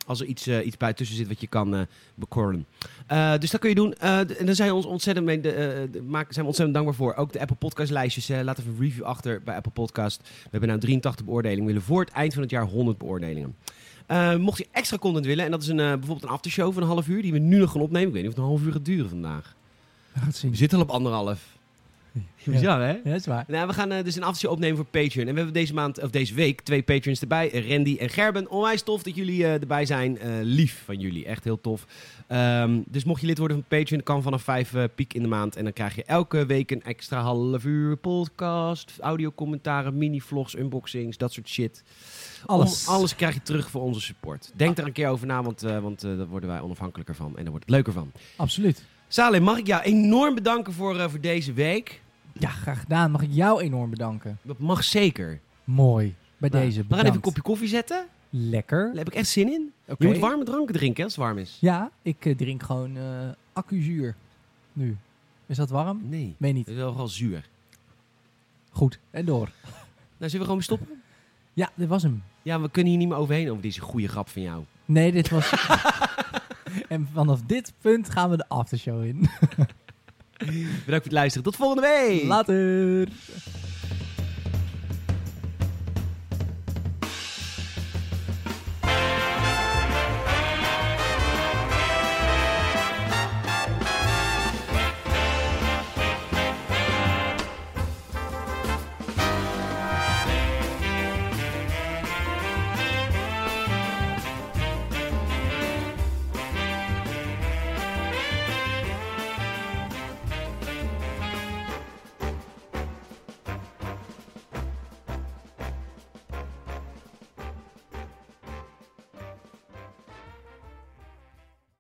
Als er iets, eh, iets bij tussen zit wat je kan eh, bekorrelen. Eh, dus dat kun je doen. Eh, d- en daar zijn we ons ontzettend, mee, de, eh, de- maak, zijn we ontzettend dankbaar voor. Ook de Apple Podcast lijstjes. eh, laat even een review achter bij Apple Podcast. We hebben nu 83 beoordelingen. We willen voor het eind van het jaar 100 beoordelingen. Eh, mocht je extra content willen, en dat is een, eh, bijvoorbeeld een aftershow van een half uur, die we nu nog gaan opnemen. Ik weet niet of het een half uur gaat duren vandaag. Laat zien. We zitten al op anderhalf. [LAUGHS] Bizar, hè? Ja, dat is waar. Nou, we gaan eh, dus een aftershow opnemen voor Patreon. En we hebben deze maand, of deze week, twee Patreons erbij. Eh, Randy en Gerben. Onwijs tof dat jullie eh, erbij zijn. Eh, lief van jullie. Echt heel tof. Ehm, dus mocht je lid worden van Patreon, kan vanaf vijf eh, piek in de maand. En dan krijg je elke week een extra half uur podcast, audiocommentaren, mini-vlogs, unboxings, dat soort shit. Alles. Om- alles krijg je terug voor onze support. Denk daar een keer over na, want, eh, want eh, daar worden wij onafhankelijker van. En daar wordt het leuker van. Absoluut. Saleh, mag ik jou enorm bedanken voor, eh, voor deze week? Ja, graag gedaan. Mag ik jou enorm bedanken. Dat mag zeker. Mooi. Bij Nou, deze. We gaan even een bedankt. kopje koffie zetten. Lekker. Daar heb ik echt zin in. Oké. Je moet warme dranken drinken hè, als het warm is. Ja, ik eh, drink gewoon eh accuzuur. Nu. Is dat warm? Nee, Meen dat niet. is wel gewoon zuur. Goed. En door. Nou, zullen we gewoon stoppen? Ja, dit was hem. Ja, we kunnen hier niet meer overheen over deze goede grap van jou. Nee, [LAUGHS] dit was... en vanaf dit punt gaan we de aftershow in. Bedankt voor het luisteren. Tot volgende week! Later.